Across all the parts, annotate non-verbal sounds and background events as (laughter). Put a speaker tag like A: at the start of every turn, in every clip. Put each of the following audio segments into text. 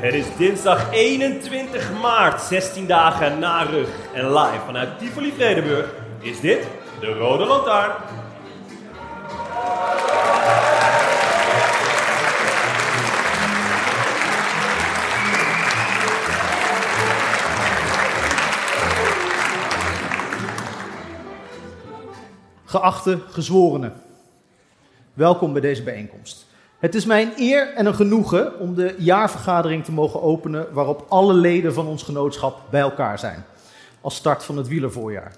A: Het is dinsdag 21 maart, 16 dagen na rug. En live vanuit Tivoli Vredenburg is dit de Rode Lantaarn.
B: Geachte gezworenen, welkom bij deze bijeenkomst. Het is mij een eer en een genoegen om de jaarvergadering te mogen openen waarop alle leden van ons genootschap bij elkaar zijn. Als start van het wielervoorjaar.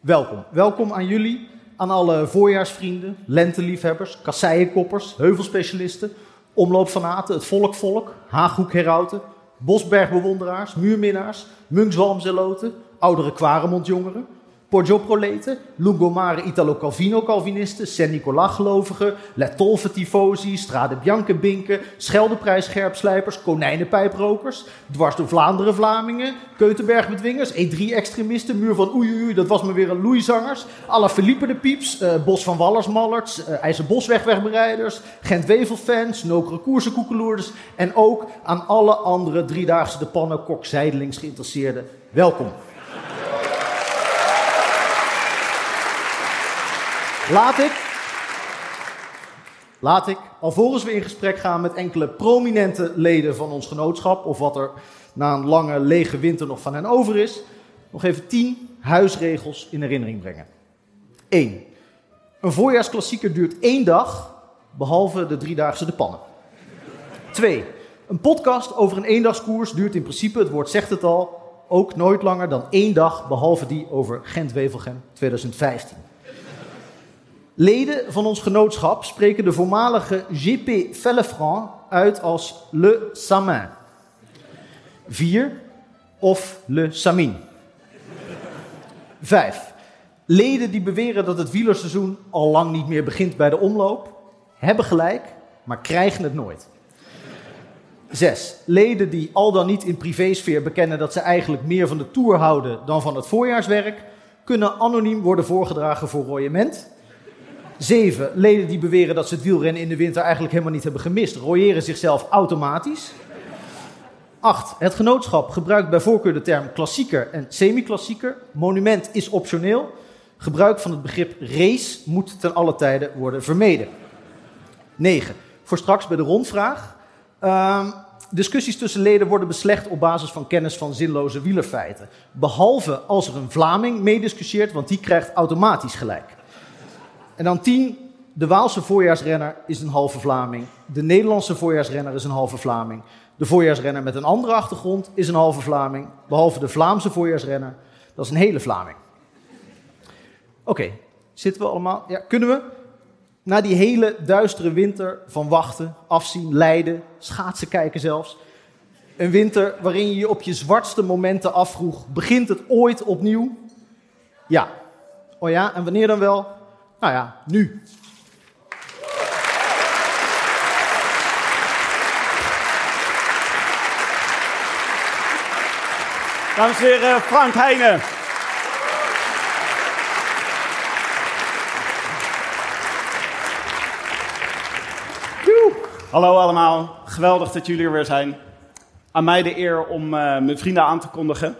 B: Welkom. Welkom aan jullie, aan alle voorjaarsvrienden, lenteliefhebbers, kasseienkoppers, heuvelspecialisten, omloopfanaten, het volkvolk, Haaghoekherauten, bosbergbewonderaars, muurminnaars, munkswalmzeloten, oudere kwaremondjongeren, Porgioproleten, Lungomare Italo-Calvino-Calvinisten, San Nicolas-gelovigen, Letolve tifosi, Strade Bianca binken, Scheldeprijs-scherpslijpers, Konijnenpijprokers, dwars door Vlaanderen Vlamingen, Keutenberg-bedwingers, E3-extremisten, E Muur van Oei, oei, oei, dat was me weer een Louis-zangers, Alaphilippe de Pieps, eh, Bos van Wallersmallerts, eh IJzerboswegwegbereiders, Gent-Wevel-fans, Nokere Koersenkoekeloerders en ook aan alle andere driedaagse de pannenkoek zijdelings geïnteresseerden, welkom. Laat ik. Laat ik, alvorens we in gesprek gaan met enkele prominente leden van ons genootschap, of wat er na een lange lege winter nog van hen over is, nog even tien huisregels in herinnering brengen. 1. Een voorjaarsklassieker duurt één dag, behalve de driedaagse de pannen. 2. Een podcast over een eendagskoers duurt in principe, het woord zegt het al, ook nooit langer dan één dag, behalve die over Gent-Wevelgem 2015. Leden van ons genootschap spreken de voormalige GP Fellefranc uit als Le Samin. 4 of Le Samin. 5. Leden die beweren dat het wielerseizoen al lang niet meer begint bij de omloop, hebben gelijk, maar krijgen het nooit. 6. Leden die al dan niet in privésfeer bekennen dat ze eigenlijk meer van de tour houden dan van het voorjaarswerk, kunnen anoniem worden voorgedragen voor royement. 7. Leden die beweren dat ze het wielrennen in de winter eigenlijk helemaal niet hebben gemist, royeren zichzelf automatisch. 8. Het genootschap gebruikt bij voorkeur de term klassieker en semi-klassieker. Monument is optioneel. Gebruik van het begrip race moet ten alle tijde worden vermeden. 9. Voor straks bij de rondvraag. Ehm, discussies tussen leden worden beslecht op basis van kennis van zinloze wielerfeiten. Behalve als er een Vlaming meediscussieert, want die krijgt automatisch gelijk. En dan 10. De Waalse voorjaarsrenner is een halve Vlaming. De Nederlandse voorjaarsrenner is een halve Vlaming. De voorjaarsrenner met een andere achtergrond is een halve Vlaming. Behalve de Vlaamse voorjaarsrenner, dat is een hele Vlaming. Oké, zitten we allemaal? Ja, kunnen we? Na die hele duistere winter van wachten, afzien, lijden, schaatsen kijken zelfs. Een winter waarin je je op je zwartste momenten afvroeg: begint het ooit opnieuw? Ja. Oh ja, en wanneer dan wel? Nou ja, nu.
A: Dames en heren, Frank Heijnen.
C: Hallo allemaal, geweldig dat jullie er weer zijn. Aan mij de eer om eh, mijn vrienden aan te kondigen.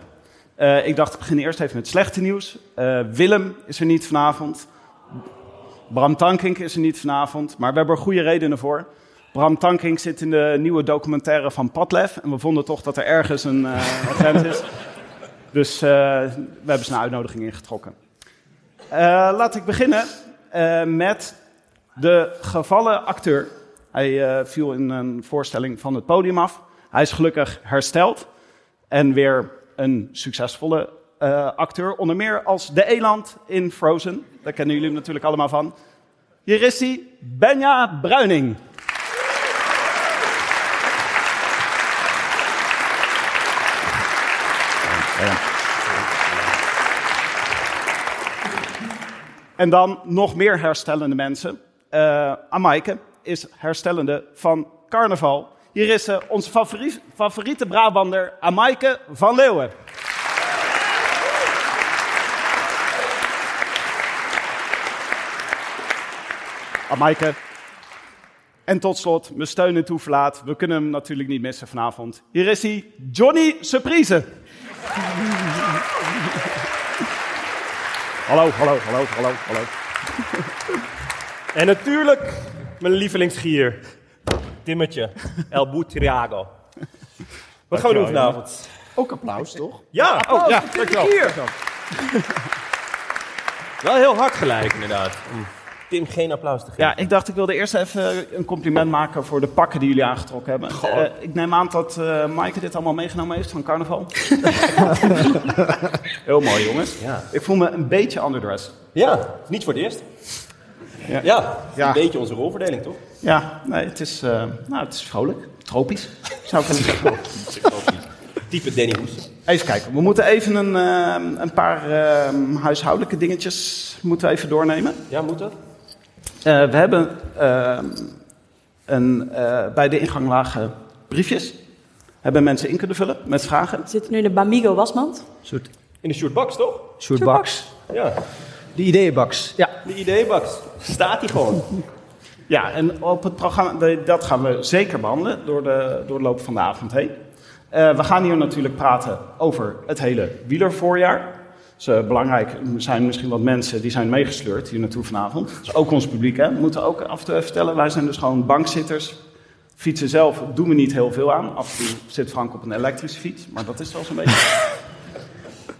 C: Eh, ik dacht, ik begin eerst even met slechte nieuws. Eh, Willem is er niet vanavond. Bram Tankink is er niet vanavond. Maar we hebben er goede redenen voor. Bram Tankink zit in de nieuwe documentaire van Padlef. En we vonden toch dat er ergens een eh, agent is. Dus eh, we hebben zijn uitnodiging ingetrokken. Eh, laat ik beginnen eh, met de gevallen acteur. Hij eh, viel in een voorstelling van het podium af. Hij is gelukkig hersteld. En weer een succesvolle eh, acteur. Onder meer als de eland in Frozen. Daar kennen jullie hem natuurlijk allemaal van. Hier is hij, Benja Bruining. En dan nog meer herstellende mensen. Eh Amaike is herstellende van carnaval. Hier is eh, onze favoriet- favoriete Brabander, Amaike van Leeuwen. Amaike. En tot slot, mijn steun en toeverlaat. We kunnen hem natuurlijk niet missen vanavond. Hier is hij, Johnny Surprise. Hallo, hallo, hallo, hallo, hallo.
A: En natuurlijk mijn lievelingsgier, Timmetje, El Boutriago. Wat gaan we doen vanavond?
C: Ook applaus, toch?
A: Ja, oh, ja, dankjewel. (laughs)
C: Hier.
A: Wel heel hard gelijk, inderdaad. Om Tim geen applaus te geven.
C: Ja, ik dacht ik wilde eerst even een compliment maken voor de pakken die jullie aangetrokken hebben. Eh, ik neem aan dat eh Maaike dit allemaal meegenomen heeft van carnaval. Heel mooi, jongens.
A: Ja.
C: Ik voel me een beetje underdressed.
A: Ja, niet voor het eerst. Ja,
C: Ja.
A: een beetje onze rolverdeling, toch?
C: Ja, nee, het is, eh, nou, het is vrolijk. Tropisch, zou ik kunnen zeggen.
A: Type Danny Hoes.
C: Even kijken, we moeten even een, eh, een paar eh, huishoudelijke dingetjes moeten we even doornemen.
A: Ja, moet dat?
C: Eh, we hebben eh, een, eh, bij de ingang lagen briefjes. Hebben mensen in kunnen vullen met vragen.
D: We zitten nu in de Bamigo wasmand.
B: soort,
A: In de shortbox, toch?
B: soort
D: Soort
B: baks.
A: Ja,
B: De ideeënbaks. Ja.
A: de ID-box. Staat hij gewoon.
C: Ja, en op het programma, de- dat gaan we zeker behandelen door de, door de loop van de avond heen. Eh, we gaan hier natuurlijk praten over het hele wielervoorjaar. Dus, eh, belangrijk, er zijn misschien wat mensen die zijn meegesleurd hier naartoe vanavond. Dus ook ons publiek, hè. We moeten ook af en toe even vertellen, wij zijn dus gewoon bankzitters. Fietsen zelf doen we niet heel veel aan. Af en toe zit Frank op een elektrische fiets, maar dat is wel zo'n beetje.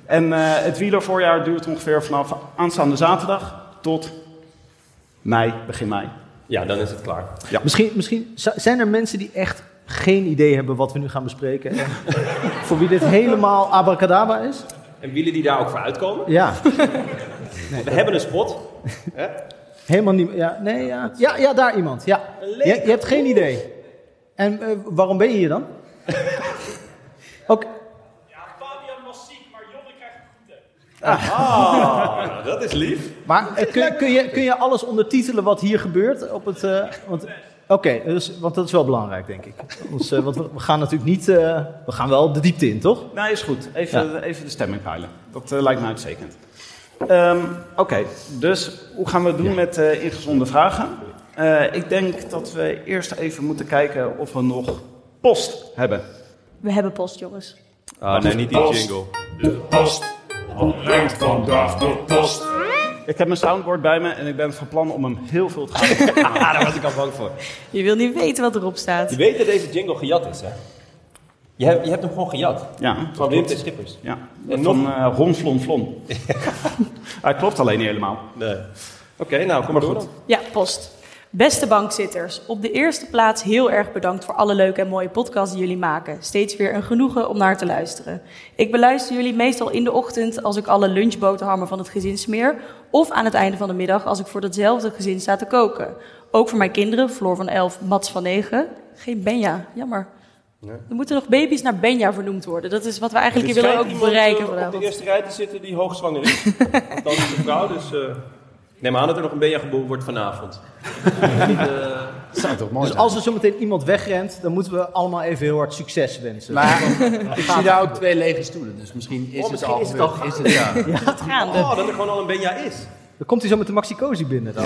C: En eh, het wielervoorjaar duurt ongeveer vanaf aanstaande zaterdag tot mei, begin mei.
A: Ja, dan is het klaar.
B: Misschien, misschien z- zijn er mensen die echt geen idee hebben wat we nu gaan bespreken. En (laughs) voor wie dit helemaal abracadabra is.
A: En willen die daar ook voor uitkomen?
B: Ja,
A: we hebben een spot.
B: helemaal niet. Ja, nee, ja. Ja, ja, daar iemand. Ja. Je, je hebt geen idee. En eh, waarom ben je hier dan? (laughs) Oké.
A: Ah. Nou, dat is lief.
B: Maar eh, kun, kun, je, kun je alles ondertitelen wat hier gebeurt? Op het, eh, want, Oké, dus, want dat is wel belangrijk, denk ik. Ons, eh, want we, we gaan natuurlijk niet... eh, we gaan wel de diepte in, toch?
C: Nee, is goed. Even, even de stemming peilen. Dat eh, lijkt me uitstekend. Ehm, Oké, dus hoe gaan we het doen met eh, ingezonde vragen? Eh, ik denk dat we eerst even moeten kijken of we nog post hebben.
D: We hebben post, jongens.
E: Ah, nee, niet die jingle.
F: De post. Wat brengt vandaag de post?
C: Ik heb mijn soundboard bij me en ik ben van plan om hem heel veel te (laughs) gaan.
A: (laughs) Ah, daar was ik al bang voor.
D: Je wil niet weten wat erop staat.
A: Je weet dat deze jingle gejat is, hè? Je hebt, je hebt hem gewoon gejat.
C: ja,
A: Van Wim T. Schippers.
C: ja.
A: En
C: Van
A: nog-
C: eh Ron Flon Flon. Hij klopt alleen niet helemaal.
A: Nee. Oké, nou, kom maar door dan.
D: Ja, post. Beste bankzitters, op de eerste plaats heel erg bedankt voor alle leuke en mooie podcasts die jullie maken. Steeds weer een genoegen om naar te luisteren. Ik beluister jullie meestal in de ochtend als ik alle lunchboterhammen van het gezin smeer. Of aan het einde van de middag als ik voor datzelfde gezin sta te koken. Ook voor mijn kinderen, Floor van 11, Mats van 9. Geen Benja, jammer. Er moeten nog baby's naar Benja vernoemd worden. Dat is wat we eigenlijk hier willen ook bereiken
A: eh, op de
D: vanavond.
A: eerste rij te zitten die hoogzwanger is. Want dat is een vrouw, dus... eh neem aan dat er nog een beetje geboren wordt vanavond.
B: Dus als er zometeen iemand wegrent, dan moeten we allemaal even heel hard succes wensen.
E: Maar ik zie daar ook twee lege stoelen, dus misschien is het al. gebeurd. Is het, ja. (laughs)
D: Gaande.
A: Oh, dat er gewoon al een Benja is.
B: Dan komt hij zo met de Maxi Cosi binnen dan.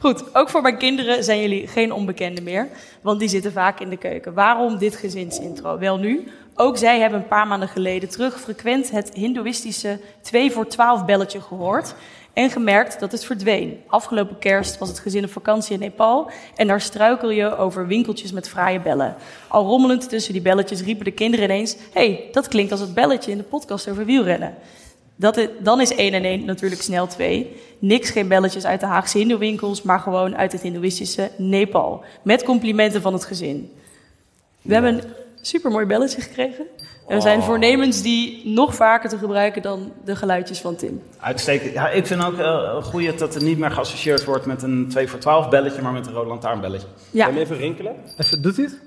D: Goed, ook voor mijn kinderen zijn jullie geen onbekenden meer, want die zitten vaak in de keuken. Waarom dit gezinsintro? Wel nu, ook zij hebben een paar maanden geleden terug frequent het hindoeïstische 2 voor 12 belletje gehoord. En gemerkt dat het verdween. Afgelopen kerst was het gezin op vakantie in Nepal en daar struikel je over winkeltjes met fraaie bellen. Al rommelend tussen die belletjes riepen de kinderen ineens: hey, dat klinkt als het belletje in de podcast over wielrennen. Dat i- dan is 1 en 1 natuurlijk snel 2. Niks, geen belletjes uit de Haagse Hindoewinkels, maar gewoon uit het Hindoeïstische Nepal. Met complimenten van het gezin. We hebben een supermooi belletje gekregen. En we zijn voornemens die nog vaker te gebruiken dan de geluidjes van Tim.
C: Uitstekend. Ja, ik vind ook eh goed dat het niet meer geassocieerd wordt met een 2 voor 12 belletje, maar met een rode lantaarnbelletje.
D: Ja,
G: Kan je hem even rinkelen?
B: Even, doet hij het?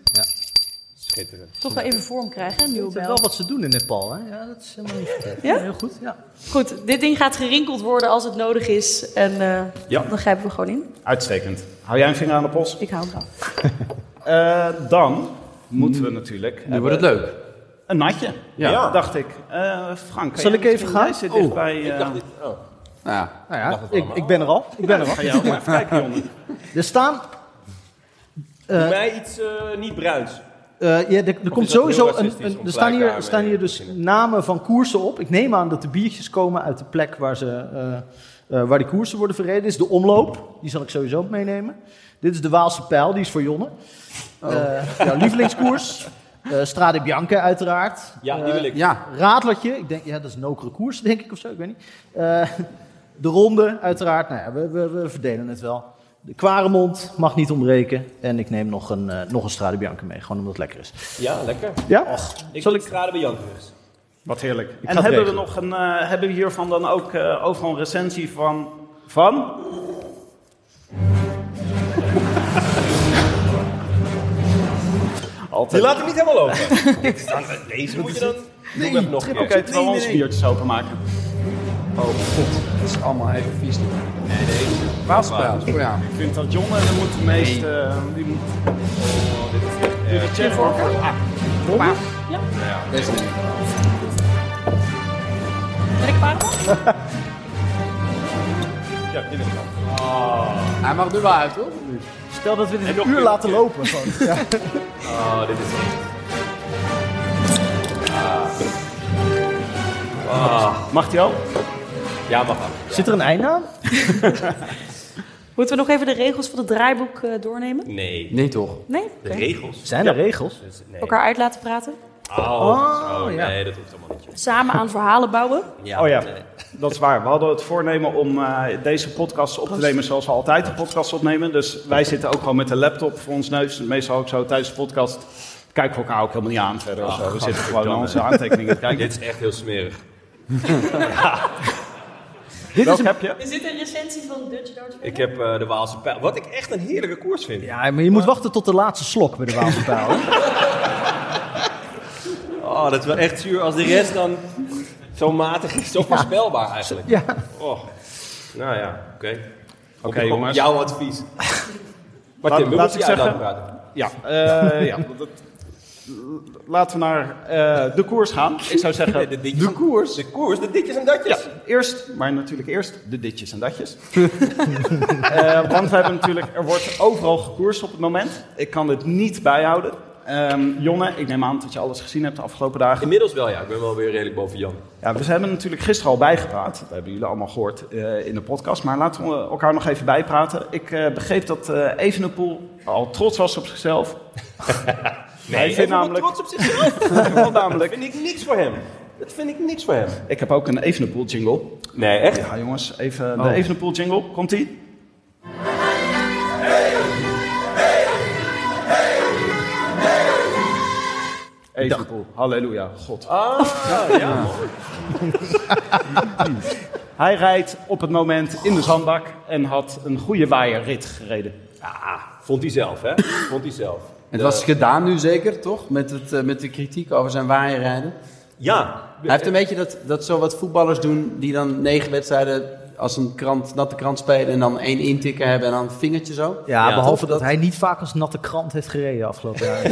G: Schitterend.
D: toch wel even vorm krijgen, hè, een nieuwe
B: Dat is wel
D: bel.
B: wat ze doen in Nepal, hè? Ja, dat is helemaal niet verkeerd.
D: Ja?
B: Heel goed, ja.
D: Goed, dit ding gaat gerinkeld worden als het nodig is. En eh,
C: Ja.
D: dan grijpen we gewoon in.
C: Uitstekend. Hou jij een vinger aan de pols?
D: Ik hou hem dan.
C: Eh, dan moeten we natuurlijk eh,
E: Nu wordt het leuk.
C: een natje.
E: Ja.
C: Dacht ik. Eh, Frank, kan
B: Zal
C: jij
B: ik even
C: misschien-
B: gaan?
C: Jij zit dichtbij. eh,
E: Nou ja,
B: Nou ja, ik, ik ben er al. Ik ben er al.
C: Ga jij ook maar even kijken, Jonne.
B: Er staan...
G: Doe
B: eh,
G: mij iets eh, niet bruins.
B: eh, ja, er, er komt
G: is dat
B: sowieso
G: heel
B: een,
G: racistisch
B: een,
G: om
B: er staan
G: gelijk
B: hier,
G: daarmee
B: staan hier
G: te
B: dus
G: beginnen?
B: namen van koersen op. Ik neem aan dat de biertjes komen uit de plek waar, ze, eh, eh, waar die koersen worden verreden. Dit is de omloop, die zal ik sowieso meenemen. Dit is de Waalse pijl, die is voor Jonne. Eh, jouw lievelingskoers. Eh Strade Bianca uiteraard. Eh,
G: Ja, die wil ik.
E: ja.
B: Raadlertje, ik denk, ja, dat is nokere koers, (laughs) denk ik of zo, ik weet niet. Eh, de ronde, uiteraard, nou ja, we, we, we verdelen het wel. De kwaremond mag niet ontbreken. En ik neem nog een, eh, nog een Strade Bianca mee, gewoon omdat het lekker is.
G: Ja, lekker.
B: Ja?
G: Ik
B: Zal
G: Zal
B: ik-
G: ik strade bij Jan terug.
C: Wat heerlijk. en
B: het
C: hebben we,
B: regelen.
C: nog een, eh, hebben we hiervan dan ook eh, overal een recensie van... Van?
G: Je
C: Altijd.
G: laat hem niet helemaal open. Ik sta- Deze moet je dan... Nee, Doe hem nog een
C: Oké,
G: keer.
C: terwijl we onze biertjes openmaken.
E: Oh, dat is allemaal even vies.
C: Waarspaal.
E: Oh ja.
C: Ik vind dat Jonne de moet de meest... eh, die moet...
G: Oh,
C: Doe de check over.
E: Deze niet.
D: Ben ik klaar?
G: Ja, die wil ik wel.
E: Hij mag nu wel uit, hoor.
B: Stel dat we dit
G: nog
B: een uur
G: een
B: laten lopen. gewoon.
G: Oh, dit is echt... Ah.
C: Mag die al?
G: Ja, mag af.
B: Zit er een einde aan?
D: Moeten we nog even de regels van het draaiboek eh, doornemen?
G: Nee.
E: Nee, toch?
D: Nee? Oké.
G: De regels.
B: Zijn er regels?
G: Dus, nee.
D: Elkaar uit laten praten.
G: Oh, oh,
B: ja.
G: nee, dat hoeft allemaal niet. joh.
D: Samen aan verhalen bouwen.
G: Ja,
C: Oh ja.
G: nee.
C: Dat is waar. We hadden het voornemen om eh, deze podcast op te nemen zoals we altijd de podcast opnemen. Dus wij zitten ook gewoon met de laptop voor ons neus. Dus Meestal ook zo tijdens de podcast kijken we elkaar ook helemaal niet aan verder of zo. We zitten gewoon aan onze aantekeningen te kijken.
G: Dit is echt heel smerig.
C: Dit is heb je?
D: Er zit een recensie van Dutch Dart.
G: Ik heb eh, de Waalse pijl. Wat ik echt een heerlijke koers vind.
B: Ja, maar je moet wachten tot de laatste slok bij de Waalse Pijl.
G: (laughs)
B: hè?
G: Oh, dat is wel echt zuur als de rest dan zo matig is. Zo voorspelbaar eigenlijk.
B: Ja.
G: Oh. Nou ja, oké. Op-
C: Oké,
G: op
C: jongens.
G: Jouw (laughs) advies. Maar
C: Laat-
G: Tim, we
C: laat
G: moeten je
C: ik
G: uit laten
C: zeggen-
G: praten.
C: Ja, eh, ja. Dat, laten we naar eh, de koers gaan. Ik zou zeggen,
G: De, ditjes en- De koers, de ditjes en datjes.
C: Eerst, maar natuurlijk eerst de ditjes en datjes. (laughs) Eh, want we hebben natuurlijk, er wordt overal gekoerst op het moment. Ik kan dit niet bijhouden. Ehm, Jonne, ik neem aan dat je alles gezien hebt de afgelopen dagen.
G: Inmiddels wel, ja. Ik ben wel weer redelijk boven Jan.
C: Ja, we hebben natuurlijk gisteren al bijgepraat. Dat hebben jullie allemaal gehoord eh, in de podcast. Maar laten we elkaar nog even bijpraten. Ik eh, begreep dat eh Evenepoel al trots was op zichzelf.
G: Nee,
C: hij
G: hij
C: vindt
G: is
C: namelijk-
G: namelijk... trots op (laughs) zichzelf.
C: Want namelijk,
G: vind ik niks voor hem. Dat vind ik niks voor hem.
C: ik heb ook een Evenepoel jingle.
G: Nee, echt?
C: Ja, Ah, jongens, even de Evenepoel jingle. Komt-ie? Evenepoel, halleluja, God. Ah, Hij rijdt op het moment in de zandbak en had een goede waaierrit gereden.
G: Ah, vond hij zelf, hè? Vond hij zelf.
E: Het
G: De-
E: was gedaan nu zeker, toch? Met, het, eh, met de kritiek over zijn waaierrijden.
G: Ja.
E: Hij heeft een beetje dat, dat zo wat voetballers doen die dan negen wedstrijden als een krant, natte krant spelen en dan één intikken hebben en dan een vingertje zo. Oké,
B: Ja,
G: Ja,
B: behalve
E: toch?
B: dat
E: Dat-
B: hij niet vaak als natte krant heeft gereden
G: (laughs)
B: afgelopen jaar.
E: (laughs)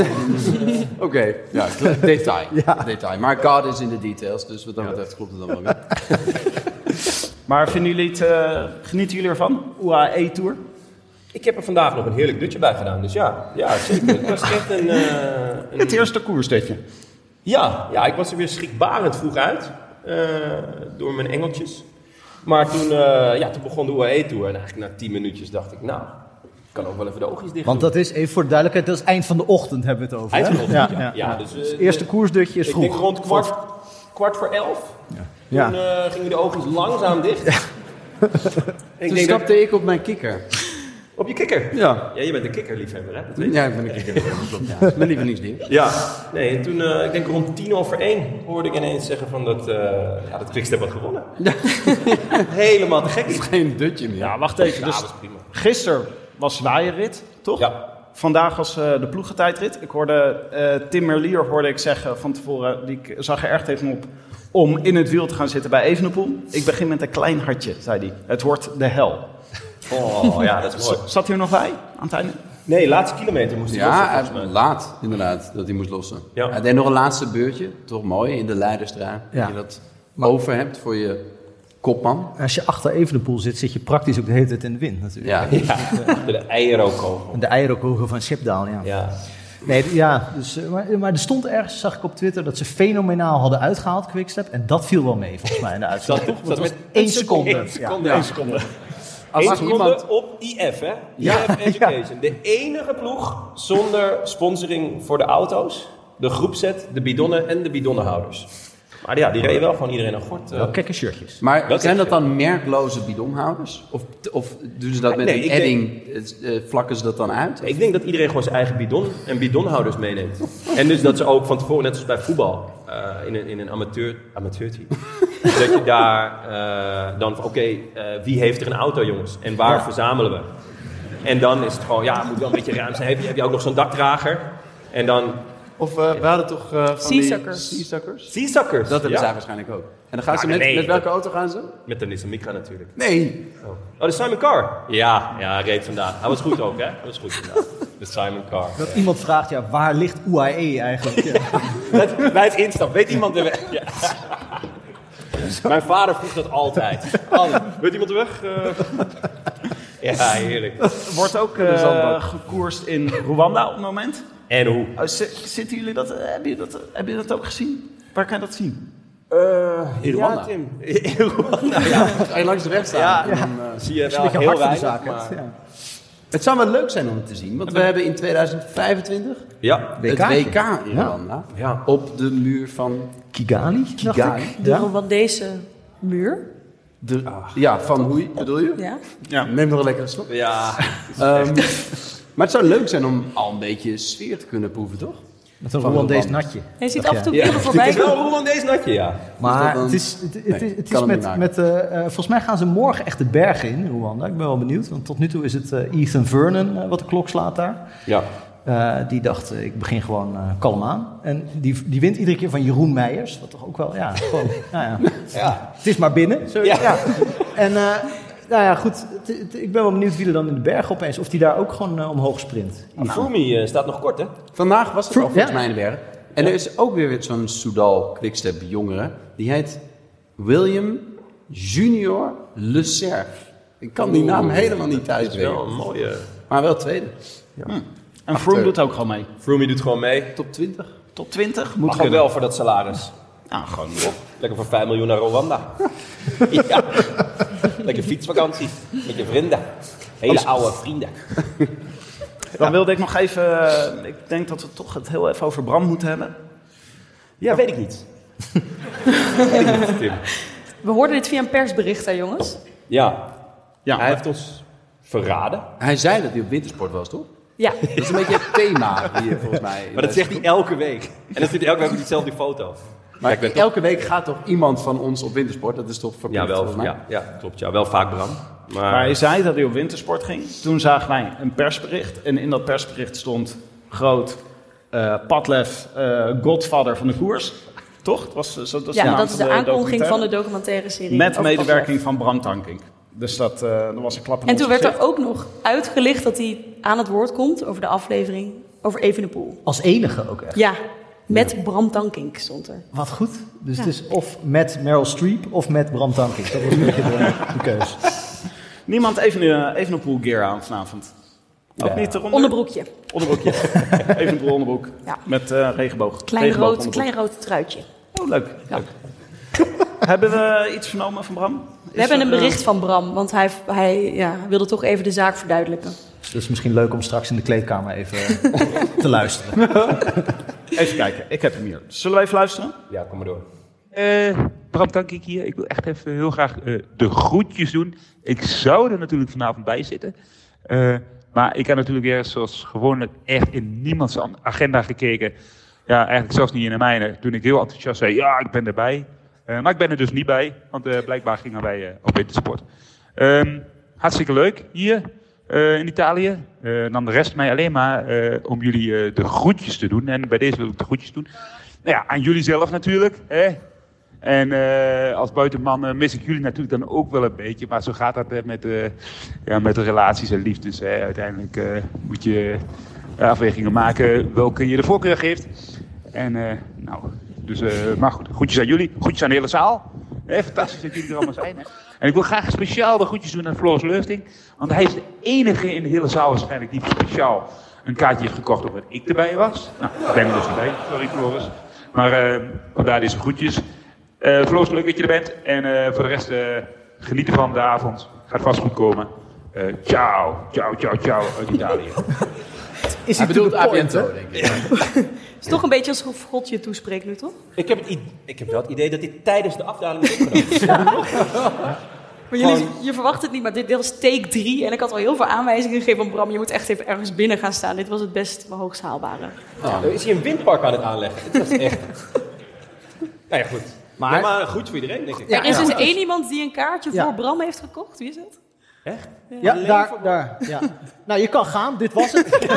E: ja, kle- detail, detail. Maar God is in de details, dus wat dat betreft klopt het allemaal weer.
C: Maar vinden jullie het, eh, genieten jullie ervan? UAE-tour?
G: Ik heb er vandaag nog een heerlijk dutje bij gedaan, dus ja. Ja, zeker. Het was echt een... eh, een-
C: Het eerste koersdetje.
G: Ja, ja, ik was er weer schrikbarend vroeg uit. eh, door mijn engeltjes. Maar toen, eh, ja, toen begon de UAE Tour. En eigenlijk na 10 minuutjes dacht ik, nou, ik kan ook wel even de oogjes dicht
B: Want
G: doen.
B: dat is, even voor de duidelijkheid, dat is eind van de ochtend hebben we het over.
G: Eind
B: hè?
G: van de ochtend, ja.
B: ja.
G: Ja, dus, eh,
B: Het eerste koersdutje is
G: Ik
B: vroeg.
G: denk rond kwart, kwart voor elf.
B: Ja.
G: Toen eh, gingen de oogjes langzaam dicht. En (laughs) ik
E: Toen
G: denk dat,
E: stapte ik op mijn kikker.
G: op je kikker.
E: Ja.
G: Ja, je bent een kikkerliefhebber, hè? Dat weet ik.
E: Ja, ik ben een kikker. Dat klopt, (laughs) ja. Dat is mijn lievelingsding.
G: Ja, nee, en toen, eh, ik denk rond tien over één, hoorde ik ineens zeggen van dat, eh ja, dat Quickstep had gewonnen. (laughs) Helemaal te gek.
E: Geen dutje meer.
C: Ja, wacht even.
G: Ja,
C: Dus
G: dat is prima.
C: gisteren was zwaaierrit, toch?
G: Ja.
C: Vandaag was eh, de ploegentijdrit. Ik hoorde eh, Tim Merlier hoorde ik zeggen van tevoren, die k- zag er erg tegenop, om in het wiel te gaan zitten bij Evenepoel. Ik begin met een klein hartje, zei hij. Het wordt de hel.
G: Oh, ja, dat is mooi.
C: Z- Zat hij er nog bij aan het einde?
G: Nee, laatste kilometer moest hij lossen,
E: Ja, eh,
G: volgens
E: hij-
G: mij.
E: laat inderdaad dat hij moest lossen.
G: Ja.
E: Hij deed nog een laatste beurtje, toch mooi, in de leidersdraai.
B: Ja.
E: Dat je dat over hebt voor je kopman.
B: Als je achter even de poel zit, zit je praktisch ook de hele tijd in de wind natuurlijk.
E: Ja,
G: Ja, de eierokogel.
B: En de eierkogen van Schipdaal, ja.
G: Ja.
B: Nee, ja dus, eh, maar, maar er stond ergens, zag ik op Twitter, dat ze fenomenaal hadden uitgehaald, Quickstep. En dat viel wel mee, volgens mij, in de uitslag.
G: Dat-
B: toch? Want
G: dat
B: het
G: met
B: was één seconde.
G: Eén seconde. Eén seconde.
E: als
G: Eén
E: er
G: seconde
E: iemand...
G: op IF, hè? IF Education. De enige ploeg zonder sponsoring voor de auto's, de groepset, de bidonnen en de bidonnenhouders. Maar ja, die reden wel van iedereen een gort. eh.
B: Ja. Wel kekke shirtjes.
E: Maar
G: Dat
E: zijn
G: is-
E: dat dan merkloze bidonhouders? Of, of doen ze dat met
G: Ah, Nee,
E: een
G: ik denk-
E: edding, eh, eh, vlakken ze dat dan uit?
G: Ik denk dat iedereen gewoon zijn eigen bidon en bidonhouders meeneemt. En dus dat ze ook van tevoren, net zoals bij voetbal, eh, in een, in een amateur, amateurteam, (laughs) dat je daar eh, dan van oké, eh, wie heeft er een auto jongens en waar verzamelen we? En dan is het gewoon, ja, het moet wel een beetje ruim zijn. Heb je, heb je ook nog zo'n dakdrager? En dan
E: Of eh, we hadden toch eh, van
D: Seasuckers.
E: die seasuckers?
G: zeezakkers.
E: Dat hebben
G: ja.
E: zij waarschijnlijk ook. En dan gaan
G: Ja,
E: ze met,
G: nee,
E: met welke
G: dat-
E: auto gaan ze?
G: Met de Nissan Micra natuurlijk.
E: Nee.
G: Oh, de Simon Carr? Ja, ja, hij reed vandaag. Hij was goed ook, hè? Hij was goed vandaag. De Simon Carr.
B: Dat iemand vraagt, ja, waar ligt UAE eigenlijk? Ja.
G: Dat- bij het instap, weet iemand de weg? Ja. (laughs) Mijn vader vroeg dat altijd. Altijd. Weet iemand de weg? Eh, Ja, heerlijk.
C: Wordt ook eh,
E: zandbak.
C: gekoerst in Rwanda op het moment.
G: En hoe?
C: Eh, zi- zitten jullie dat, eh, hebben jullie dat, hebben jullie dat ook gezien? Waar kan je dat zien?
G: In
E: Rwanda.
G: Ja, Tim. In
E: (laughs)
G: Rwanda, ja.
E: Ga je langs de weg staan? en dan, eh,
G: Zie je wel
B: beetje
G: heel
B: hard voor
G: weinig.
B: de zaak. hè?
G: maar-
B: Ja.
E: het zou wel leuk zijn om het te zien, want we hebben in 2025
G: Ja.
E: het
B: WK
E: WK in Rwanda.
G: Ja.
E: Op de muur van,
B: Kigali? Kigali.
D: De Rwandese muur.
E: de, ja, van Hoei, bedoel je?
D: Ja.
E: Neem nog een lekkere slok.
G: Ja.
E: Ehm, maar het zou leuk zijn om al een beetje sfeer te kunnen proeven, toch?
B: Met een
E: Van
B: Rwandees
E: Rwanda.
B: natje.
D: Je ziet
B: Ach,
D: af en
G: (laughs)
D: toe
G: ja.
D: beelden voorbij
G: Het is wel
D: komen.
G: Roland deze natje, ja.
B: Maar
E: dat dan-
B: het is, het, het,
E: Nee,
B: is- het
E: kan
B: is
E: hem niet
B: met,
E: maken.
B: met eh, eh, volgens mij gaan ze morgen echt de bergen in Rwanda. Ik ben wel benieuwd, want tot nu toe is het eh, Ethan Vernon eh, wat de klok slaat daar.
G: Ja.
B: Eh, die dacht, eh, ik begin gewoon eh, kalm aan. En die, die wint iedere keer van Jeroen Meijers. Wat toch ook wel, ja, gewoon, (laughs) nou ja. Het is maar binnen. Zo, ja. En eh, nou ja, goed. het- het- ik ben wel benieuwd wie er dan in de berg opeens... of die daar ook gewoon eh, omhoog sprint.
G: Froomey eh, staat nog kort, hè?
E: Vandaag was het al
B: Ja.
E: volgens mij in de berg. En er is ook weer weer zo'n Soudal Quickstep jongere. Die heet William Junior Le Cerf. Ik kan die naam helemaal niet
G: Dat is wel
E: thuisbrengen.
G: een mooie...
E: Maar wel tweede.
C: En Froome doet ook gewoon mee.
G: Froomey doet gewoon mee.
E: Top 20.
C: Top 20?
G: Moet
C: Moet
G: gewoon
C: kunnen.
G: wel voor dat salaris.
C: Nou, gewoon
G: Lekker voor 5 miljoen naar Rwanda. ja. Lekker fietsvakantie met je vrienden. Hele oude vrienden.
C: Dan wilde ik nog even. eh, Ik denk dat we toch het heel even over Bram moeten hebben.
G: Ja, weet ik niet.
D: We hoorden dit via een persbericht, hè jongens?
G: Ja,
C: Ja,
G: hij heeft ons verraden.
E: Hij zei dat hij op wintersport was, toch?
D: Ja.
E: Dat is een beetje het thema hier, volgens mij. Eh,
G: Maar dat zegt hij elke week. En dan zit hij elke week op diezelfde foto.
E: Maar elke week gaat toch iemand van ons op wintersport? Dat is toch verplicht,
G: Ja,
E: volgens
G: wel,
E: mij?
G: ja, ja, klopt. Ja, wel vaak Bram. Maar,
C: maar hij zei dat hij op wintersport ging. Toen zagen wij een persbericht. En in dat persbericht stond groot eh Padlef, eh, godfather van de koers. Toch? Dat, was, eh, zo- dat, is
D: Ja,
C: naam
D: dat is de
C: van
D: aankondiging van de
C: documentaire.
D: documentaire serie.
C: Met
D: Ook
C: medewerking van Bram Tankink. Dus dat, eh dat was een klap in
D: En
C: ons
D: toen werd
C: gezicht.
D: er ook nog uitgelicht dat hij aan het woord komt over de aflevering over Evenepoel.
B: Als enige ook echt.
D: Ja, met Bram Tankink stond er.
B: Wat goed. Dus het is of met Meryl Streep of met Bram Tankink. Dat was een beetje de, de keus.
C: Niemand even, eh, even een pool gear aan vanavond. Ook
B: Ja.
C: niet de ronde-
D: Onderbroekje.
C: Onderbroekje.
D: (laughs)
C: even een pool onderbroek.
D: Ja.
C: Met eh, regenboog.
D: Klein
C: Regenboog
D: rood,
C: onderbroek.
D: klein rood truitje.
C: Oh, leuk. (laughs)
D: Ja.
C: leuk. Hebben we iets vernomen van Bram? eh,
D: We hebben een bericht van Bram, want hij, hij ja, wilde toch even de zaak verduidelijken.
B: Dus misschien leuk om straks in de kleedkamer even eh, te luisteren.
C: Even kijken, ik heb hem hier. Zullen we even luisteren?
G: Ja, kom maar door.
H: Eh, Bram, dank ik hier. Ik wil echt even heel graag eh, de groetjes doen. Ik zou er natuurlijk vanavond bij zitten. Eh, maar ik heb natuurlijk weer zoals gewoonlijk echt in niemands an- agenda gekeken. Ja, eigenlijk zelfs niet in de mijne. Toen ik heel enthousiast zei, ja, ik ben erbij. Eh, maar ik ben er dus niet bij, want eh, blijkbaar gingen wij eh, op wintersport. Ehm, hartstikke leuk hier eh, in Italië. Eh, dan de rest mij alleen maar eh, om jullie eh, de groetjes te doen. En bij deze wil ik de groetjes doen. Nou ja, aan jullie zelf natuurlijk. Hè? En eh, als buitenman eh, mis ik jullie natuurlijk dan ook wel een beetje. Maar zo gaat dat eh, met, eh, ja, met relaties en liefdes. Hè. Uiteindelijk eh, moet je eh, afwegingen maken welke je de voorkeur geeft. En eh, nou, dus, eh, maar goed, groetjes aan jullie. Groetjes aan de hele zaal. Hè, fantastisch dat jullie er allemaal zijn. Hè. En ik wil graag speciaal de groetjes doen aan Floris Leufting. Want hij is de enige in de hele zaal waarschijnlijk die speciaal een kaartje heeft gekocht omdat ik erbij was. Nou, ik ben er dus niet bij. Sorry Floris. Maar eh, vandaar deze groetjes. Eh Floos, leuk dat je er bent. En eh, voor de rest, eh, geniet van de avond. Gaat vast goed komen. Eh, ciao, ciao, ciao, ciao uit Italië.
B: Is
E: Hij
B: het
E: bedoelt Abiento, denk ik.
D: Het is toch een beetje alsof God je toespreekt nu, toch?
G: Ik heb, het i- ik heb wel het idee dat dit tijdens de afdaling is opgenomen.
D: Maar jullie, je verwacht het niet, maar dit, dit was take 3. En ik had al heel veel aanwijzingen gegeven van Bram. Je moet echt even ergens binnen gaan staan. Dit was het best hoogst haalbare.
G: Er is hier een windpark aan het aanleggen. Dat is echt... (laughs) nou ja, goed. Maar, maar, goed voor iedereen, denk ik.
D: er is dus één iemand die een kaartje
B: Ja.
D: voor Bram heeft gekocht. Wie is het?
B: Ja, daar, daar. Ja. Nou, je kan gaan. Dit was het. (laughs)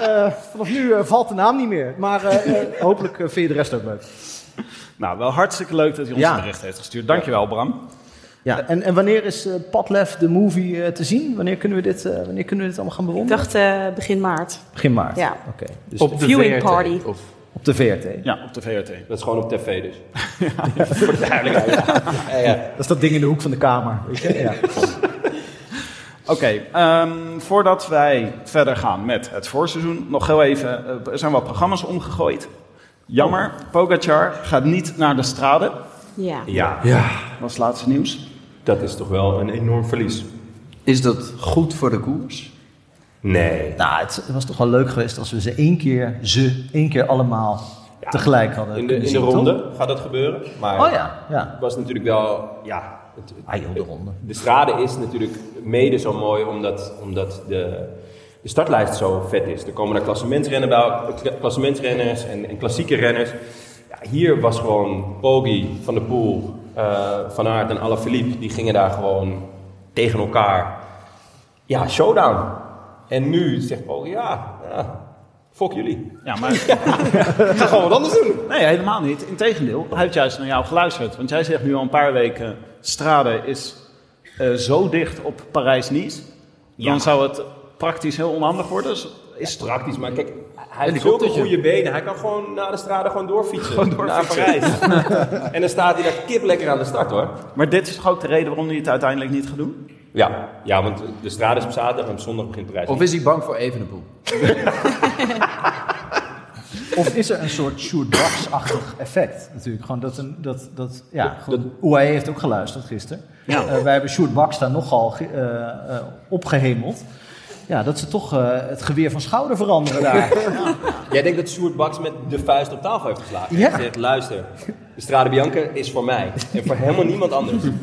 B: Eh, vanaf nu eh, valt de naam niet meer. Maar eh, eh, hopelijk eh, vind je de rest ook leuk.
C: Nou, wel hartstikke leuk dat hij ons
B: Ja.
C: een bericht heeft gestuurd. Dankjewel, Bram.
B: Ja. En, en wanneer is eh, Padlef de movie eh, te zien? Wanneer kunnen, we dit, eh, wanneer kunnen we dit allemaal gaan
D: Ik
B: bewonderen?
D: dacht eh, begin maart.
B: Begin maart.
D: Ja.
B: Oké. Dus
E: Op de
D: viewing
E: VRT,
D: party.
E: Of
B: op de VRT.
C: Ja, op de VRT.
G: Dat is gewoon op tv dus. voor de duidelijkheid. Ja, ja.
B: Dat is dat ding in de hoek van de kamer. Weet je? Ja.
C: Oké, ehm, voordat wij verder gaan met het voorseizoen, nog heel even, eh, er zijn wat programma's omgegooid. Jammer, Pogacar gaat niet naar de strade.
D: Ja.
G: Ja,
C: Dat was het laatste nieuws.
G: dat is toch wel een enorm verlies.
E: Is dat goed voor de koers?
G: Nee.
B: Nou, het, het was toch wel leuk geweest als we ze één keer, ze, één keer allemaal tegelijk hadden
G: In de,
B: kunnen
G: in de
B: zien,
G: ronde
B: toch?
G: gaat dat gebeuren. Maar
B: Oh ja, ja.
G: het was natuurlijk wel... Ja, het, het-
B: Ah joh, de ronde.
G: De strade is natuurlijk mede zo mooi omdat, omdat de, de startlijst zo vet is. Er komen daar klassementsrennen bij, kla- klassementsrenners en, en klassieke renners. Ja, hier was gewoon Poggi, Van der Poel, eh, Van Aert en Alaphilippe, die gingen daar gewoon tegen elkaar. Ja, showdown. En nu zegt Poggi, ja, ja, fuck jullie.
C: (laughs) Ja, maar
G: Ik (laughs) ga gewoon wat anders doen.
C: nee, helemaal niet. Integendeel, hij heeft juist naar jou geluisterd. Want jij zegt nu al een paar weken, strade is eh, zo dicht op Parijs-Nice. Dan zou het praktisch heel onhandig worden. Dus is het
G: Praktisch, maar kijk, hij heeft zulke goede benen. Hij kan gewoon naar de strade gewoon doorfietsen. Naar Parijs. (laughs) en dan staat hij daar kip lekker aan de start hoor.
C: Maar dit is toch ook de reden waarom hij het uiteindelijk niet gaat doen?
G: Ja, ja want de strade is op zaterdag en op zondag begint Parijs.
E: Of is hij bang voor Evenepoel?
B: Of is er een soort Sjoerdbaks-achtig effect natuurlijk? Gewoon dat, een, dat, dat ja, gewoon, UAE heeft ook geluisterd gisteren. Eh, wij hebben Sjoerd Baks daar nogal ge- eh, eh, opgehemeld. Ja, dat ze toch eh, het geweer van schouder veranderen daar.
G: Jij denkt dat Sjoerd Baks met de vuist op tafel heeft geslagen.
B: Ja.
G: Hij zegt, luister, de strade Bianca is voor mij. En voor helemaal niemand anders. Zo'n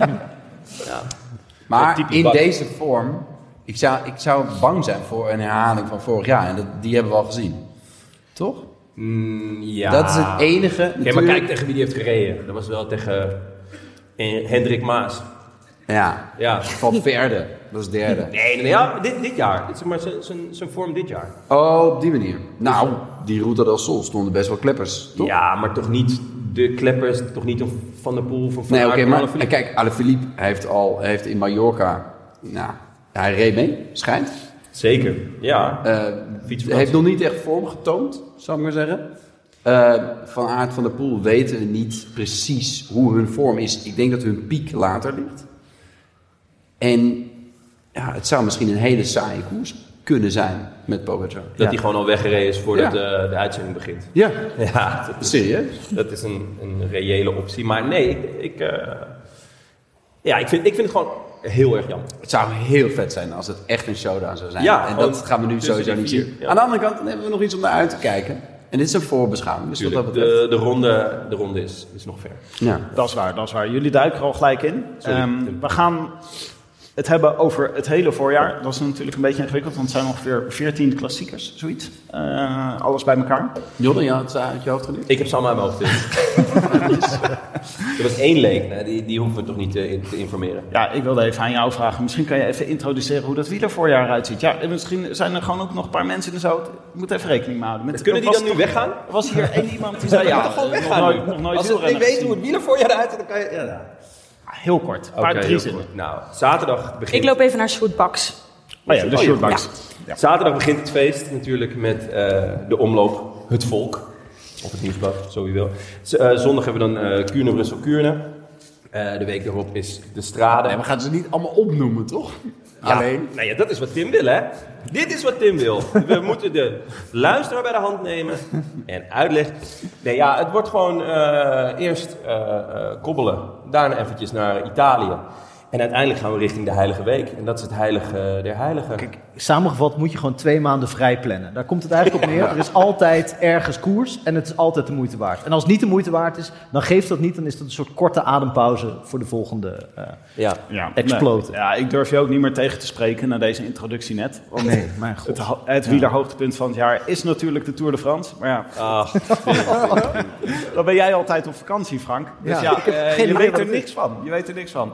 E: Maar
G: typisch
E: in
G: bak.
E: deze vorm, ik zou, ik zou bang zijn voor een herhaling van vorig jaar. En dat, die hebben we al gezien. Toch?
G: (laughs) Ja.
E: Dat is het enige.
G: Ja, maar
E: natuurlijk-
G: kijk tegen wie die heeft gereden. Dat was wel tegen eh, Hendrik Maas.
E: Ja,
G: Ja.
E: van verder. Dat is derde.
G: Nee, nee, nee, ja, dit, dit jaar. Dit is maar zijn- zijn- zijn vorm dit jaar.
E: Oh, op die manier. Nou, die Ruta del Sol stonden best wel kleppers, toch?
G: Ja, maar toch niet de kleppers, toch niet een Van der Poel van Van
E: Nee, oké,
G: Aert, van
E: maar
G: Alaphilippe.
E: kijk, Alaphilippe heeft al hij heeft in Mallorca, nou, hij reed mee, schijnt.
G: Zeker, ja.
E: Eh,
G: Fietsvakantie.
E: heeft nog niet echt vorm getoond, zou ik maar zeggen. Eh, van Aert van der Poel weten we niet precies hoe hun vorm is. Ik denk dat hun piek later ligt. En ja, het zou misschien een hele saaie koers kunnen zijn met Pogacar.
G: dat hij gewoon al weggereden is voordat
E: Ja.
G: eh, de uitzending begint. (laughs)
E: Ja,
G: Ja, dat is,
E: serieus.
G: dat is een, een reële optie. Maar nee, ik, ik, eh, Ja, ik vind, ik vind het gewoon heel erg jammer.
E: Het zou heel vet zijn als het echt een showdown zou zijn.
G: Ja,
E: en
G: gewoon
E: dat gaan we nu
G: tussen
E: sowieso
G: die
E: niet
G: vier,
E: zien.
G: ja.
E: Aan de andere kant dan hebben we nog iets om naar uit te kijken. En dit is een voorbeschouwing, dus wat dat
G: Tuurlijk,
E: betreft.
G: de, de ronde, de ronde is, is nog ver.
E: Ja.
C: Dat is waar, dat is waar. Jullie duiken er al gelijk in.
G: Sorry.
C: Ehm, we gaan het hebben over het hele voorjaar. Dat is natuurlijk een beetje ingewikkeld, want het zijn ongeveer 14 klassiekers, zoiets. Eh, alles bij elkaar.
E: Jordan, je had het uit je hoofd geleerd?
G: Ik heb ze allemaal in mijn hoofd. Dus.
E: (laughs)
G: (laughs) er was één leek, nou, die, die hoeven we toch niet te, in- te informeren.
C: Ja, ik wilde even aan jou vragen. Misschien kan je even introduceren hoe dat wielervoorjaar eruit ziet. Ja, en misschien zijn er gewoon ook nog een paar mensen in de zout. Ik moet even rekening mee houden. Met,
G: Kunnen die
C: was
G: dan nu
C: toch-
G: weggaan?
C: Er was hier één iemand
G: (laughs)
C: die zei, ja,
G: toch gewoon
C: eh, nog
G: weggaan
C: nooit,
G: nu?
C: nog nooit
G: Als ze niet
C: wielrennen
G: weten
C: gezien. Ah,
G: hoe het wielen voor je eruit, dan kan je... Ja, nou.
C: Heel kort, een paar
G: Oké,
C: drie
G: heel
C: zinnen.
G: goed. Nou, zaterdag begint...
D: Ik loop even naar Shootbox.
C: Oh ja, de
G: Oh ja.
C: shortbox.
G: Zaterdag begint het feest natuurlijk met eh, de omloop Het Volk. Of het Nieuwsblad, zo je wil. Z- eh, zondag hebben we dan eh Kuurne, Brussel, Kuurne. Eh, de week daarop is de Strade.
E: Nee, we gaan ze niet allemaal opnoemen, toch? Alleen.
G: Nou ja, dat is wat Tim wil, hè? Dit is wat Tim wil. We (laughs) moeten de luisteraar bij de hand nemen en uitleggen. Nee, ja, het wordt gewoon eh, eerst eh, eh, kobbelen, daarna eventjes naar Italië. En uiteindelijk gaan we richting de Heilige Week. En dat is het Heilige der Heiligen.
B: Kijk, samengevat moet je gewoon twee maanden vrij plannen. Daar komt het eigenlijk op neer. Er is altijd ergens koers en het is altijd de moeite waard. En als het niet de moeite waard is, dan geeft dat niet. Dan is dat een soort korte adempauze voor de volgende. eh,
G: Ja.
C: Ja,
B: Exploten.
C: nee. Ja, ik durf je ook niet meer tegen te spreken na deze introductie net.
G: Oh,
C: Want
B: Nee,
C: (laughs)
B: mijn god.
C: Het, ho- het wielerhoogtepunt van het jaar is natuurlijk de Tour de France. Maar ja,
G: Ah,
C: (laughs) dan ben jij altijd op vakantie, Frank. Dus
B: ik
C: ja,
B: heb
C: eh,
B: geen
C: je
B: idee
C: weet
B: wat
C: er
B: het is.
C: niks van. Je weet er niks van.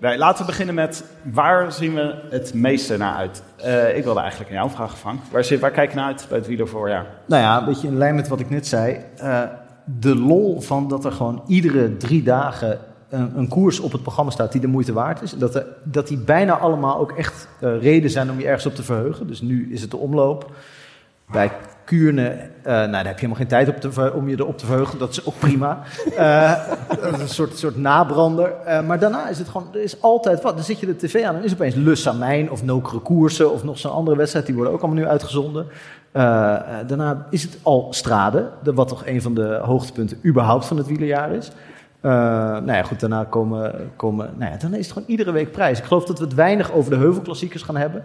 C: nee, laten we beginnen met waar zien we het meeste naar uit? Eh, ik wilde eigenlijk aan jou vragen, Frank. Waar, zit, waar kijk je naar uit bij het wielervoorjaar?
B: Nou ja, een beetje in lijn met wat ik net zei. eh, de lol van dat er gewoon iedere drie dagen een, een koers op het programma staat die de moeite waard is. En dat, er, dat die bijna allemaal ook echt eh, reden zijn om je ergens op te verheugen. Dus nu is het de omloop. Bij Kuurne, eh, nou, daar heb je helemaal geen tijd op te ver- om je erop te verheugen. Dat is ook prima. Eh, (laughs) dat is een soort, soort nabrander. Eh, maar daarna is het gewoon, er is altijd wat. Dan zit je de tv aan en is opeens Lus aan Mijn of Nokere Koersen of nog zo'n andere wedstrijd. Die worden ook allemaal nu uitgezonden. Eh, eh, daarna is het al Strade, de- wat toch een van de hoogtepunten überhaupt van het wielerjaar is. Eh, nou ja, goed, daarna komen, komen nou ja, dan is het gewoon iedere week prijs. Ik geloof dat we het weinig over de heuvelklassiekers gaan hebben.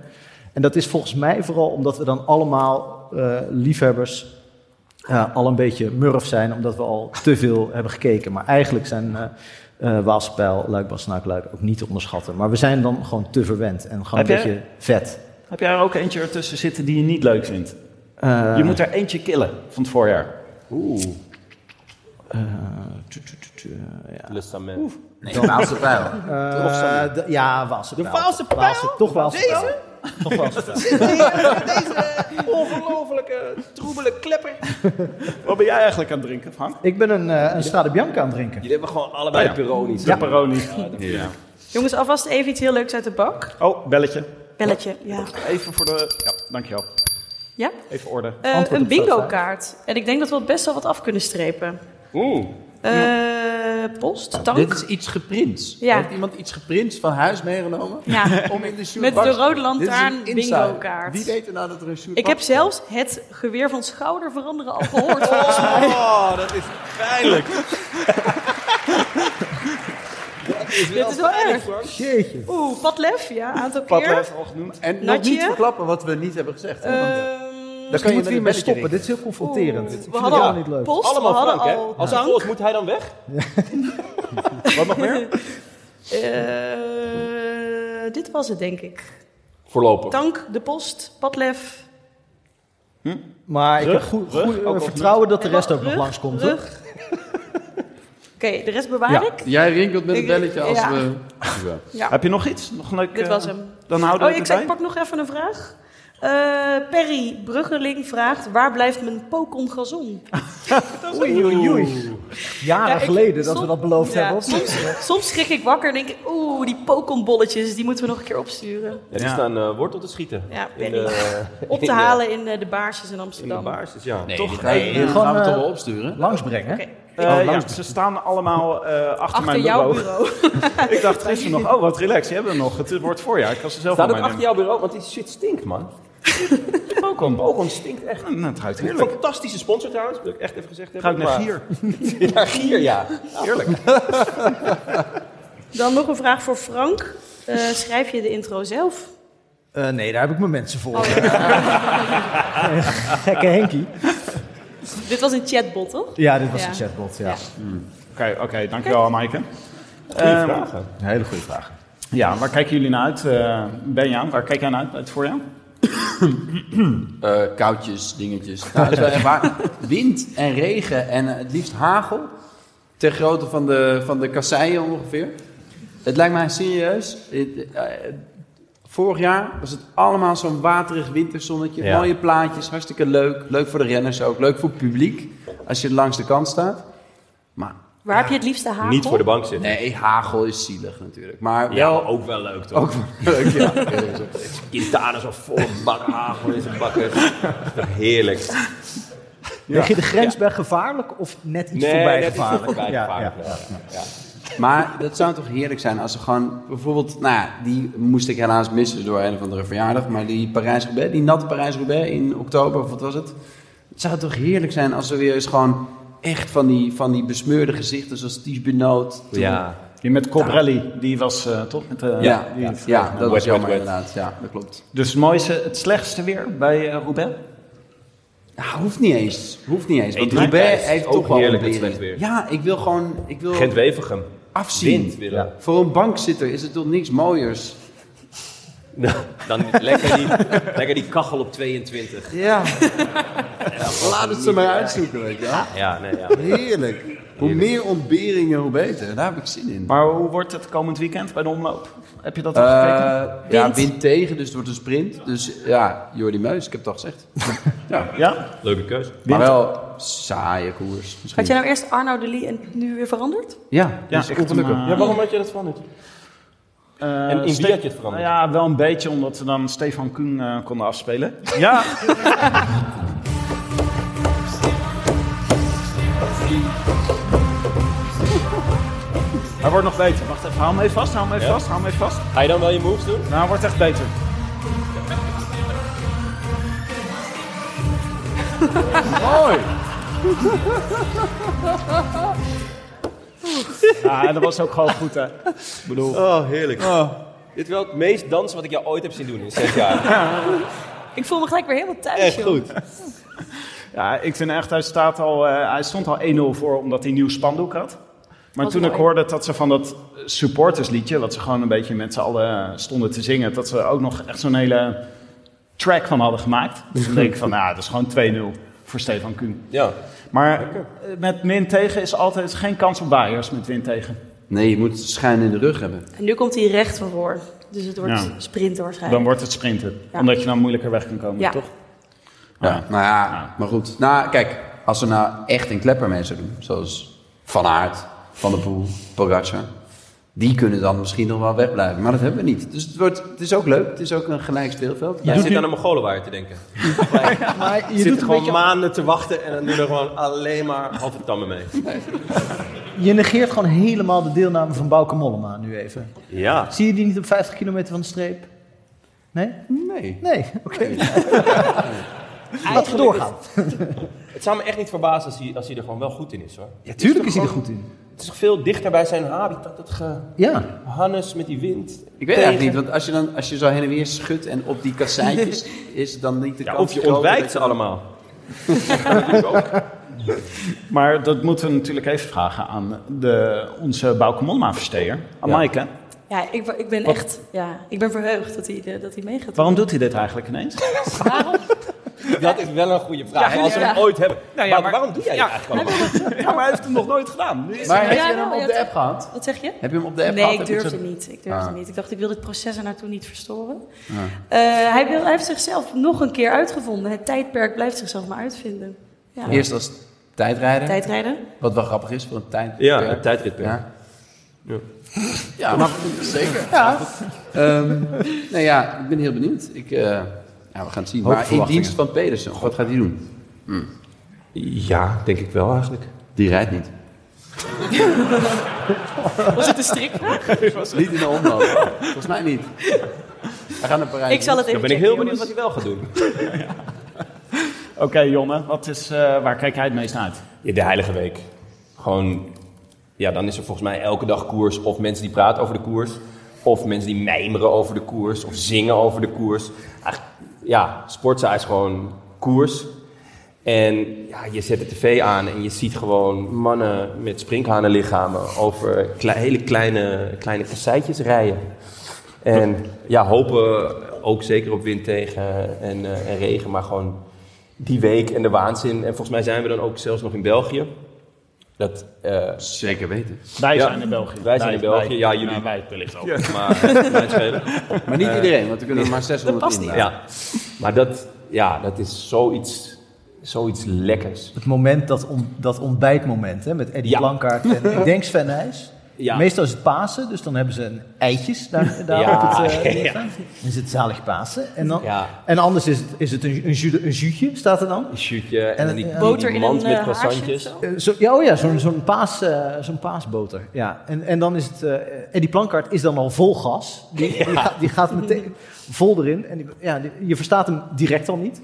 B: En dat is volgens mij vooral omdat we dan allemaal eh, liefhebbers eh, al een beetje murf zijn, omdat we al te veel hebben gekeken. Maar eigenlijk zijn eh eh Waalspijl, Luik, Bastenaak, Luik ook niet te onderschatten. Maar we zijn dan gewoon te verwend en gewoon
C: Heb
B: een
C: jij-
B: beetje vet.
C: Heb jij er ook eentje ertussen zitten die je niet leuk vindt?
B: Eh,
C: je moet er eentje killen van het voorjaar.
B: eh, tu- tu- tu- tu-
G: lust aan men.
E: Nee, de laatste pijl.
B: eh, de- ja, Waalspijl. De Waalspijl? toch Waalspijl. Toch Waalspijl.
G: Ongelofelijke, troebele klepper.
C: (laughs) Wat ben jij eigenlijk aan het drinken, Frank?
B: Ik ben een, eh, een Strade Bianca aan het drinken.
G: Jullie hebben gewoon allebei
C: Oh ja.
G: Peroni's.
C: Ja. Pepperoni.
D: Jongens, alvast even iets heel leuks uit de bak.
C: Oh, belletje.
D: Belletje, ja.
C: Even voor de... Ja, dankjewel.
D: ja?
C: Even orde.
D: Eh,
B: Antwoord
D: een
B: op vraag
D: bingo
B: vijf.
D: kaart. En ik denk dat we het best wel wat af kunnen strepen.
G: Oeh.
D: Eh, post,
E: Dit
D: tank.
E: is iets geprint.
D: Ja.
E: Heeft iemand iets geprint van huis meegenomen?
B: (laughs)
D: Ja.
E: Om in de shootbox.
D: Met de rode lantaarn
E: Dit is een insider.
D: bingo-kaart.
E: Wie weet er nou dat er een shootbox
D: Ik heb
E: is?
D: zelfs het geweer van schouder veranderen al gehoord. volgens
E: (laughs)
D: mij.
G: Oh, dat is pijnlijk.
D: Dit is wel erg.
B: Jeetje.
D: Oeh, padlef, ja, aantal keer.
G: eh,
C: Padlef, al genoemd.
E: En nog
D: Natje?
E: niet verklappen wat we niet hebben gezegd. hè? Want eh,
D: Ehm,
E: dan
B: Daar
E: kan je
B: moeten
E: met
B: we
E: een
B: hiermee stoppen.
E: belletje ringen.
B: Dit is heel confronterend. Ik vind
D: we
B: het
D: hadden
B: helemaal
D: al
B: niet leuk.
D: post, we
G: Allemaal
D: hadden
G: Frank, hè?
D: al
G: Als hij
D: tank.
G: vol is, moet hij dan weg?
C: Wat nog meer?
D: Eh, dit was het, denk ik.
G: Voorlopig.
D: Tank, de post, padlef.
B: Maar ik heb
C: Rug?
B: goed,
C: Rug?
B: goed, eh,
C: Ook of
B: vertrouwen dat de
D: En wat?
B: rest ook nog
D: Rug?
B: langskomt. hoor. (laughs)
D: Rug. Oké, de rest bewaar
E: Ja,
D: ik.
E: jij rinkelt met een
D: Ik-
E: belletje als
D: ja.
E: we... Ja.
D: Ja.
C: Heb je nog iets? Nog een leuk,
D: Dit
C: eh,
D: was hem.
C: Dan houden
D: Oh,
C: we
D: ik,
C: het
D: zei, ik
C: erbij.
D: pak nog even een vraag. Eh, Perry Bruggeling vraagt: waar blijft mijn Pokon Gazon?
B: Oei, oei, oei. Jaren
D: Ja, ik-
B: geleden dat
D: som-
B: we dat beloofd
D: Ja,
B: hebben.
D: Soms, soms schrik ik wakker en denk ik: oeh, die Pokon-bolletjes, die moeten we nog een keer opsturen.
G: Ja, die
C: Ja.
G: staan eh, wortel te schieten.
D: Ja,
G: in
D: Benny.
G: de,
D: (laughs) Op te
G: in de-
D: halen in eh, de baarsjes in
G: In de
D: Amsterdam.
G: baars, dus ja.
E: Nee,
G: Toch?
E: die ga je- die
B: gewoon,
E: gaan we toch
B: eh,
E: wel opsturen?
B: Langsbrengen.
D: Oké,
C: Eh,
B: Oh,
C: ja,
B: langs-
C: ze staan allemaal eh, achter,
D: Achter
C: mijn
D: jouw
C: bureau.
D: bureau.
C: ik dacht gisteren nog, oh wat relax, die hebben we nog. Het wordt voorjaar, ik kan ze zelf
G: Staat
C: aan
G: het
C: mij
G: achter jouw
C: nemen.
G: bureau? Want die shit stinkt, man.
C: Pokon.
G: Pokon stinkt echt.
C: Nou, het ruikt heerlijk.
G: Fantastische sponsor trouwens, wil ik echt even gezegd
C: Ruikt
G: hebben.
C: naar
G: maar- Ja,
C: gier.
G: gier, ja. Heerlijk.
D: Dan nog een vraag voor Frank. Eh, schrijf je de intro zelf?
B: Eh, nee, daar heb ik mijn mensen voor. (laughs) Gekke Henkie.
D: Dit was een chatbot, toch?
B: Ja, dit was
D: Ja.
B: een chatbot. Ja.
C: Oké, oké, dankjewel Maaike.
G: Goeie
C: Ehm,
G: vragen.
B: Een hele goede vraag.
C: Ja, waar kijken jullie naar uit? eh Benja, waar kijk jij naar uit bij het voorjaar?
E: Eh, koudjes, dingetjes. Nou, dat is wel echt waar. Wind en regen en eh, het liefst hagel. Ter grootte van de, van de kasseien ongeveer. Het lijkt mij serieus. het, eh, vorig jaar was het allemaal zo'n waterig winterzonnetje.
G: Ja.
E: Mooie plaatjes, hartstikke leuk. Leuk voor de renners ook. Leuk voor het publiek als je langs de kant staat. Maar
D: Waar heb je het liefste hagel?
G: Niet voor de bank zitten.
E: nee, hagel is zielig natuurlijk. Maar
G: Ja,
E: wel
G: maar ook wel leuk toch?
E: ook wel
G: (laughs)
E: leuk. Ja. eerlijk gezegd.
G: Quintana zo vol een bak hagel in zijn bakken. Heerlijk.
B: Leg je de grens bij gevaarlijk of net iets
G: Nee,
B: voorbij
G: net iets
B: gevaarlijk?
G: voorbij
B: Ja,
G: gevaarlijk,
B: ja.
G: ja.
E: Maar dat zou toch heerlijk zijn als ze gewoon bijvoorbeeld, nou ja, die moest ik helaas missen door een of andere verjaardag, maar die Parijs-Roubaix, die natte Parijs-Roubaix in oktober, of wat was het? Het zou toch heerlijk zijn als er weer eens gewoon echt van die, van die besmeurde gezichten zoals Ties Benoot. toen-
G: Ja.
C: Die met Cobrelli, die was eh, toch? Met, eh,
E: Ja,
C: die-
E: ja, ja, dat was
G: wet,
E: jammer
G: wet.
E: inderdaad. Ja, dat klopt.
C: Dus het mooiste, het slechtste weer bij eh, Roubaix?
E: Ja, hoeft niet eens. Hoeft niet eens. Want
G: Hey, Roubaix
E: Roubaix
G: is
E: heeft
G: ook
E: toch wel
G: heerlijk
E: een
G: met
E: beren.
G: slecht weer.
E: Ja, ik wil gewoon, ik wil
G: Gent Wevergem.
E: afzien.
G: Wind willen.
E: Ja. Voor een bankzitter is het toch niks mooiers.
G: Nou, (laughs) Dan lekker die, lekker die kachel op 22.
E: Ja. Laat het ze maar uitzoeken, weet je wel.
G: Ja, nee, ja.
E: Heerlijk. Eh, Hoe meer ontberingen, hoe beter. Daar heb ik zin in.
C: Maar hoe wordt het komend weekend bij de omloop? Heb je dat al gekeken?
E: Eh, ja, wind tegen, dus het wordt een sprint. Dus ja, Jordi Meus, ik heb het al gezegd.
C: Ja?
G: Leuke keuze.
E: Maar wel saaie koers. Misschien.
D: Had jij nou eerst Arno de Lee en nu weer veranderd?
E: Ja,
C: Ja,
E: ja dus
C: ik had hem,
E: ongelukkig.
C: eh,
G: Ja, waarom had je dat van het?
C: Eh,
G: En in
C: Ste-
G: wie had je het veranderd?
C: Nou ja, wel een beetje, omdat we dan Stefan Kuhn eh, konden afspelen. (laughs) Ja. Hij wordt nog beter. Wacht even, hou hem even vast, hou hem even
G: Ja?
C: vast, hou hem even vast.
G: Ga je dan wel je moves doen?
C: Nou, hij wordt echt beter. Mooi! Ja, dat was ook gewoon goed, hè. Ik bedoel...
G: Oh, heerlijk. Dit is wel het meest dansen wat ik jou ooit heb zien doen in zes jaar.
D: Ik voel me gelijk weer helemaal thuis,
G: (laughs) Echt
D: joh.
G: goed.
C: Ja, ik vind echt, hij, staat al, eh, hij stond al 1-0 voor omdat hij een nieuw spandoek had. Maar
D: Wat
C: toen
D: mooi.
C: ik hoorde dat ze van dat supportersliedje, wat ze gewoon een beetje met z'n allen stonden te zingen, dat ze ook nog echt zo'n hele track van hadden gemaakt. Toen denk ik van, nou, dat is gewoon 2-0 voor Stefan Kuhn.
G: Ja.
C: Maar eh, met min tegen is altijd geen kans op Bayers met win tegen.
E: Nee, je moet schijn in de rug hebben.
D: En nu komt hij recht van voor. Dus het wordt
C: Ja.
D: sprinten waarschijnlijk.
C: Dan wordt het sprinten,
D: Ja.
C: omdat je dan moeilijker weg kan komen,
D: Ja.
C: toch?
E: Ja, nou ja, maar goed. Nou, kijk, als er nou echt een klepper mee zou doen, zoals Van Aert, Van der Poel, Pogacar, die kunnen dan misschien nog wel wegblijven. Maar dat hebben we niet. Dus het, wordt, het is ook leuk. Het is ook een gelijk speelveld.
G: Jij zit aan een Mongolenwaard te denken.
B: Maar
G: Je
B: je, doet
G: zit
B: een
G: gewoon
B: beetje,
G: maanden te wachten en dan doen er gewoon alleen maar halve tammen mee.
B: je negeert gewoon helemaal de deelname van Bouke Mollema nu even.
G: Ja.
B: Zie je die niet op 50 kilometer van de streep? Nee?
E: Nee.
B: Nee, oké. Laten we doorgaan.
G: Het zou me echt niet verbazen als hij, als hij er gewoon wel goed in is hoor.
B: Ja, tuurlijk is hij er goed in.
G: Het is veel dichter bij zijn habitat, dat ge-
B: Ja.
G: Hannes met die wind.
E: Ik weet eigenlijk niet, want als je, dan, als je zo heen en weer schudt en op die
D: (laughs)
E: kasseitjes, is het dan niet de
G: Ja,
E: kans
G: of je
E: groter
G: ontwijkt
E: dat
G: ze
E: je-
G: allemaal.
C: Maar dat moeten we natuurlijk even vragen aan de, onze Bauke Mollema-versteer, aan
G: Ja.
C: Maaike.
D: Ja, ik, ik ben echt... Ja, ik ben verheugd dat hij, eh, dat hij meegaat.
C: Waarom doet hij dit eigenlijk ineens?
D: Waarom?
G: Dat is wel een goede vraag.
D: Ja,
G: als we
D: ja.
G: hem ooit hebben.
C: ja,
G: maar,
C: maar-
G: waarom doe jij
C: ja.
G: dat eigenlijk allemaal?
C: Ja, maar hij heeft hem nog nooit gedaan.
E: Maar heb
D: Ja,
E: je
D: ja,
E: hem op
D: ja,
E: de
D: het-
E: app gehad?
D: Wat zeg je?
E: Heb je hem op de app
D: Nee, ik
E: gehad? Heb je het
D: durfde
E: zo-
D: niet. Ik durfde
E: Ah.
D: niet. Ik dacht, ik wil dit proces er naartoe niet verstoren. Eh, hij, wil, hij heeft zichzelf nog een keer uitgevonden. Het tijdperk blijft zichzelf maar uitvinden. Ja.
E: Eerst als tijdrijder,
D: Tijdrijden.
E: wat wel grappig is voor een tijd.
G: Ja, een tijdritper.
E: Ja.
G: Ja.
E: Ja, maar zeker. Ehm, nou ja, ik ben heel benieuwd. Ik, eh, ja, we gaan het zien. Maar in dienst van Pedersen, wat gaat hij doen?
G: Ja, denk ik wel eigenlijk.
E: Die rijdt niet.
D: Was het een strikvraag?
E: Niet in de omloop. Volgens mij niet. We gaan naar Parijs.
D: Ik zal het even
G: Dan ben ik heel
D: checken, jongens.
G: benieuwd wat hij wel gaat doen.
C: (laughs) Oké, Jonne, wat is, eh, waar kijk jij het meest naar uit?
G: Ja, de Heilige Week. Gewoon Ja, dan is er volgens mij elke dag koers. Of mensen die praten over de koers. Of mensen die mijmeren over de koers. Of zingen over de koers. Eigenlijk, ja, sportza is gewoon koers. En ja, je zet de tv aan en je ziet gewoon mannen met sprinkhanenlichamen over kle- hele kleine, kleine kasseitjes rijden. En ja, hopen ook zeker op wind tegen en, eh, en regen, maar gewoon die week en de waanzin. En volgens mij zijn we dan ook zelfs nog in België. Dat, eh,
E: Zeker weten.
C: Wij
G: Ja.
C: zijn in België.
G: Wij zijn in België, ja, jullie.
C: nou, wij wellicht ook. eh,
G: maar, (laughs) mijn schelen.
E: Maar niet iedereen, want er kunnen (laughs) er maar 600 in. eh.
G: ja. maar dat, ja, dat is zoiets, zoiets lekkers.
B: Het moment, dat, on- dat ontbijtmoment hè, met Eddie
G: Ja.
B: Plankaart
G: (laughs)
B: en ik denk Sven Nys.
G: Ja.
B: Meestal is het Pasen, dus dan hebben ze een
G: (laughs)
B: eitjes daar, daar
G: Ja,
B: op het eh,
G: ja.
B: liggen. Dan is het zalig Pasen. En, dan,
G: Ja.
B: en anders is het, is het een, een, ju- een zuutje, staat er dan?
G: Een shootje en,
B: En
G: dan die,
B: een-
G: die- die
D: Boter in
G: mand
D: een
G: met
D: eh, haarsje
G: croissantjes.
D: of zo?
B: Eh, zo, ja, oh ja, zo'n zo'n paas, eh, zo'n paasboter. Ja. En, en dan is het. eh, en die plankaart is dan al vol gas.
G: (laughs)
B: Die, die, gaat, die gaat meteen vol erin. En die- ja, die- je verstaat hem direct al
G: (laughs)
B: niet.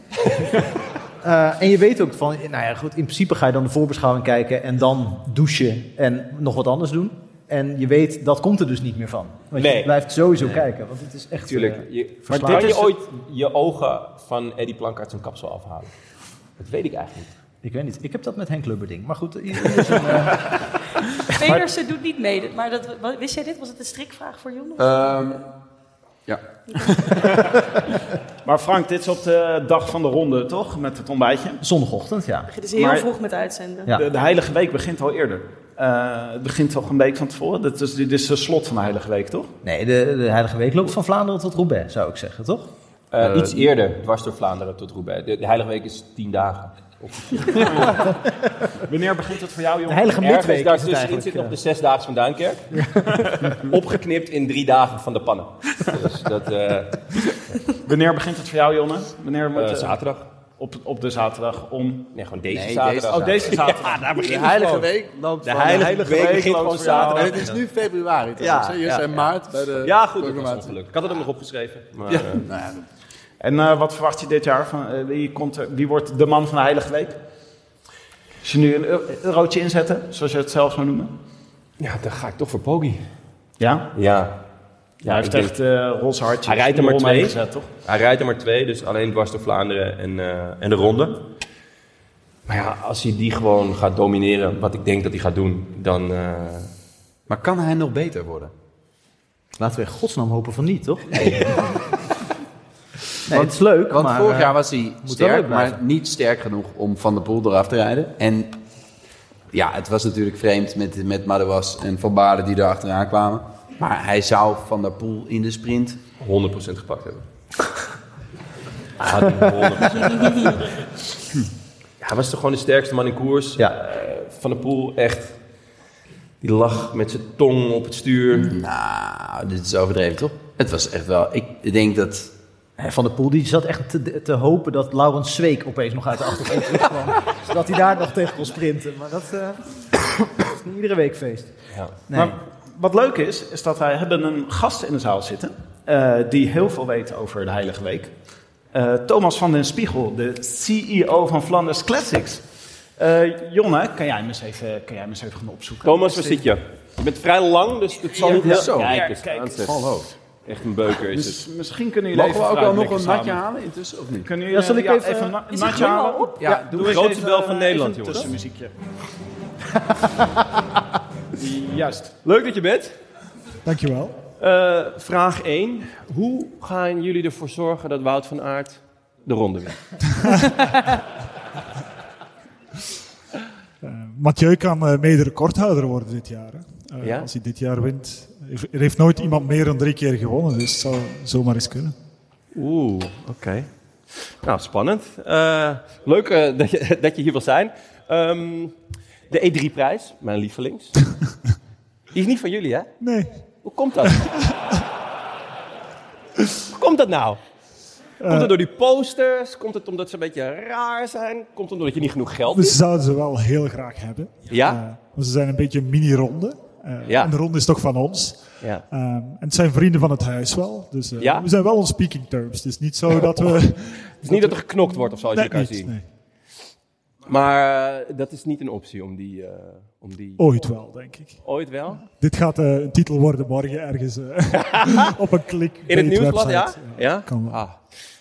B: Eh, en je weet ook van. Nou ja, goed. In principe ga je dan de voorbeschouwing kijken. En dan douchen. En nog wat anders doen. En je weet, dat komt er dus niet meer van. Want
G: Nee.
B: je blijft sowieso kijken. Want het is echt.
G: Tuurlijk.
B: eh,
G: Je, maar
B: verslaafd.
G: kan
B: Dit
G: je
B: is-
G: ooit je ogen van Eddie Plankaart zijn kapsel afhalen? Dat weet ik eigenlijk niet.
B: ik weet niet. Ik heb dat met Henk Lubberding. Maar goed. iedereen is een, eh, (laughs)
D: Pedersen doet niet mee, maar dat, wa- wist jij dit? Was het een strikvraag voor Jon?
E: Ehm, ja.
C: Maar Frank, dit is op de dag van de ronde, toch? Met het ontbijtje.
B: zondagochtend, ja.
D: Het is heel
C: maar-
D: vroeg met uitzenden.
B: Ja.
C: De, de Heilige Week begint al eerder. Eh, het begint toch een week van tevoren. Dit is, dit is de slot van de Heilige Week, toch?
B: Nee, de, de Heilige Week loopt van Vlaanderen tot Roubaix, zou ik zeggen, toch?
G: Eh, iets eerder, dwars door Vlaanderen tot Roubaix. De, de Heilige Week is tien dagen.
C: Wanneer begint het voor jou,
B: De
C: jongen?
B: heilige
G: Ergens
B: midweek is het
G: daartussenin
B: eigenlijk.
G: zit nog de zesdaags van (laughs) Duinkerk. Opgeknipt in drie dagen van de pannen. Dus dat, (laughs) eh,
C: Wanneer begint het voor jou, Jonne? Wanneer wordt
G: eh,
C: het?
G: zaterdag.
C: op, op de zaterdag om...
G: Nee, gewoon deze
E: Nee,
G: zaterdag.
E: deze-
C: Oh, deze zaterdag. Ja, daar
E: De Heilige Week loopt
G: de Heilige, Week begint gewoon zaterdag.
E: het is nu februari. toch?
C: Ja,
E: Zo, Jullie
C: ja,
E: zijn
C: ja.
E: maart bij de
G: Ja, goed, dat was
E: proclamatie.
G: ongeluk. Ik had het ook nog opgeschreven. Maar,
E: Ja.
G: eh,
E: Nou ja, dat-
C: En eh, wat verwacht je dit jaar? Van, eh, wie, komt er, wie wordt de man van de Heilige Week? Als je nu een eu- eurotje inzetten, zoals je het zelf zou noemen.
G: ja, dan ga ik toch voor Poggi.
C: Ja?
G: Ja.
C: ja hij heeft
G: ik
C: echt eh roze hartjes.
G: Hij rijdt er
C: in
G: maar
C: de ronde
G: twee.
C: gezet, toch?
G: Hij rijdt er maar twee, dus alleen dwars door Vlaanderen en, eh, en de ronde. Maar ja, als hij die gewoon gaat domineren, wat ik denk dat hij gaat doen, dan... eh,
E: Maar kan hij nog beter worden?
B: Laten we in godsnaam hopen van niet, toch? Nee, het is leuk,
E: Want
B: maar...
E: vorig
B: eh,
E: jaar was hij
B: moet wel
E: sterk,
B: leuk blijven.
E: maar niet sterk genoeg om Van der Poel eraf te rijden. En ja, het was natuurlijk vreemd met, met Madouas en Van Baarden die er achteraan kwamen. Maar hij zou Van der Poel in de sprint...
G: 100% gepakt hebben. Hij had die 100% gepakt. Hij was toch gewoon de sterkste man in koers.
B: Ja.
G: Eh, Van der Poel, echt. Die lag met zijn tong op het stuur.
E: Nou, dit is overdreven, toch? Het was echt wel... Ik denk dat...
B: hè, Van der Poel die zat echt te, te hopen dat Laurens Zweek opeens nog uit de achtergrond terugkwam. zodat hij daar nog tegen kon sprinten. Maar dat, eh, dat is niet iedere week feest.
G: Ja.
B: Nee.
C: Maar wat leuk is, is dat wij hebben een gast in de zaal zitten eh, die heel veel weet over de Heilige Week. Eh, Thomas van den Spiegel, de CEO van Flanders Classics. Eh, Jonne, kan jij, hem eens even, kan jij hem eens even gaan opzoeken?
G: Thomas, waar zit je? Je bent vrij lang, dus het zal niet heel...
E: zo.
G: Kijk
C: Ja,
G: eens,
C: kijk
G: aan
C: eens.
G: zeg. Echt een beuker is het.
C: Dus misschien kunnen jullie
E: Mogen we
C: even
E: ook al
C: vooruit
E: nog een
C: lekker
E: natje
C: samen.
E: halen intussen, of niet?
C: Kunnen
B: Ja,
C: jullie
B: zal ik
C: ja,
B: even- eh,
C: een na-
D: Is het
C: natje
D: gewoon al
C: halen?
D: op?
E: Ja,
C: doe
G: de
C: eens
G: grootste
C: even,
G: bel van
C: eh,
G: Nederland,
C: even een
G: jongens.
C: tussenmuziekje.
G: (laughs)
C: Juist.
G: Leuk dat je bent.
H: Dankjewel.
G: Eh, vraag 1. Hoe gaan jullie ervoor zorgen dat Wout van Aert de ronde wint?
H: Eh, Mathieu kan eh, mede recordhouder worden dit jaar. Hè. Eh,
G: Ja?
H: Als hij dit jaar wint. Er heeft nooit iemand meer dan drie keer gewonnen, dus het zou zomaar eens kunnen.
G: Oeh, oké. Nou, spannend. Eh, leuk eh, dat, je, (laughs) dat je hier wil zijn. Ehm, de E3-prijs, mijn lievelings. Die is niet van jullie, hè?
H: Nee.
G: Hoe komt dat? Hoe komt dat nou? Komt het door die posters? Komt het omdat ze een beetje raar zijn? Komt het omdat je niet genoeg geld
H: We
G: hebt?
H: zouden ze wel heel graag hebben.
G: Ja?
H: Eh, want ze zijn een beetje een mini-ronde. Eh,
G: Ja.
H: En de ronde is toch van ons.
G: Ja.
H: Ehm, en het zijn vrienden van het huis wel. Dus eh,
G: Ja?
H: we zijn wel on
G: (laughs)
H: speaking terms. Het is niet zo dat we...
G: Het is niet dat er geknokt wordt of zo als je
H: Nee,
G: elkaar
H: niet,
G: ziet.
H: nee.
G: Maar eh, dat is niet een optie om die... eh, om die...
H: Ooit wel, denk ik.
G: Ooit wel?
H: Dit gaat eh, een titel worden morgen ergens eh, (laughs) op een klik.
G: In het nieuwsblad, ja?
H: website. eh,
G: Ja? Ah.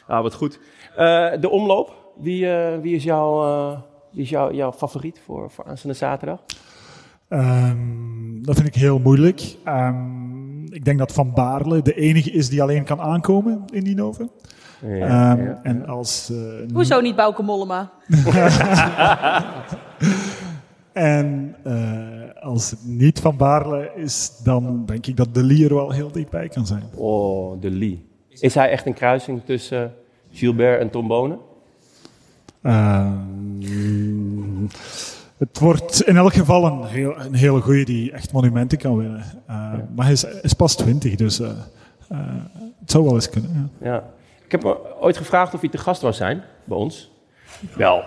G: ah, wat goed. Eh, de omloop, wie, eh, wie is, jouw, eh, wie is jouw, jouw favoriet voor, voor aanstaande zaterdag?
H: Ehm, dat vind ik heel moeilijk. Ehm, ik denk dat Van Baarle de enige is die alleen kan aankomen in die Noven. Ehm,
D: ja,
H: En als... eh,
D: Hoezo niet Bouke Mollema?
H: En eh, als het niet Van Baarle is, dan denk ik dat De Lier wel heel dichtbij kan zijn.
G: Oh, de Lee. Is hij echt een kruising tussen Gilbert en Tom Bonen?
H: Ehm, het wordt in elk geval een, heel, een hele goeie die echt monumenten kan winnen. Eh, Maar hij is, hij is pas 20, dus eh, eh, het zou wel eens kunnen. Ja.
G: Ja. Ik heb me ooit gevraagd of hij te gast wou zijn bij ons. Wel, ik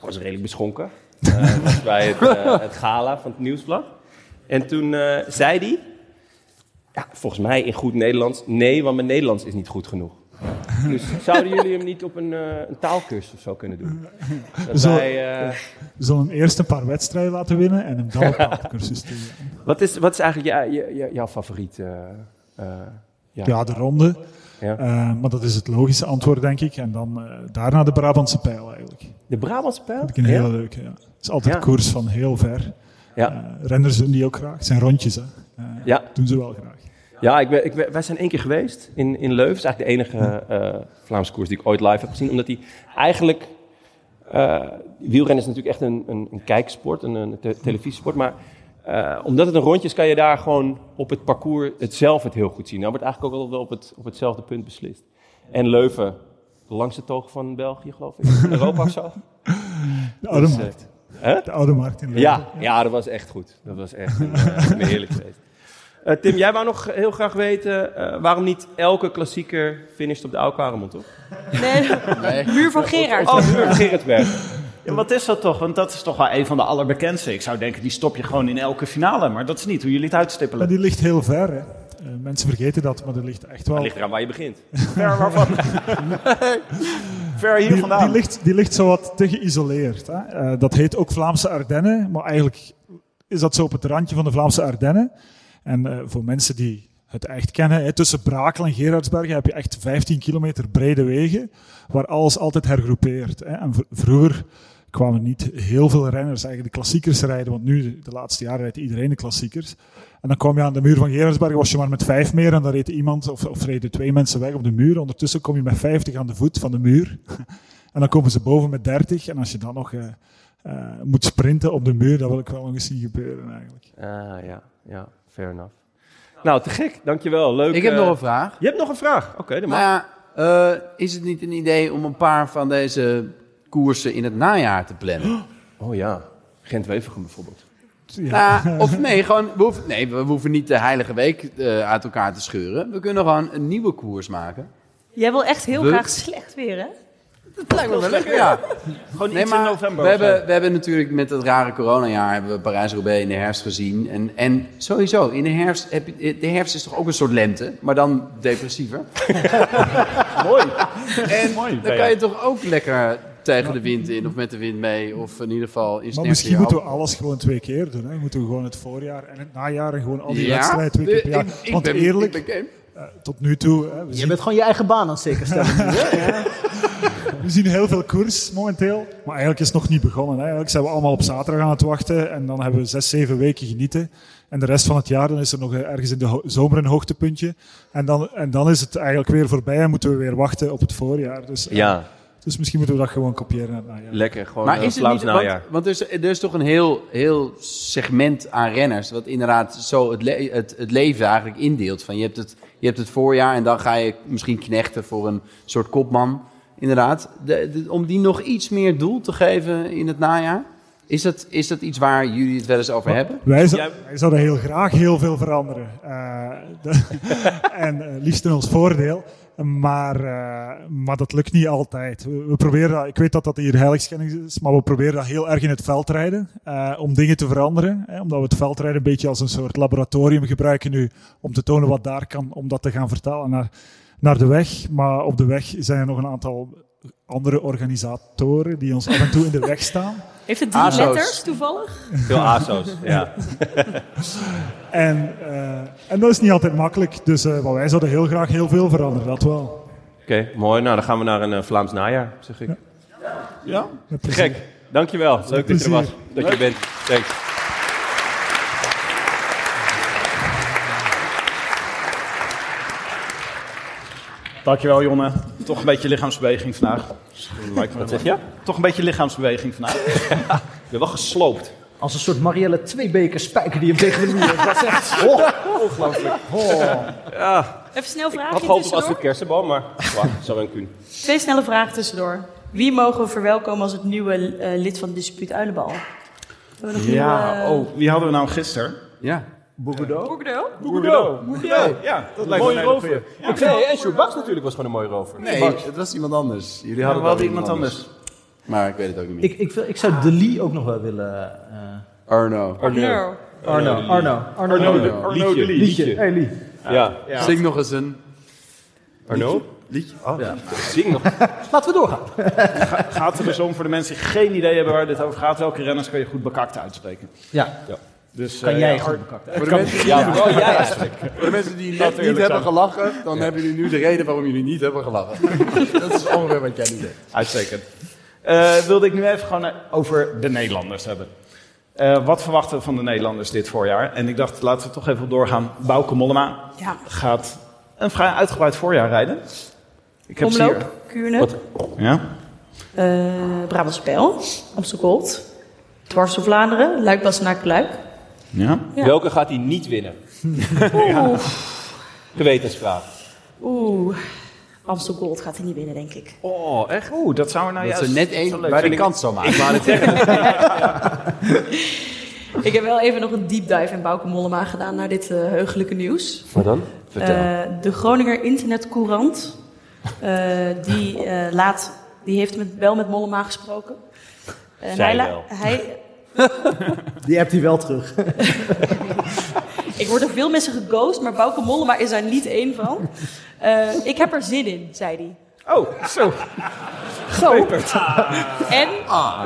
G: was redelijk beschonken. Eh,
H: (laughs)
G: was bij het, eh, het gala van het nieuwsblad. En toen eh, zei hij, ja, volgens mij in goed Nederlands, nee, want mijn Nederlands is niet goed genoeg.
H: (laughs)
G: Dus zouden jullie hem niet op een, eh, een taalkursus of zo kunnen doen? Dat
H: Zo-
G: wij, eh,
H: We zullen hem eerst een paar wedstrijden laten winnen en hem dan
G: (laughs)
H: een taalkursus doen.
G: wat, is, wat is eigenlijk jou- jou- jou- jouw favoriet? eh, eh, ja.
H: Ja, de ronde.
G: Ja.
H: Eh, maar dat is het logische antwoord, denk ik. En dan eh, daarna de Brabantse pijl eigenlijk.
G: De Brabantse pijl?
H: Vind ik een hele leuke, ja. Het is altijd
G: Ja.
H: koers van heel ver.
G: Ja.
H: Eh, renners doen die ook graag. Het zijn rondjes, hè. Eh,
G: Ja.
H: Doen ze wel graag.
G: Ja, ik ben, ik ben- wij zijn één keer geweest in, in Leuven. Het is eigenlijk de enige eh Vlaamse koers die ik ooit live heb gezien. Omdat die eigenlijk... eh wielrennen is natuurlijk echt een, een, een kijksport, een, een te- televisiesport. Maar eh, omdat het een rondje is, kan je daar gewoon op het parcours het zelf het heel goed zien. Nou wordt eigenlijk ook altijd wel op, het, op hetzelfde punt beslist. En Leuven, de langste toog van België, geloof ik. In Europa of zo.
H: De Oude
G: Dus, eh,
H: Markt.
G: hè?
H: De Oude Markt in Leuven.
G: Ja, ja, dat was echt goed. Dat was echt een, eh, een heerlijk feest. Eh, Tim, jij wou nog heel graag weten eh, waarom niet elke klassieker finisht op de Oude Quaremont, toch?
E: Oh,
D: Nee, (laughs) Muur van Gerard.
G: Oh, de Muur van Gerardsberg.
C: Ja, wat is dat toch? Want dat is toch wel een van de allerbekendste. Ik zou denken, die stop je gewoon in elke finale. Maar dat is niet hoe jullie het
H: Maar
C: uitstippelen.
H: die ligt heel ver, hè. Eh, mensen vergeten dat, maar die ligt echt
E: Oh.
H: wel...
G: Dat ligt eraan waar je begint.
C: Ver
H: (laughs)
C: waarvan? Ver hier
H: Die, die,
C: vandaan.
H: ligt, die ligt zowat te geïsoleerd. Hè? Eh, dat heet ook Vlaamse Ardennen, maar eigenlijk is dat zo op het randje van de Vlaamse Ardennen. En eh, voor mensen die het echt kennen, hè, tussen Brakel en Gerardsbergen heb je echt 15 kilometer brede wegen, waar alles altijd hergroepeert. Hè? En vr- vroeger kwamen niet heel veel renners eigenlijk de klassiekers rijden, want nu, de- de laatste jaren, rijdt iedereen de klassiekers. En dan kwam je aan de muur van Gerardsbergen, was je maar met vijf meer en dan reed iemand of, of reden twee mensen weg op de muur. Ondertussen kom je met 50 aan de voet van de muur. En dan komen ze boven met 30. En als je dan nog eh, eh, moet sprinten op de muur, dat wil ik wel nog eens zien gebeuren eigenlijk.
G: Ah, ja, ja, fair enough. Nou, te gek. Dankjewel. Leuk.
E: Ik heb
G: eh,
E: nog een vraag.
G: Je hebt nog een vraag? Oké, dan mag.
E: Nou ja, eh, is het niet een idee om een paar van deze koersen in het najaar te plannen?
G: Oh ja, Gent-Wevergem bijvoorbeeld.
H: Ja.
E: Nou, of nee, gewoon, we hoeven, nee, we hoeven niet de heilige week eh, uit elkaar te scheuren. We kunnen gewoon een nieuwe koers maken.
D: Jij wil echt heel
E: We-
D: graag slecht weer, hè?
E: Dat lijkt me wel lekker, ja.
C: Gewoon
E: Nee,
C: iets
E: maar
C: in november.
E: we,
C: of zo.
E: hebben, we hebben natuurlijk met dat rare coronajaar hebben we Parijs-Roubaix in de herfst gezien. En, en sowieso, in de herfst, heb je, de herfst is toch ook een soort lente, maar dan depressiever.
C: Mooi.
E: En
C: Mooi.
E: dan kan je toch ook lekker tegen de wind in of met de wind mee. Of in ieder geval in
H: Maar misschien moeten we alles gewoon twee keer doen. Hè? Moeten we gewoon het voorjaar en het najaar en gewoon al die wedstrijden twee keer per jaar.
E: Ik, ik
H: Want
E: ben,
H: eerlijk, eh,
E: Ik ben game.
H: tot nu toe, hè, we,
B: Je
H: zien,
B: bent gewoon je eigen baan aan het zekerstellen. nu, hè?
H: we zien heel veel koers momenteel. Maar eigenlijk is het nog niet begonnen. Hè? Eigenlijk zijn we allemaal op zaterdag aan het wachten. En dan hebben we zes, zeven weken genieten. En de rest van het jaar, dan is er nog eh, ergens in de ho- zomer een hoogtepuntje. En dan, en dan is het eigenlijk weer voorbij en moeten we weer wachten op het voorjaar. Dus, eh,
G: Ja,
H: Dus misschien moeten we dat gewoon kopiëren Nou, naar het najaar.
G: lekker. Gewoon
E: Maar
G: eh,
E: is het
G: Vlaams
E: niet, want,
G: najaar.
E: want er, is, er is toch een heel, heel segment aan renners, wat inderdaad zo het, le- het, het leven eigenlijk indeelt. Van je, hebt het, je hebt het voorjaar en dan ga je misschien knechten voor een soort kopman. Inderdaad, De- de- om die nog iets meer doel te geven in het najaar. Is dat, is dat iets waar jullie het wel eens over hebben?
H: Wij, zou-
G: Jij-
H: wij zouden heel graag heel veel veranderen. Eh, de- (laughs) en eh, liefst in ons voordeel. Maar, eh, maar dat lukt niet altijd. We, we proberen dat, ik weet dat dat hier heiligschennis is, maar we proberen dat heel erg in het veld rijden. eh, om dingen te veranderen. Hè, omdat we het veldrijden een beetje als een soort laboratorium gebruiken nu. Om te tonen wat daar kan, om dat te gaan vertalen naar, naar de weg. Maar op de weg zijn er nog een aantal andere organisatoren die ons af en toe in de weg staan.
D: Heeft het drie
H: ASO's.
D: letters toevallig?
G: Veel ASO's, (laughs) ja.
H: en, eh, en dat is niet altijd makkelijk, dus eh, maar wij zouden heel graag heel veel veranderen, dat wel.
G: Oké, mooi. Nou, dan gaan we naar een eh, Vlaams najaar, zeg ik.
H: Ja?
G: Te gek. Dankjewel. Leuk dat je er was.
H: plezier.
G: Dat je er bent. Thanks.
C: Dankjewel, Jonne. Toch een beetje lichaamsbeweging vandaag. Lijkt me
G: Wat
C: wel.
G: zeg je?
C: Toch een beetje lichaamsbeweging vandaag.
G: Ik ben wel gesloopt.
B: Als een soort Marielle Tweebeker spijker die hem tegen de muur heeft. Dat is echt... Oh,
G: Ongelooflijk.
B: oh.
G: Ja,
D: Even snel
G: ik had
D: vraagje
G: gehoopt op als
D: tussendoor.
G: een kersenbal, maar wacht, zou wel een kuun.
D: Twee snelle vragen tussendoor. Wie mogen we verwelkomen als het nieuwe eh, lid van Dispuut Uilenbal? Hebben we nog
C: Ja,
D: nieuwe- eh,
C: oh, wie hadden we nou gisteren?
E: Ja.
C: Boegedo?
D: Bordeaux?
C: Boegedo. Ja, dat lijkt me een
G: mooie
C: hele
G: rover.
C: goeie.
G: Ja, nee, en eh, Sjoerd Baks natuurlijk was gewoon een mooie rover.
E: Nee,
G: Baks.
E: het was iemand anders. Jullie
C: Ja,
E: hadden, nou
C: we
E: wel
C: hadden iemand
E: Maar ik weet het ook niet meer.
B: ik, ik, wil- ik zou De Lee ook nog wel willen... eh,
E: Arno.
D: Bordeaux.
B: Arno, Arno. Arno,
E: Arno
B: Lee.
E: de-
C: Arno de Lee.
B: Liedje. Hey Lee.
G: Ja.
C: Ja.
E: Zing nog eens een
G: Arno? Oh.
E: liedje.
G: Zing nog.
B: Laten we doorgaan.
C: Gaat er dus om voor de mensen die geen idee hebben waar dit over gaat. Welke renners kan je goed bekakt uitspreken?
B: Ja,
C: Dus,
B: kan
C: eh,
B: jij
C: ja,
B: goed bekakt.
E: Voor de, mensen,
G: Ja, vooral jij eigenlijk.
E: voor de mensen die
C: Dat
E: net niet
C: eerlijk
E: hebben
C: zijn.
E: gelachen, dan hebben jullie nu de reden waarom jullie niet hebben (laughs) gelachen. dat is ongeveer wat jij nu deed.
C: Uitstekend. Eh, wilde ik nu even gewoon eh, over de Nederlanders hebben. Eh, wat verwachten we van de Nederlanders dit voorjaar? En ik dacht, laten we toch even op doorgaan. Bouke Mollema
D: Ja.
C: gaat een vrij uitgebreid voorjaar rijden. Ik heb ze
D: Omloop, Kuurne,
C: hier. Ja?
D: eh Brabantspel, Amstelgold, Dwars door Vlaanderen, Luik naar Luik.
C: Ja?
D: Ja.
G: Welke gaat hij niet winnen?
D: Oeh,
G: Gewetensvraag.
D: oeh. Amstelgold gaat hij niet winnen, denk ik.
G: Oh, echt?
C: Oeh, dat zou er nou
E: Dat
C: juist...
E: ze net
C: zo
E: één
C: leuk
E: bij
C: vind
E: de
C: ik.
E: kant zou maken.
D: Ik heb wel even nog een deep dive in Bouke Mollema gedaan naar dit eh heugelijke nieuws.
G: Wat dan? Vertel.
D: Eh, de Groninger Internetcourant, eh, die, eh, laat, die heeft met, wel met Mollema gesproken. Eh, En
G: Zij
D: hij la-
G: wel.
D: Hij,
B: Die hebt hij wel terug.
D: ik word er veel mensen geghost, maar Bouke Mollema is daar niet één van. Eh, ik heb er zin in, zei hij.
C: Oh, zo.
D: Zo. En, Ah,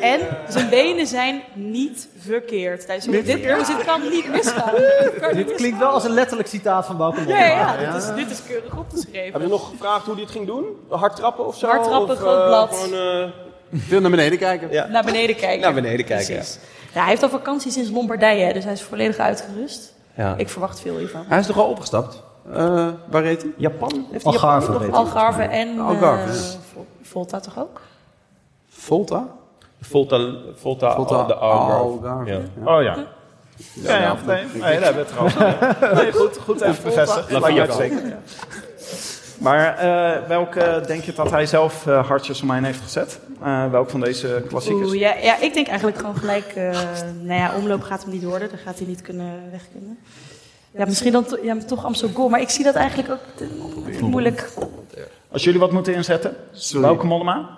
D: en zijn benen zijn niet verkeerd. Hij zei, dit, jongens, dit kan niet misgaan. Dit kan niet
B: Dit klinkt
D: misgaan.
B: wel als een letterlijk citaat van Bauke Mollema.
D: Ja, ja, ja, dit is, dit is keurig opgeschreven.
G: Hebben ze nog gevraagd hoe hij het ging doen? Hard trappen of zo?
D: Hard trappen,
G: Of, eh,
D: groot blad.
G: Gewoon, eh,
E: Veel naar beneden kijken.
D: Naar beneden kijken.
G: Naar beneden kijken,
D: Precies. Ja, hij heeft al vakantie sinds Lombardije, hè, dus hij is volledig uitgerust.
G: Ja.
D: Ik verwacht veel hiervan.
E: Hij is toch al opgestapt? Eh, waar reed hij?
G: Japan? Heeft hij Japan?
B: Algarve weet ik.
D: Algarve en eh,
E: Algarve, ja.
D: Vol- Volta toch ook?
E: Volta?
G: Volta, Volta, oh,
E: Volta
G: de Algarve.
E: Algarve.
G: Ja.
C: Oh ja. Ja, ja, nee, nee, daar hebben we het
G: (laughs)
C: erover. gehad. Nee, goed, goed even bevestigd.
G: La
C: Lijkt me
G: Fiat.
C: uitstekend, ja. Maar eh, welke denk je dat hij zelf eh, hartjes omheen heeft gezet? Eh welk van deze klassiekers?
D: Oeh, ja, ja, ik denk eigenlijk gewoon gelijk. eh, (laughs) nou ja, omloop gaat hem niet worden. Dan gaat hij niet kunnen weg kunnen. Ja, misschien dan to- ja, maar toch Amsterdam. Maar ik zie dat eigenlijk ook te- moeilijk.
C: Als jullie wat moeten inzetten, welke Mollema?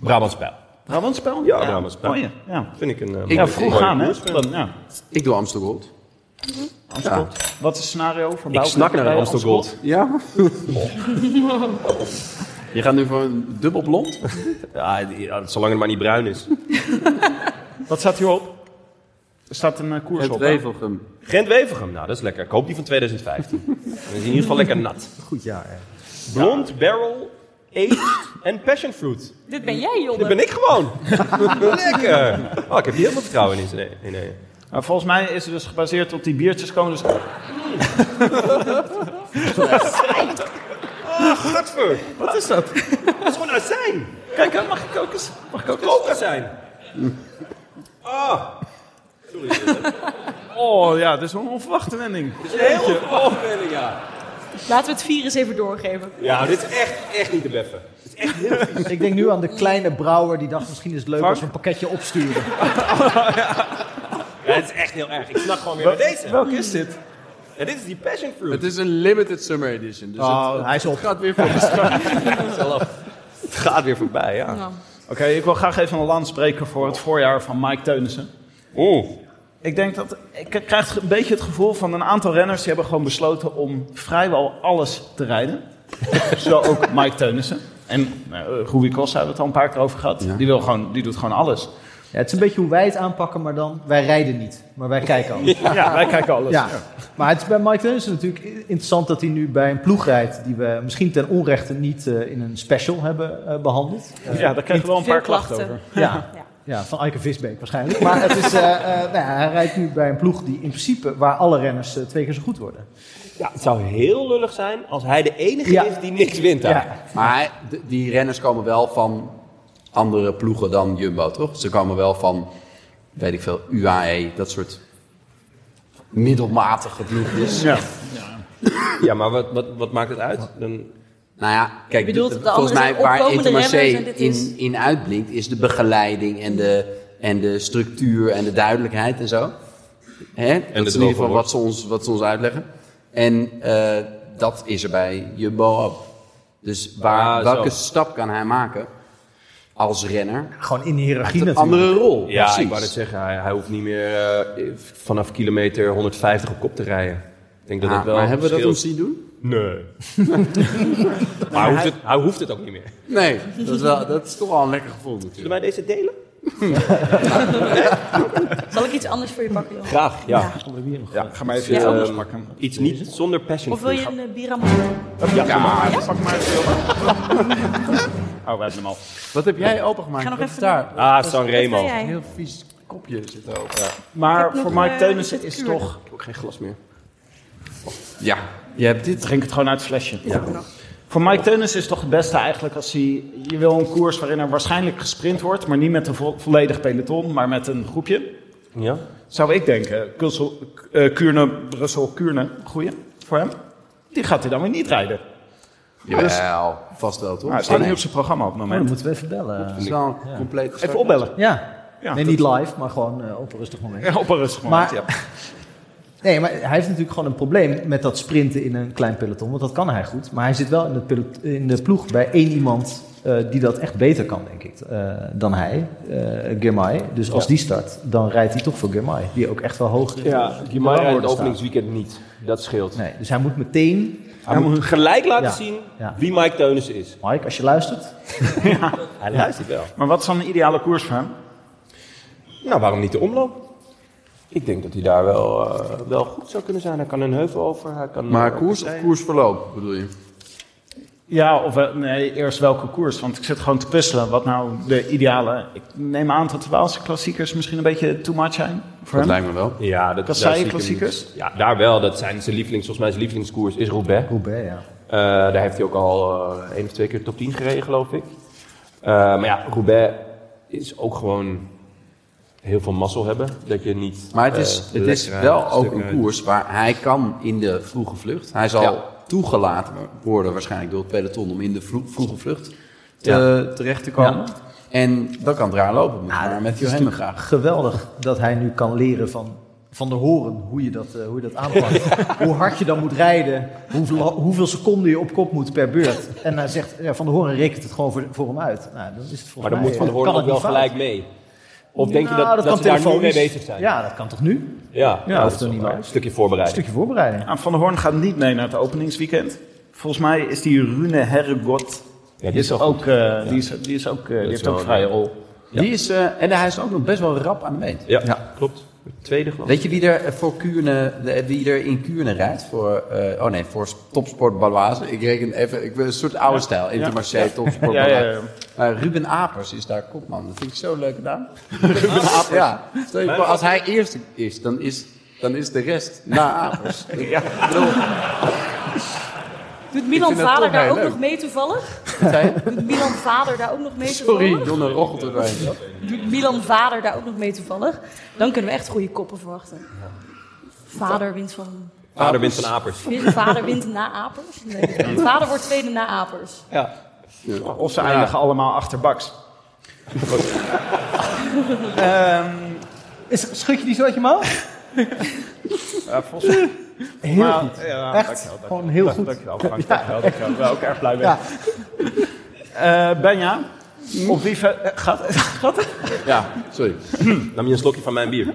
G: Brabantspel.
C: Brabantspel?
G: Ja, Brabantspel.
C: Mooi, Oh, ja.
G: Vind ik een... eh,
C: Ja,
G: mooie-
C: vroeg
G: mooie
C: gaan, hè?
G: koers.
C: Dan, ja.
E: Ik doe Amstel Gold.
C: Amstel. Wat is het scenario voor
G: Ik
C: Bouke Eh,
G: snak naar
C: bij
G: een Amstel Gold.
E: Ja? (laughs) Je gaat nu voor een dubbel blond?
G: Ja, ja, zolang het maar niet bruin is.
C: Wat staat hierop? Er staat een eh, koers
E: Het
C: op. hè?
E: Wevelgem.
G: Gent Wevergem, nou dat is lekker. Ik hoop die van (laughs) 2015. Dan is die in ieder geval lekker nat.
B: Goed jaar, hè.
G: Blond, barrel, aged en passion fruit.
D: Dit ben jij, jongen.
G: Dat ben ik gewoon. (laughs) lekker. Oh, ik heb hier helemaal vertrouwen in. Nee, nee, nee.
C: Maar volgens mij is het dus gebaseerd op die biertjes komen. Dus
G: Gadver,
C: wat is dat?
G: dat is gewoon azijn.
C: Kijk, hè, mag ik ook eens? Mag ik ook eens?
G: Kookazijn. Ah,
C: Oh ja, dat is wel een onverwachte wending.
G: dat is een heel opwelling, ja.
D: Laten we het virus even doorgeven.
G: Ja, nou, dit is echt, echt niet te beffen.
B: Ik denk nu aan de kleine brouwer die dacht misschien is het leuk
C: Frank?
B: als we een pakketje opsturen.
G: Ja, dit is echt heel erg. Ik snak gewoon weer met deze.
C: Welk is dit?
G: Ja, dit is die passion fruit.
E: Het is een limited summer edition. Dus
B: Oh,
E: het,
B: hij is op.
E: het gaat weer voor de start.
G: Het gaat weer voorbij, ja.
D: Nou,
C: Oké, ik wil graag even een land spreken voor het voorjaar van Mike Teunissen.
G: Oeh.
C: Ik denk dat ik krijg een beetje het gevoel van een aantal renners die hebben gewoon besloten om vrijwel alles te rijden. Zo ook Mike Teunissen. En uh, Rui Costa hebben we het al een paar keer over gehad. Die, wil gewoon, die doet gewoon alles.
B: Ja, het is een beetje hoe wij het aanpakken, maar dan wij rijden niet, maar wij kijken alles.
C: Ja, wij kijken alles.
B: Ja.
C: Ja.
B: Maar het is bij Mike Teunissen natuurlijk interessant dat hij nu bij een ploeg rijdt die we misschien ten onrechte niet eh, in een special hebben eh, behandeld. Eh,
C: Ja, daar kregen we wel een
B: niet-
C: paar klachten, over.
B: Ja. Ja, van Eike Visbeek waarschijnlijk. Maar het is, eh, eh, nou ja, hij rijdt nu bij een ploeg die in principe waar alle renners eh, twee keer zo goed worden.
G: Ja, het zou heel lullig zijn als hij de enige
B: Ja.
G: is die niks wint daar.
B: Ja.
E: Maar d- die renners komen wel van andere ploegen dan Jumbo, toch? Ze komen wel van, weet ik veel, UAE, dat soort middelmatige ploegjes.
C: Ja.
G: Ja, maar wat, wat, wat maakt het uit? Dan,
E: Nou ja, kijk,
D: Je bedoelt
E: d-
D: de
E: volgens
D: andere
E: mij waar
D: opkomende
E: Intermarché
D: renners en dit is-
E: in, in uitblinkt, is de begeleiding en de, en de structuur en de duidelijkheid en zo. Hè? dat is in
G: droge
E: ieder geval
G: worst.
E: wat ze, ons, wat ze ons uitleggen. En eh, dat is er bij Jumbo ook. Dus waar,
G: Ah,
E: welke
G: zo.
E: stap kan hij maken als renner?
B: Gewoon in de hiërarchie
E: Een
B: natuurlijk.
E: andere rol.
G: ja,
E: precies.
G: ik wou net zeggen, hij, hij hoeft niet meer eh, vanaf kilometer 150 op kop te rijden. Ik denk dat
E: Ah,
G: dat wel
E: maar hebben we dat
G: scheelt.
E: ons zien doen?
G: Nee. (laughs) maar hij hoeft, het, hij hoeft het ook niet meer.
E: Nee, dat is, wel, dat is toch wel een lekker gevoel natuurlijk.
G: Zullen wij deze delen?
D: Zal ik iets anders voor je pakken, Johan?
G: Graag, ja.
C: Ja, ga maar even
G: Ja.
C: iets anders
G: Ehm,
C: pakken.
G: Iets niet zonder passion
D: Of wil je een eh, bierrammel?
C: Pak maar even Oh, we hebben hem al.
E: Wat heb jij opengemaakt?
D: Ik ga nog
E: Wat
D: even
E: is daar?
G: Ah, Sanremo.
D: Wat
G: Ik
D: zei
E: Een
D: jij?
E: heel vies kopje zit erop.
C: Maar
D: nog,
C: voor Mike
D: eh,
C: Teunissen
D: het
C: is
D: kuur.
C: toch...
G: heb ook geen glas meer.
E: Ja, je hebt dit
C: Drink het gewoon uit het flesje. Voor Mike Teunissen is het toch het beste eigenlijk als hij... Je wil een koers waarin er waarschijnlijk gesprint wordt, maar niet met een vo- volledig peloton, maar met een groepje.
G: Ja?
C: Zou ik denken, Kussel, eh, Kuurne, Brussel, Kuurne, goeie voor hem. Die gaat hij dan weer niet rijden.
E: Jawel, Dus- vast wel toch?
C: Maar het staat niet op zijn programma op het
B: Oh, dan
C: moment.
B: moeten we even bellen.
E: Het is wel een complete start.
C: Even opbellen.
B: Ja,
C: Ja,
B: nee,
C: dat-
B: niet live, maar gewoon eh, op een rustig moment.
C: Ja, op een rustig moment,
B: Maar-
C: ja.
B: Nee, maar hij heeft natuurlijk gewoon een probleem met dat sprinten in een klein peloton. Want dat kan hij goed. Maar hij zit wel in, het pelot- in de ploeg bij één iemand eh, die dat echt beter kan, denk ik, eh, dan hij. eh Girmay. Dus als die start, dan rijdt hij toch voor Girmay. Die ook echt wel hoog
G: Ja,
B: in de
G: die Mara in
B: rangorde
G: het
B: staat.
G: openingsweekend niet. Dat scheelt.
B: Nee, dus hij moet meteen...
G: Hij moet gelijk laten
B: Ja,
G: zien
B: ja.
G: wie Mike Teunissen is.
B: Mike, als je luistert.
G: Hij luistert wel.
C: Maar wat is dan een ideale koers voor hem?
G: Nou, waarom niet de omloop? Ik denk dat hij daar wel, eh, wel goed zou kunnen zijn. Hij kan een heuvel over. Hij kan,
E: Maar
G: eh,
E: koers of koersverloop bedoel je?
C: Ja, of wel- nee, eerst welke koers? Want ik zit gewoon te puzzelen wat nou de ideale... Ik neem aan dat de Waalse klassiekers misschien een beetje too much zijn voor
E: Dat
C: hem.
E: lijkt me wel.
G: Ja, dat
C: Kassei
G: daar zie ik hem
C: klassiekers?
G: niet. Ja, daar wel. Dat zijn zijn lievelings, volgens mij zijn lievelingskoers is Roubaix.
B: Roubaix, ja.
G: Eh, daar heeft hij ook al eh, één of twee keer top 10 gereden, geloof ik. Eh, maar ja, Roubaix is ook gewoon heel veel mazzel hebben. Dat je niet...
E: Maar het is,
G: eh,
E: het is
G: lekkere
E: wel ook
G: stukken-
E: een koers waar hij kan in de vroege vlucht. Hij zal
G: Ja.
E: toegelaten worden waarschijnlijk door het peloton om in de vlo- vroege vlucht te, terecht te komen. En dan kan het raar lopen, moet maar met Johan graag.
B: Geweldig dat hij nu kan leren van, van de horen hoe je dat, eh, hoe je dat aanpakt. hoe hard je dan moet rijden, hoeveel, hoeveel seconden je op kop moet per beurt. En hij zegt, ja, van de horen rekent het gewoon voor, voor hem uit. Nou, dan is het volgens
G: Maar dan
B: mij,
G: moet Van der
B: eh,
G: Hoorn
B: kan
G: ook
B: het
G: wel
B: niet
G: gelijk
B: fout.
G: mee. Of denk je
B: Nou,
G: dat, dat,
B: kan
G: ze daar nu mee
B: telefonisch.
G: bezig zijn?
B: Ja, dat kan toch nu?
G: ja,
B: Ja,
G: dat
B: of
G: is
B: dan
G: wel
B: niet
G: waar.
B: waar.
G: Een stukje
B: Een
G: voorbereiding.
B: stukje voorbereiding.
C: Ah, Van der Hoorn gaat niet mee naar het openingsweekend. Volgens mij is die Rune Herregot...
G: Ja,
C: die, is
G: wel
C: ook, eh, die, is, die, is ook, eh, die
G: is
C: heeft
G: wel
C: ook
G: een-
C: vrije rol.
E: Die is, eh, en hij is ook nog best wel rap aan de been.
G: goed. Ja, klopt. Tweede geloof ik.
E: Weet je wie er eh, voor Kuurne, de- wie er in Kuurne rijdt? Voor, eh, oh nee, voor Topsport Baloise. Ik reken even, ik wil een soort oude stijl. Intermarché,
C: (laughs)
E: Topsport
C: Ja, ja,
E: Baloise.
C: ja.
E: Maar Ruben Apers is daar kopman. Dat vind ik zo'n leuke
C: (laughs)
E: naam. Ruben Apers. Ja. Stel je voor, als hij eerste is, dan is, dan is de rest
C: (laughs)
E: na Apers. Ja.
D: Doet Milan
E: vind dat
D: vader
E: toch
D: daar
E: heel
D: ook
E: leuk.
D: nog mee toevallig?
E: zei je?
D: Doet Milan vader daar ook nog mee toevallig?
E: (laughs) Sorry, Donner rochelt er doorheen.
D: Doet Milan vader daar ook nog mee toevallig? Dan kunnen we echt goede koppen verwachten. Vader wint van...
G: Vader wint van Apers.
D: Vader wint na Apers? Nee. Vader wordt tweede na Apers.
C: Of ze eindigen allemaal achter Baks. (laughs) Ehm,
B: Is, schud je die zo uit je mouw?
C: Ja, volgens mij.
B: Heel
C: Maar,
B: goed.
C: ja,
B: Echt
C: dankjewel,
B: gewoon
C: dankjewel.
B: heel
C: Dank-
B: goed.
C: Dankjewel, Frank. Dankjewel, dankjewel. Ik ben ook erg blij mee.
B: Ja.
C: Eh, Benja, op wie ver- eh, gaat... (laughs)
E: Ja, sorry.
G: Nam je een slokje van mijn bier?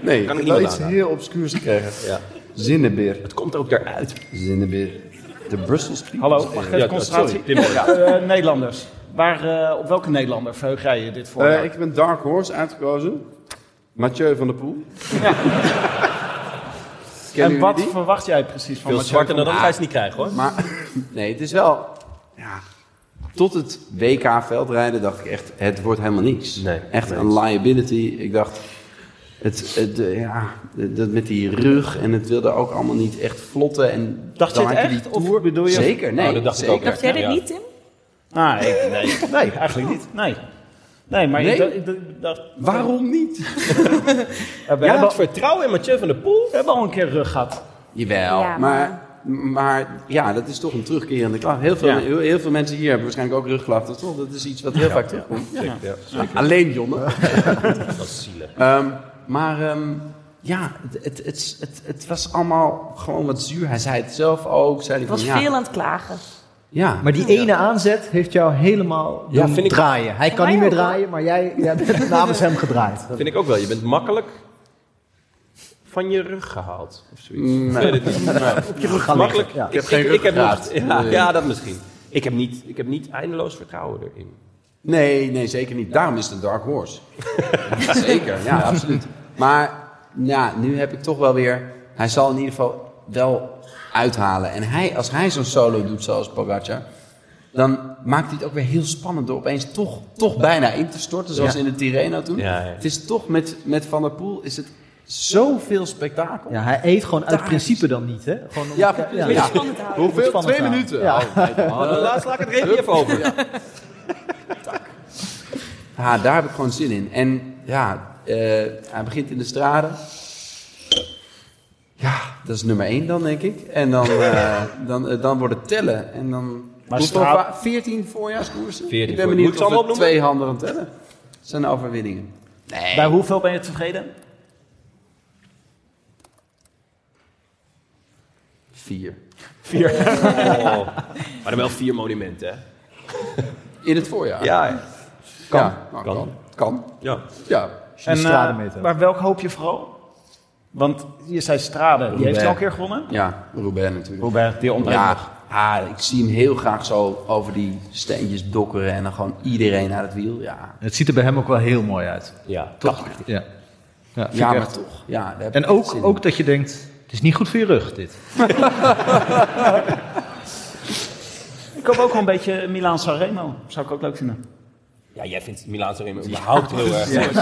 E: Nee,
G: Kan ik
E: ik
G: niemand
E: heb iets
G: aanraden.
E: heel obscuurs gekregen. Ja. Zinnebeer.
G: Het komt ook eruit.
E: Zinnebeer. de Brussels Creepers.
C: Hallo, mag ik even concentratie? Ja, eh, Nederlanders. Waar, eh, op welke Nederlander verheug jij je dit voor?
E: Eh, ik heb een Dark Horse uitgekozen. Mathieu van der Poel. Kennen
C: en
E: jullie
C: wat
E: die?
C: verwacht jij precies van
E: Veel
C: Mathieu
E: zwarter
C: van
E: dan dat
C: Gaal?
E: ga je ze niet krijgen, hoor. Maar- Nee, het is wel... Ja, tot het WK veldrijden dacht ik echt, het wordt helemaal niks. echt
G: nee.
E: een liability. Ik dacht, het, het, eh, ja, dat met die rug en het wilde ook allemaal niet echt vlotten. En
C: Dacht je
E: dan
C: het
E: had
C: echt?
E: die
C: Of
E: tour-
C: bedoel je-
E: Zeker, nee.
C: Oh, dat dacht ik ook
E: zeker.
C: echt. Dacht jij dit Ja. niet, Tim? Ah, nee, nee, nee, eigenlijk niet. Nee, nee maar
G: Nee?
C: Ik, dacht- ik dacht- dacht...
E: Waarom niet?
C: Ja, we
G: Jij
C: hebben
G: had vertrouwen in Mathieu van der Poel?
C: We hebben al een keer rug gehad.
E: Jawel,
C: Ja,
E: maar, maar ja, dat is toch een terugkerende klacht. Heel veel,
C: Ja.
E: heel, heel veel mensen hier hebben waarschijnlijk ook rugklachten. Toch? Dat is iets wat heel
G: Ja,
E: vaak
G: ja.
E: terugkomt.
G: Ja, zeker, ja, zeker.
E: Alleen Jonne.
G: Dat is zielig.
E: Ehm, maar ehm, ja, het, het, het, het, het was allemaal gewoon wat zuur. Hij zei het zelf ook. Zei hij
D: was
E: van, ja,
D: veel aan het klagen.
E: Ja.
B: Maar die ene aanzet heeft jou helemaal
G: Ja,
B: doen
G: vind ik-
B: draaien. Hij
G: Voor
B: kan
G: mij
B: niet meer
G: ook, hoor.
B: draaien, maar jij, jij bent (laughs) namens hem gedraaid.
G: Vind ik ook wel. Je bent makkelijk van je rug gehaald. Of zoiets.
E: Nee.
G: Ik weet het niet.
E: Nee. Op je rug gaan
G: Makkelijk.
E: liggen, Mm. ja.
G: Ik, ik, ik, heb
E: ruggengraat.
G: nog, ja,
E: Nee.
G: ja, dat misschien. Ik heb, niet, ik heb niet eindeloos vertrouwen erin.
E: Nee, nee, zeker niet. Daarom is het een dark horse. zeker, ja, absoluut. Maar ja, nu heb ik toch wel weer... Hij zal in ieder geval wel uithalen. En hij, als hij zo'n solo doet zoals Pogacar... dan maakt hij het ook weer heel spannend door opeens toch, toch bijna in te storten... zoals
G: Ja.
E: in de Tirreno toen.
G: Ja, ja.
E: Het is toch met, met Van der Poel is het zoveel spektakel.
B: Ja, hij eet gewoon uit
E: Daar-
B: principe dan niet, hè? Gewoon om-
E: Ja, precies. Om het spannend te houden. Hoeveel? Twee
C: eh,
B: te houden.
E: minuten?
B: Ja.
E: Oh, nee, dan-
G: Oh, dan laatst laat ik het reepje even over.
E: Ja, daar heb ik gewoon zin in. En ja, eh, hij begint in de straten. Ja, dat is nummer één dan, denk ik. En dan, eh,
G: (laughs)
E: dan, eh, dan wordt het tellen. En dan
G: Maar
E: Hoeveel
G: straat-
E: va- 14 voorjaarskoersen?
G: 14
E: ik ben
G: voor- Moet
E: benieuwd
G: ik ze
E: of we
G: allemaal opnoemen?
E: twee handen aan het tellen. Dat zijn de overwinningen. Nee.
C: Bij hoeveel ben je tevreden?
E: Vier.
G: Vier. Oh. Maar dan wel vier monumenten, hè?
E: In het voorjaar?
G: Ja, ja.
E: Kan.
G: Ja,
E: Nou,
G: kan.
E: kan. Kan.
G: Ja.
E: Ja.
C: En, eh, maar welk hoop je vooral? Want je zei Strade, die heeft hij al een keer gewonnen.
E: Ja, Roubaix natuurlijk.
C: Roubaix, die ontbreekt
E: Ja,
C: nog.
E: ah, ik zie hem heel graag zo over die steentjes dokkeren en dan gewoon iedereen aan het wiel. Ja,
B: Het ziet er bij hem ook wel heel mooi uit.
G: Ja,
E: toch.
B: Ja, ja, vind
E: Ja,
B: ik
E: maar
B: echt.
E: toch. Ja, daar heb
B: En
E: ik echt
B: ook,
E: zin in.
B: ook dat je denkt, het is niet goed voor je rug, dit.
C: Ik hoop ook wel een beetje Milaan Sanremo. Zou ik ook leuk vinden.
G: Ja, jij vindt Milaan Sanremo überhaupt heel erg leuk.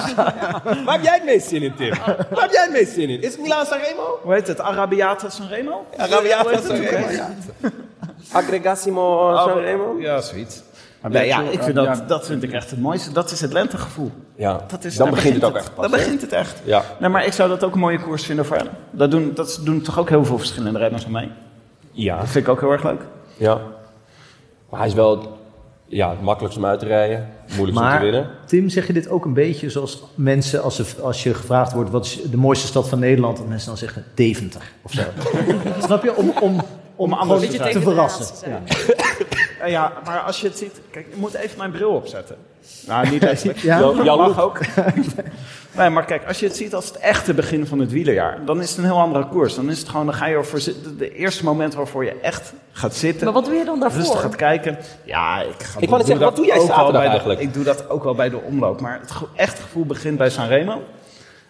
G: Waar heb jij het meest zin in, Tim? Waar heb jij het meest zin in? Is het Milaan Sanremo?
C: Hoe heet het? Arabiata Sanremo?
G: Arabiata
C: Hoe heet het ook,
G: Sanremo,
C: hè?
G: ja. Aggregassimo
C: Ah,
G: eh, Sanremo?
E: Ja, zoiets.
C: Nee, ja, ik vind dat, dat vind ik echt het mooiste. Dat is het lentegevoel.
G: Ja,
C: Dat is,
G: dan
C: daar
G: begint het ook echt pas.
C: Dan begint het echt.
G: Ja.
C: Nee, maar ik zou dat ook een mooie koers vinden voor hem. Dat doen, dat doen toch ook heel veel verschillende renners van mij.
G: Ja.
C: Dat vind ik ook heel erg leuk.
G: ja. Maar hij is wel ja, het makkelijkst om uit te rijden. Moeilijkst om te
B: Maar
G: winnen.
B: Tim, zeg je dit ook een beetje zoals mensen, als, ze, als je gevraagd wordt wat is de mooiste stad van Nederland, dat mensen dan zeggen Deventer of zo. Snap je? Om, om, om,
C: anders
B: gewoon
C: te
B: te,
C: zijn.
B: verrassen. Ja.
C: Eh, ja, maar als je het ziet... Kijk, ik moet even mijn bril opzetten. Nou, niet (laughs) even.
B: Ja?
G: Jou- jouw
C: mag
G: look.
C: ook. (laughs) nee, maar kijk, als je het ziet als het echte begin van het wielerjaar... dan is het een heel andere koers. Dan is het gewoon, dan ga je ervoor zitten... De eerste moment waarvoor je echt gaat zitten...
D: Maar wat doe je dan daarvoor?
C: Rustig gaat kijken. Ja, ik ga
G: Ik wou net zeggen, wat doe jij
C: ook wel
G: zaterdag
C: bij de-
G: eigenlijk?
C: Ik doe dat ook wel bij de omloop. Maar het ge- echt gevoel begint bij Sanremo.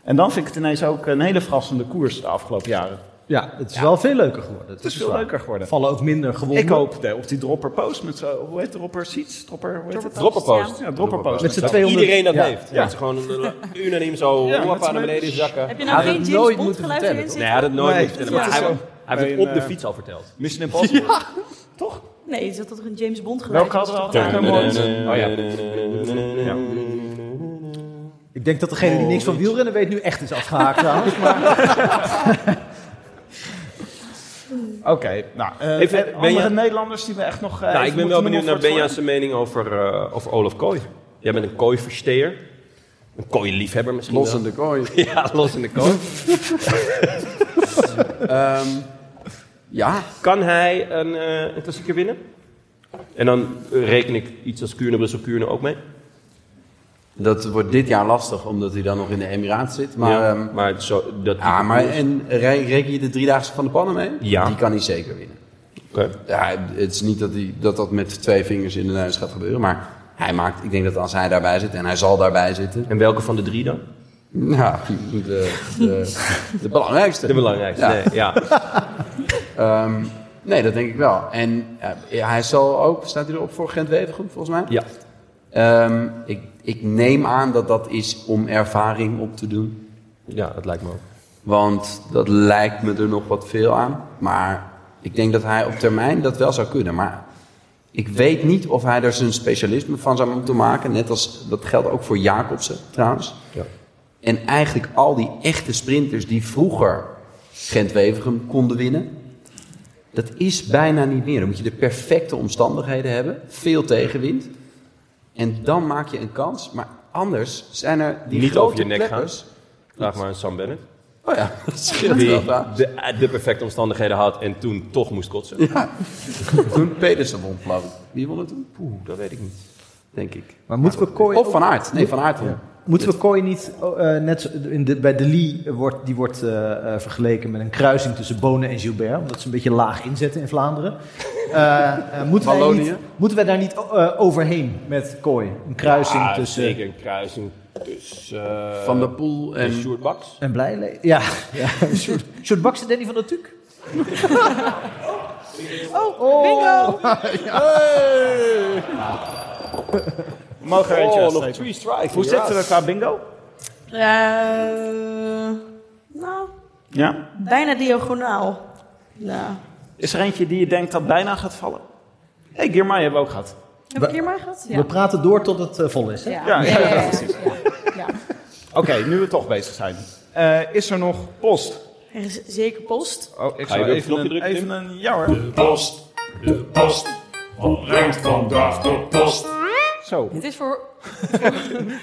C: En dan vind ik het ineens ook een hele verrassende koers de afgelopen jaren.
B: ja, het is wel veel leuker geworden.
C: Het is veel
B: waar.
C: leuker geworden.
B: Er vallen ook minder gewonden.
C: Ik hoop eh, op die dropper post met zo, hoe heet dropper seats? Dropper, hoe heet het?
G: Dropperpost.
C: Ja, dropper post.
B: Met z'n
G: Dat
C: Dat-
B: 200
G: iedereen dat
B: ja.
G: heeft. Dat ze gewoon eh, unaniem zo
C: Ja,
G: hoppa,
C: met z'n
G: naar beneden zakken.
D: Heb je nou
E: Hij had
D: geen
E: het
D: James
E: nooit
D: Bond
E: moeten
D: geluid
E: vertellen,
D: erin
G: Nee,
D: zitten?
G: hij had het nooit
C: Nee,
G: moeten vertellen. Maar
C: dat
G: hij, hij
C: is
G: heeft
C: zo.
G: het
C: Bij
G: op
C: een,
G: de
C: eh,
G: fiets al verteld.
C: Mission Impossible.
D: Nee, er zat toch een James Bond geluid
C: Welke hadden we
D: Dat is toch
C: altijd? Oh ja.
B: Ik denk dat degene die
C: Oh,
B: niks van wielrennen weet nu echt is afgehaakt trouwens. Maar
C: Oké, nou. eh,
G: Even,
C: eh,
G: ben
C: andere
G: je-
C: Nederlanders die we echt nog... eh,
G: Nou,
C: even
G: ik ben
C: moeten
G: wel
C: noemen
G: benieuwd naar
C: voor het
G: Benja's mening over, eh, over Olaf Kooi. Jij bent een kooiversteer. Een kooiliefhebber misschien
E: Los
G: wel.
E: in de kooi.
G: (laughs) Ja, los in de kooi.
E: Ehm, ja,
G: kan hij een, eh, een klassieker winnen? En dan eh, reken ik iets als Kuurne, Brussel, Kuurne ook mee.
E: dat wordt dit jaar lastig omdat hij dan nog in de Emiraten zit. Maar, ehm,
G: ja,
E: ja,
G: maar zo, dat
E: ja, maar en re- reken je de driedaagse van de pannen mee?
G: Ja.
E: Die kan hij zeker winnen. Ja, het is niet dat, hij, dat dat met twee vingers in de neus gaat gebeuren, maar hij maakt, ik denk dat als hij daarbij zit, en hij zal daarbij zitten.
G: En welke van de drie dan?
E: Nou, de, de, de belangrijkste.
G: De belangrijkste, nee, ja.
E: Ehm, nee, dat denk ik wel. En eh, hij zal ook, staat hij erop voor Gent Wevergem, volgens mij?
G: (laughs) Ja.
E: Ehm, ik, ik neem aan dat dat is om ervaring op te doen.
G: Ja, dat lijkt me ook.
E: Want dat lijkt me er nog wat veel aan. Maar ik denk dat hij op termijn dat wel zou kunnen. Maar ik weet niet of hij er zijn specialisme van zou moeten maken. Net als, dat geldt ook voor Jacobsen trouwens.
G: Ja.
E: En eigenlijk al die echte sprinters die vroeger Gent-Wevergem konden winnen. Dat is bijna niet meer. Dan moet je de perfecte omstandigheden hebben. Veel tegenwind. En dan maak je een kans. Maar anders zijn er die
G: niet
E: grote
G: over je nek gaan.
E: plekkers.
G: Vraag maar aan Sam Bennett.
E: Oh ja, (laughs) dat scheelt
G: Die
E: wel, ja.
G: de, de perfecte omstandigheden had en toen toch moest kotsen.
E: Ja. toen Pedersen won, geloof ik. Wie won het toen? Poeh, dat weet ik niet. Denk ik.
B: Maar moeten we Kooi...
E: Of Van Aert. Nee, Van Aert won.
B: Moeten we Kooi niet, oh, eh, net zo- in de, bij de Lee wordt, die wordt eh, eh, vergeleken met een kruising tussen Bonen en Gilbert, omdat ze een beetje laag inzetten in Vlaanderen. Eh, eh, moeten, wij
E: Wallonië?
B: niet, moeten wij daar niet eh, overheen met Kooi? Een kruising
G: Ja,
B: tussen...
G: Ah, Zeker een kruising tussen... eh,
E: Van der Poel en...
G: en Sjoerd Baks.
B: En Blijle... Ja, (laughs) ja. een soort- een soort bakse Danny van der Tuk.
D: Oh, bingo!
C: We mogen er eentje
G: Oh, nog
C: uitsteken.
G: three strikes.
C: Hoe zitten we qua bingo?
D: Eh, nou,
C: Ja.
D: bijna diagonaal. Nou,
C: Is er eentje die je denkt dat bijna gaat vallen? Hé, hey, Girmay hebben we ook gehad.
D: heb ik hier maar gehad? Ja.
B: We praten door tot het eh, vol is, hè?
C: Ja, ja, ja,
D: ja. Ja.
C: Oké, nu we toch bezig zijn. Eh, is er nog post?
D: Er is zeker post.
C: Oh, ik
G: Ga je
C: zou
G: weer op het
C: even,
G: knopje
C: een,
G: drukken,
C: even
G: Tim?
C: een... Ja hoor.
F: De post, de post, wat brengt vandaag de post?
C: Zo, hebben
D: Dit is voor,
C: we dat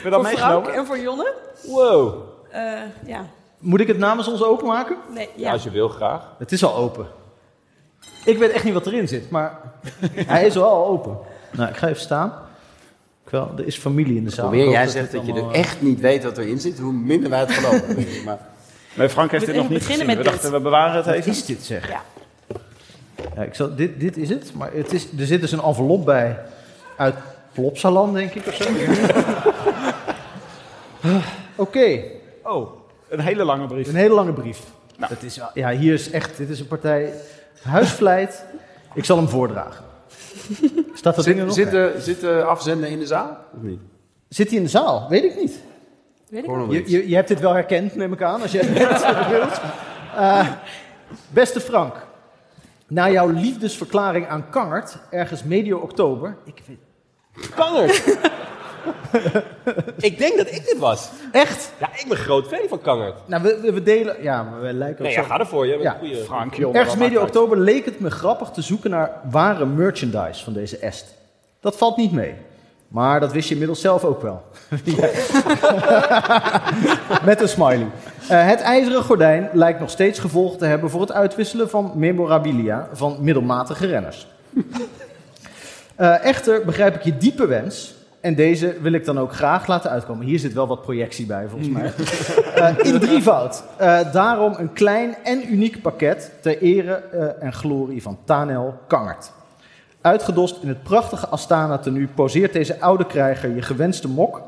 D: voor Frank
C: meegenomen?
D: en voor Jonne.
G: Wow.
D: Eh, ja.
B: Moet ik het namens ons openmaken?
D: Nee, ja.
G: Ja, als je wil, graag.
B: Het is al open. Ik weet echt niet wat erin zit, maar (laughs) hij is wel al open. Nou, ik ga even staan. Ik wel, er is familie in de zaal.
E: Hoe meer
B: Ik hoop
E: jij
B: dat
E: zegt
B: dit
E: dat je er
B: allemaal-
E: echt niet weet wat erin zit, hoe minder wij het geloven. denk ik. (laughs) Maar
C: Nee, Frank heeft
D: Moet
C: dit nog
D: even
C: niet gezien. We
D: beginnen met
C: dachten,
D: dit.
C: we bewaren het
B: Wat
C: even.
B: is dit zeg?
D: Ja.
B: Ja, ik zal, dit, dit is het, maar het is, er zit dus een envelop bij uit Plopsaland, denk ik of zo. (laughs) Oké,
C: Oh, een hele lange brief.
B: een hele lange brief.
E: Nou.
B: Dat is, wel- ja, hier is echt, dit is een partij huisvleit. ik zal hem voordragen. Staat dat ding er
E: zit,
B: nog?
E: zit,
B: bij?
E: de, zit de afzender in de zaal? Of niet?
B: Zit hij in de zaal? Weet ik niet.
D: Weet ik
E: Hoor nog wel
B: Je,
E: iets.
B: je, je hebt dit wel herkend, neem ik aan, als jij (laughs) het wilt. Eh, beste Frank, na jouw liefdesverklaring aan Kangert, ergens medio oktober... Ik weet,
G: Kangert! (laughs) ik denk dat ik dit was.
B: echt?
G: Ja, ik ben groot fan van Kangert.
B: Nou, we, we, we delen... Ja, maar wij lijken
G: Nee,
B: op
G: ja,
B: zo-
G: ga ervoor. Jij bent
B: Ja.
G: een goede...
C: Frank, joh.
B: Ergens
C: dat
B: medio
C: maakt uit.
B: oktober leek het me grappig te zoeken naar ware merchandise van deze est. Dat valt niet mee. Maar dat wist je inmiddels zelf ook wel. (laughs) Ja. Met een smiley. Eh, het ijzeren gordijn lijkt nog steeds gevolg te hebben voor het uitwisselen van memorabilia van middelmatige renners. (laughs) Eh, echter begrijp ik je diepe wens. En deze wil ik dan ook graag laten uitkomen. Hier zit wel wat projectie bij, volgens mij. Eh, in drievoud. Eh daarom een klein en uniek pakket ter ere eh, en glorie van Tanel Kangert. Uitgedost in het prachtige Astana-tenue poseert deze oude krijger je gewenste mok.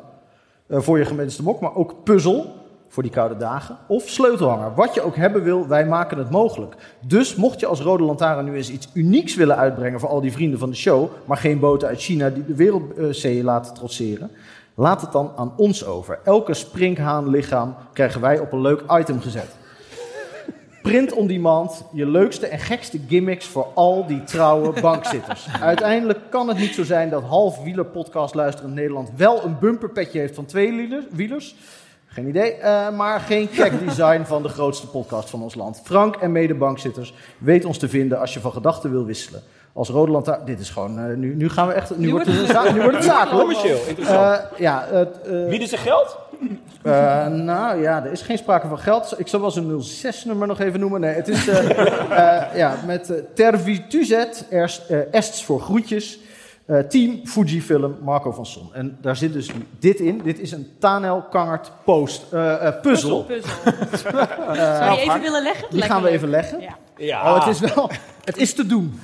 B: eh, voor je gewenste mok, maar ook puzzel voor die koude dagen. Of sleutelhanger. Wat je ook hebben wil, wij maken het mogelijk. Dus mocht je als Rode Lantaarn nu eens iets unieks willen uitbrengen voor al die vrienden van de show, maar geen boten uit China die de wereldzeeën laten trotseren, laat het dan aan ons over. Elke sprinkhaanlichaam krijgen wij op een leuk item gezet. Print on demand, je leukste en gekste gimmicks voor al die trouwe bankzitters. Uiteindelijk kan het niet zo zijn dat half wielerpodcast luisterend Nederland wel een bumperpetje heeft van twee wieler- wielers. Geen idee, eh, maar geen kek design van de grootste podcast van ons land. Frank en medebankzitters, weet ons te vinden als je van gedachten wil wisselen. Als Rode Lantaarn, dit is gewoon, eh, nu, nu gaan we echt, nu, wordt het, een za- nu wordt (laughs) het zakelijk.
G: Commercieel, interessant.
B: Eh, ja, het, eh,
G: Bieden ze geld?
B: eh, nou ja, er is geen sprake van geld. Ik zal wel zijn 06-nummer nog even noemen. Nee, het is (laughs) eh, eh, ja, met eh, Tervituzet, er- eh, Ests voor groetjes. Eh, team Fujifilm, Marco van Son. En daar zit dus dit in. Dit is een Tanel Kangert post, eh, eh, puzzel.
D: Zou je die even willen leggen?
B: Die gaan we even leggen.
D: Ja.
B: Oh, het is wel... Het is te doen.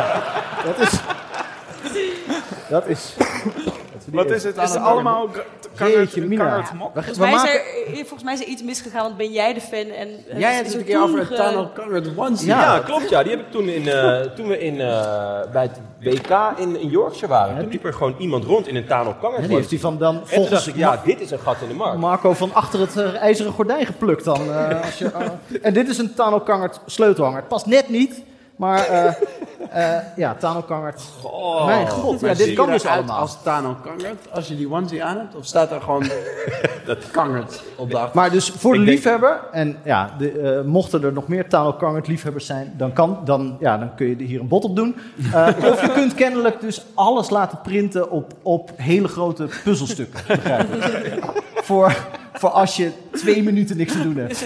D: (laughs)
B: dat is... Dat is...
C: Wat is het? Is het allemaal gra- kangert-
B: Jeetje, Mina.
C: kangert mok?
B: We-
D: Volgens
B: we
D: mij,
B: maken-
D: is er, eh, volgens mij is er iets misgegaan, want ben jij de fan? En, eh,
E: Jij
D: is-
E: hebt
D: is
E: het
D: er
E: een keer over
D: toen
E: het
D: ge-
E: Tunnel Covered Onesie.
G: Ja, klopt. Ja. Die heb ik toen, in, eh, toen we in, eh, bij het WK in, in Yorkshire waren. Toen liep er gewoon iemand rond in een Tano Kanger.
B: Ja, die heeft hij van dan
G: En toen dacht
B: volgens
G: ik, ja, dit is een gat in de markt.
B: Marco van achter het eh, ijzeren gordijn geplukt dan.
G: (laughs)
B: eh, als je, eh, en dit is een Tanelkangert sleutelhanger. Het past net niet, maar eh, eh, ja, Tanelkangert. Mijn god, ja, dit kan dus allemaal.
E: Als Tano Kangert, als je die onesie aan hebt, of staat daar gewoon dat Kangert op de achtergrond?
B: Maar dus voor de
G: Ik denk-
B: liefhebber, en ja, de, eh, mochten er nog meer Tanelkangert liefhebbers zijn, dan, kan, dan, ja, dan kun je er hier een bot op doen. Eh,
G: (laughs)
B: of je kunt kennelijk dus alles laten printen op, op hele grote puzzelstukken. begrijp ik.
G: (laughs)
B: voor, voor als je twee minuten niks te doen hebt.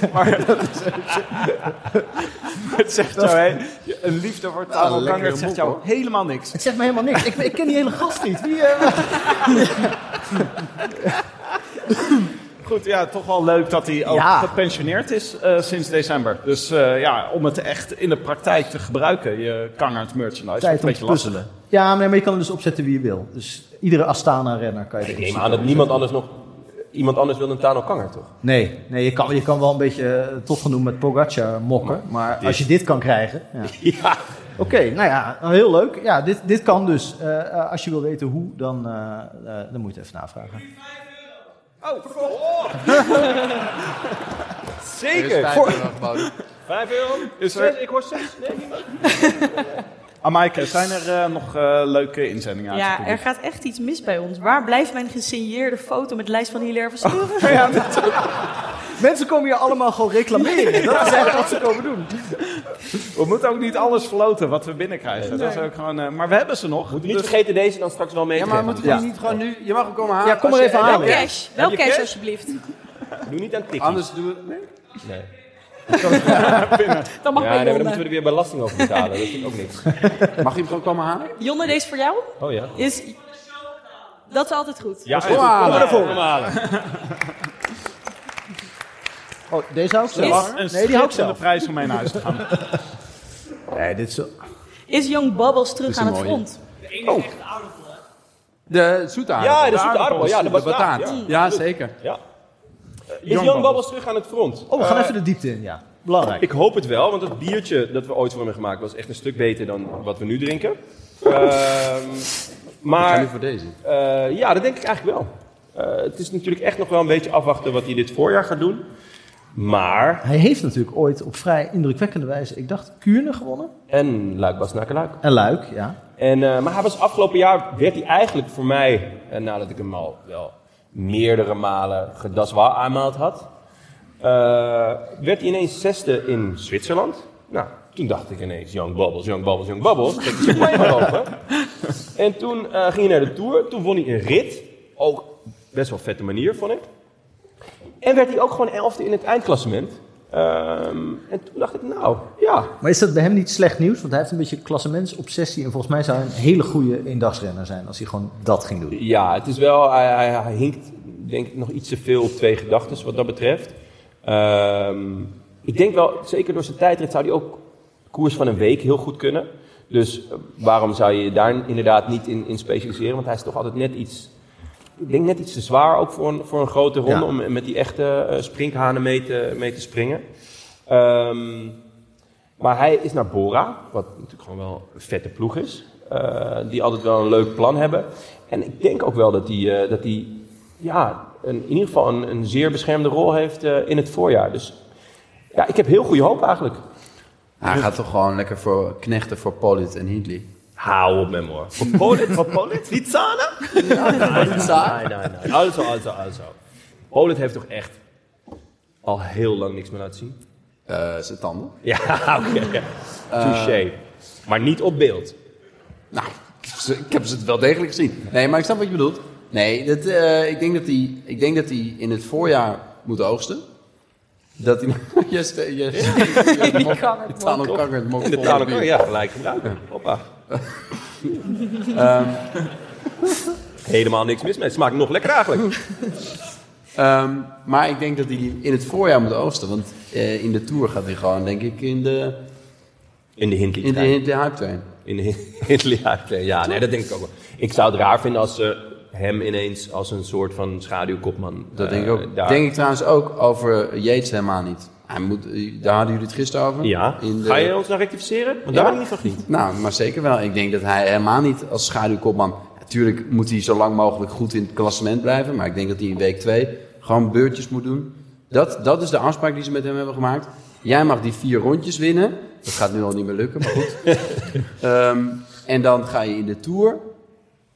C: Het zegt jou, hè, een liefde voor Tano Kangert zegt jou helemaal niks.
B: Het zegt me helemaal niks. Ik, ik ken die hele gast niet. Wie, eh,
C: Goed, ja, toch wel leuk dat hij ook
B: Ja.
C: gepensioneerd is eh, sinds december. Dus eh, ja, om het echt in de praktijk te gebruiken, je kangert merchandise, is
B: Tijd
C: een
B: om
C: beetje
B: te
C: lastig.
B: puzzelen. Ja, maar nee, maar je kan er dus opzetten wie je wil. Dus iedere Astana-renner kan je
G: Ik
B: erin
G: neem
B: zien.
G: aan dat niemand anders nog... Iemand anders wil een Tano Kanger, toch?
B: Nee, nee je, kan, je kan wel een beetje eh, tof genoemd met Pogacar mokken. Maar als je dit kan krijgen... (laughs) Ja. Oké, nou ja, nou, heel leuk. Ja, dit, dit kan dus. Eh, eh, als je wil weten hoe, dan, eh, eh, dan moet je het even navragen.
C: Oh, (laughs)
G: Zeker! Oh. Vijf euro?
C: Is
G: Zes?
C: er,
G: Ik hoor zes. Nee, niemand.
C: (laughs) Amaike, zijn er eh, nog eh, leuke inzendingen uit het
D: Ja, er
C: publiek?
D: gaat echt iets mis bij ons. Waar blijft mijn gesigneerde foto met lijst van Hilaire Verstoren?
B: Mensen komen hier allemaal gewoon reclameren. Dat is eigenlijk wat ze komen doen.
C: We moeten ook niet alles floten wat we binnenkrijgen. Dat is ook gewoon, eh, maar we hebben ze nog. Dus
G: Niet vergeten deze dan straks wel mee
E: Ja,
G: te
E: maar
G: nemen.
E: moeten we niet gewoon nu... Je mag hem komen halen.
B: Ja, kom
E: als
B: maar
E: je-
B: even
E: eh,
B: halen.
D: Wel cash, wel cash alsjeblieft.
G: Doe niet aan tikken.
E: Anders doen we... nee.
D: Dan mag
G: Ja,
D: bij
G: nee, maar dan
D: Jonne.
G: moeten we er weer belasting over betalen. Dat vind ik ook niks.
E: Mag je hem gewoon komen halen?
D: Jonne, deze voor jou?
G: (laughs) Oh ja?
D: Is... Dat is altijd goed.
G: Ja,
E: Kom halen.
B: Oh, deze hou ik
C: Er was
B: zelf.
C: een
B: Nee, die hou ik
C: schitterende
B: zelf.
C: prijs om mee naar huis
G: (laughs)
C: te gaan.
B: Nee, dit is zo...
D: Is Young Bubbles terug
E: is
D: aan
E: een
D: het
E: mooie.
D: front?
E: De zoete
G: Oh. Ja,
E: aardappel.
G: de zoete aardappel. Ja, de
E: de
G: bataat.
E: bataat.
G: Ja. Eh,
E: Ja, zeker.
G: Is Jan
C: Babbels.
G: Babbels terug aan het front?
B: Oh, we gaan even de diepte in, ja. Belangrijk.
G: Ik hoop het wel, want het biertje dat we ooit voor hem hebben gemaakt was echt een stuk beter dan wat we nu drinken. Ehm,
E: Maar nu
G: maar
E: voor deze.
G: eh, ja, dat denk ik eigenlijk wel. Eh, het is natuurlijk echt nog wel een beetje afwachten wat hij dit voorjaar gaat doen. Maar.
B: Hij heeft natuurlijk ooit op vrij indrukwekkende wijze, ik dacht, Kuurne gewonnen.
G: En Luik was naar Luik.
B: En Luik, ja.
G: En, eh, maar hij was afgelopen jaar, werd hij eigenlijk voor mij, eh, nadat ik hem al wel meerdere malen gedaswaal aanmaald had, eh, werd hij ineens zesde in Zwitserland. Nou, toen dacht ik ineens, Young Bubbles, Young Bubbles, Young Bubbles. Dat is mij gelopen. En toen eh, ging hij naar de Tour, toen won hij een rit. Ook best wel vette manier, vond ik. En werd hij ook gewoon elfde in het eindklassement. Ehm, en toen dacht ik, nou, ja,
B: Maar is dat bij hem niet slecht nieuws? Want hij heeft een beetje klassementsobsessie. En volgens mij zou hij een hele goede eendagsrenner zijn als hij gewoon dat ging doen.
G: Ja, het is wel, hij, hij, hij hinkt denk ik nog iets te veel op twee gedachten wat dat betreft. Ehm, ik denk wel, zeker door zijn tijdrit zou hij ook koers van een week heel goed kunnen. Dus eh, waarom zou je je daar inderdaad niet in, in specialiseren? Want hij is toch altijd net iets, ik denk net iets te zwaar ook voor een, voor een grote ronde
B: Ja.
G: om met die echte eh, sprinkhanen mee te, mee te springen. Ehm, maar hij is naar Bora, wat natuurlijk gewoon wel een vette ploeg is. eh, die altijd wel een leuk plan hebben. En ik denk ook wel dat hij, eh, dat hij ja, een, in ieder geval een, een zeer beschermde rol heeft eh, in het voorjaar. Dus ja, ik heb heel goede hoop eigenlijk.
E: Hij gaat toch gewoon lekker voor knechten voor Polit en Hindley.
G: Hou op, (laughs) memoor. Voor Polit, voor Polit? Litsana? Nee, nee, (laughs) nee. Also, also, also. Polit heeft toch echt al heel lang niks meer laten (laughs) zien?
E: Eh zijn tanden.
G: Ja, oké. ja. Touché. Maar niet op beeld.
E: Nou, ik heb ze- ik heb ze wel degelijk gezien. Nee, maar ik snap wat je bedoelt. Nee, dat, eh, ik, denk dat die, ik denk dat die in het voorjaar moet oogsten. Dat hij... (laughs) Yes, eh, yes. (laughs)
D: Die kan het
E: Tano
D: wel.
E: Kakker, het mok
G: In de
E: vol met
G: taal
E: bier.
G: ja, gelijk gebruiken. Hoppa.
E: (laughs) Ehm,
G: Helemaal niks mis mee. Het smaakt nog lekker eigenlijk.
E: Ehm, maar ik denk dat hij in het voorjaar moet oogsten. Want eh, in de Tour gaat hij gewoon, denk ik, in de...
G: In de Hindley
E: In de,
G: trein.
E: in de hype train.
G: In (laughs) Hindley Hype Ja, nee, dat denk ik ook wel. Ik zou het raar vinden als ze hem ineens als een soort van schaduwkopman...
E: Dat
G: eh,
E: denk ik ook.
G: daar-
E: Denk ik trouwens ook over Yates helemaal niet. Hij moet, daar hadden jullie het gisteren over.
G: Ja.
E: In de-
G: Ga je ons nou rectificeren? Want
E: Ja.
G: daar ben ik niet van geniet.
E: Nou, maar zeker wel. Ik denk dat hij helemaal niet als schaduwkopman... Natuurlijk moet hij zo lang mogelijk goed in het klassement blijven. Maar ik denk dat hij in week twee gewoon beurtjes moet doen. Dat, dat is de afspraak die ze met hem hebben gemaakt. Jij mag die vier rondjes winnen. Dat gaat nu al niet meer lukken, maar goed. Ehm, en dan ga je in de Tour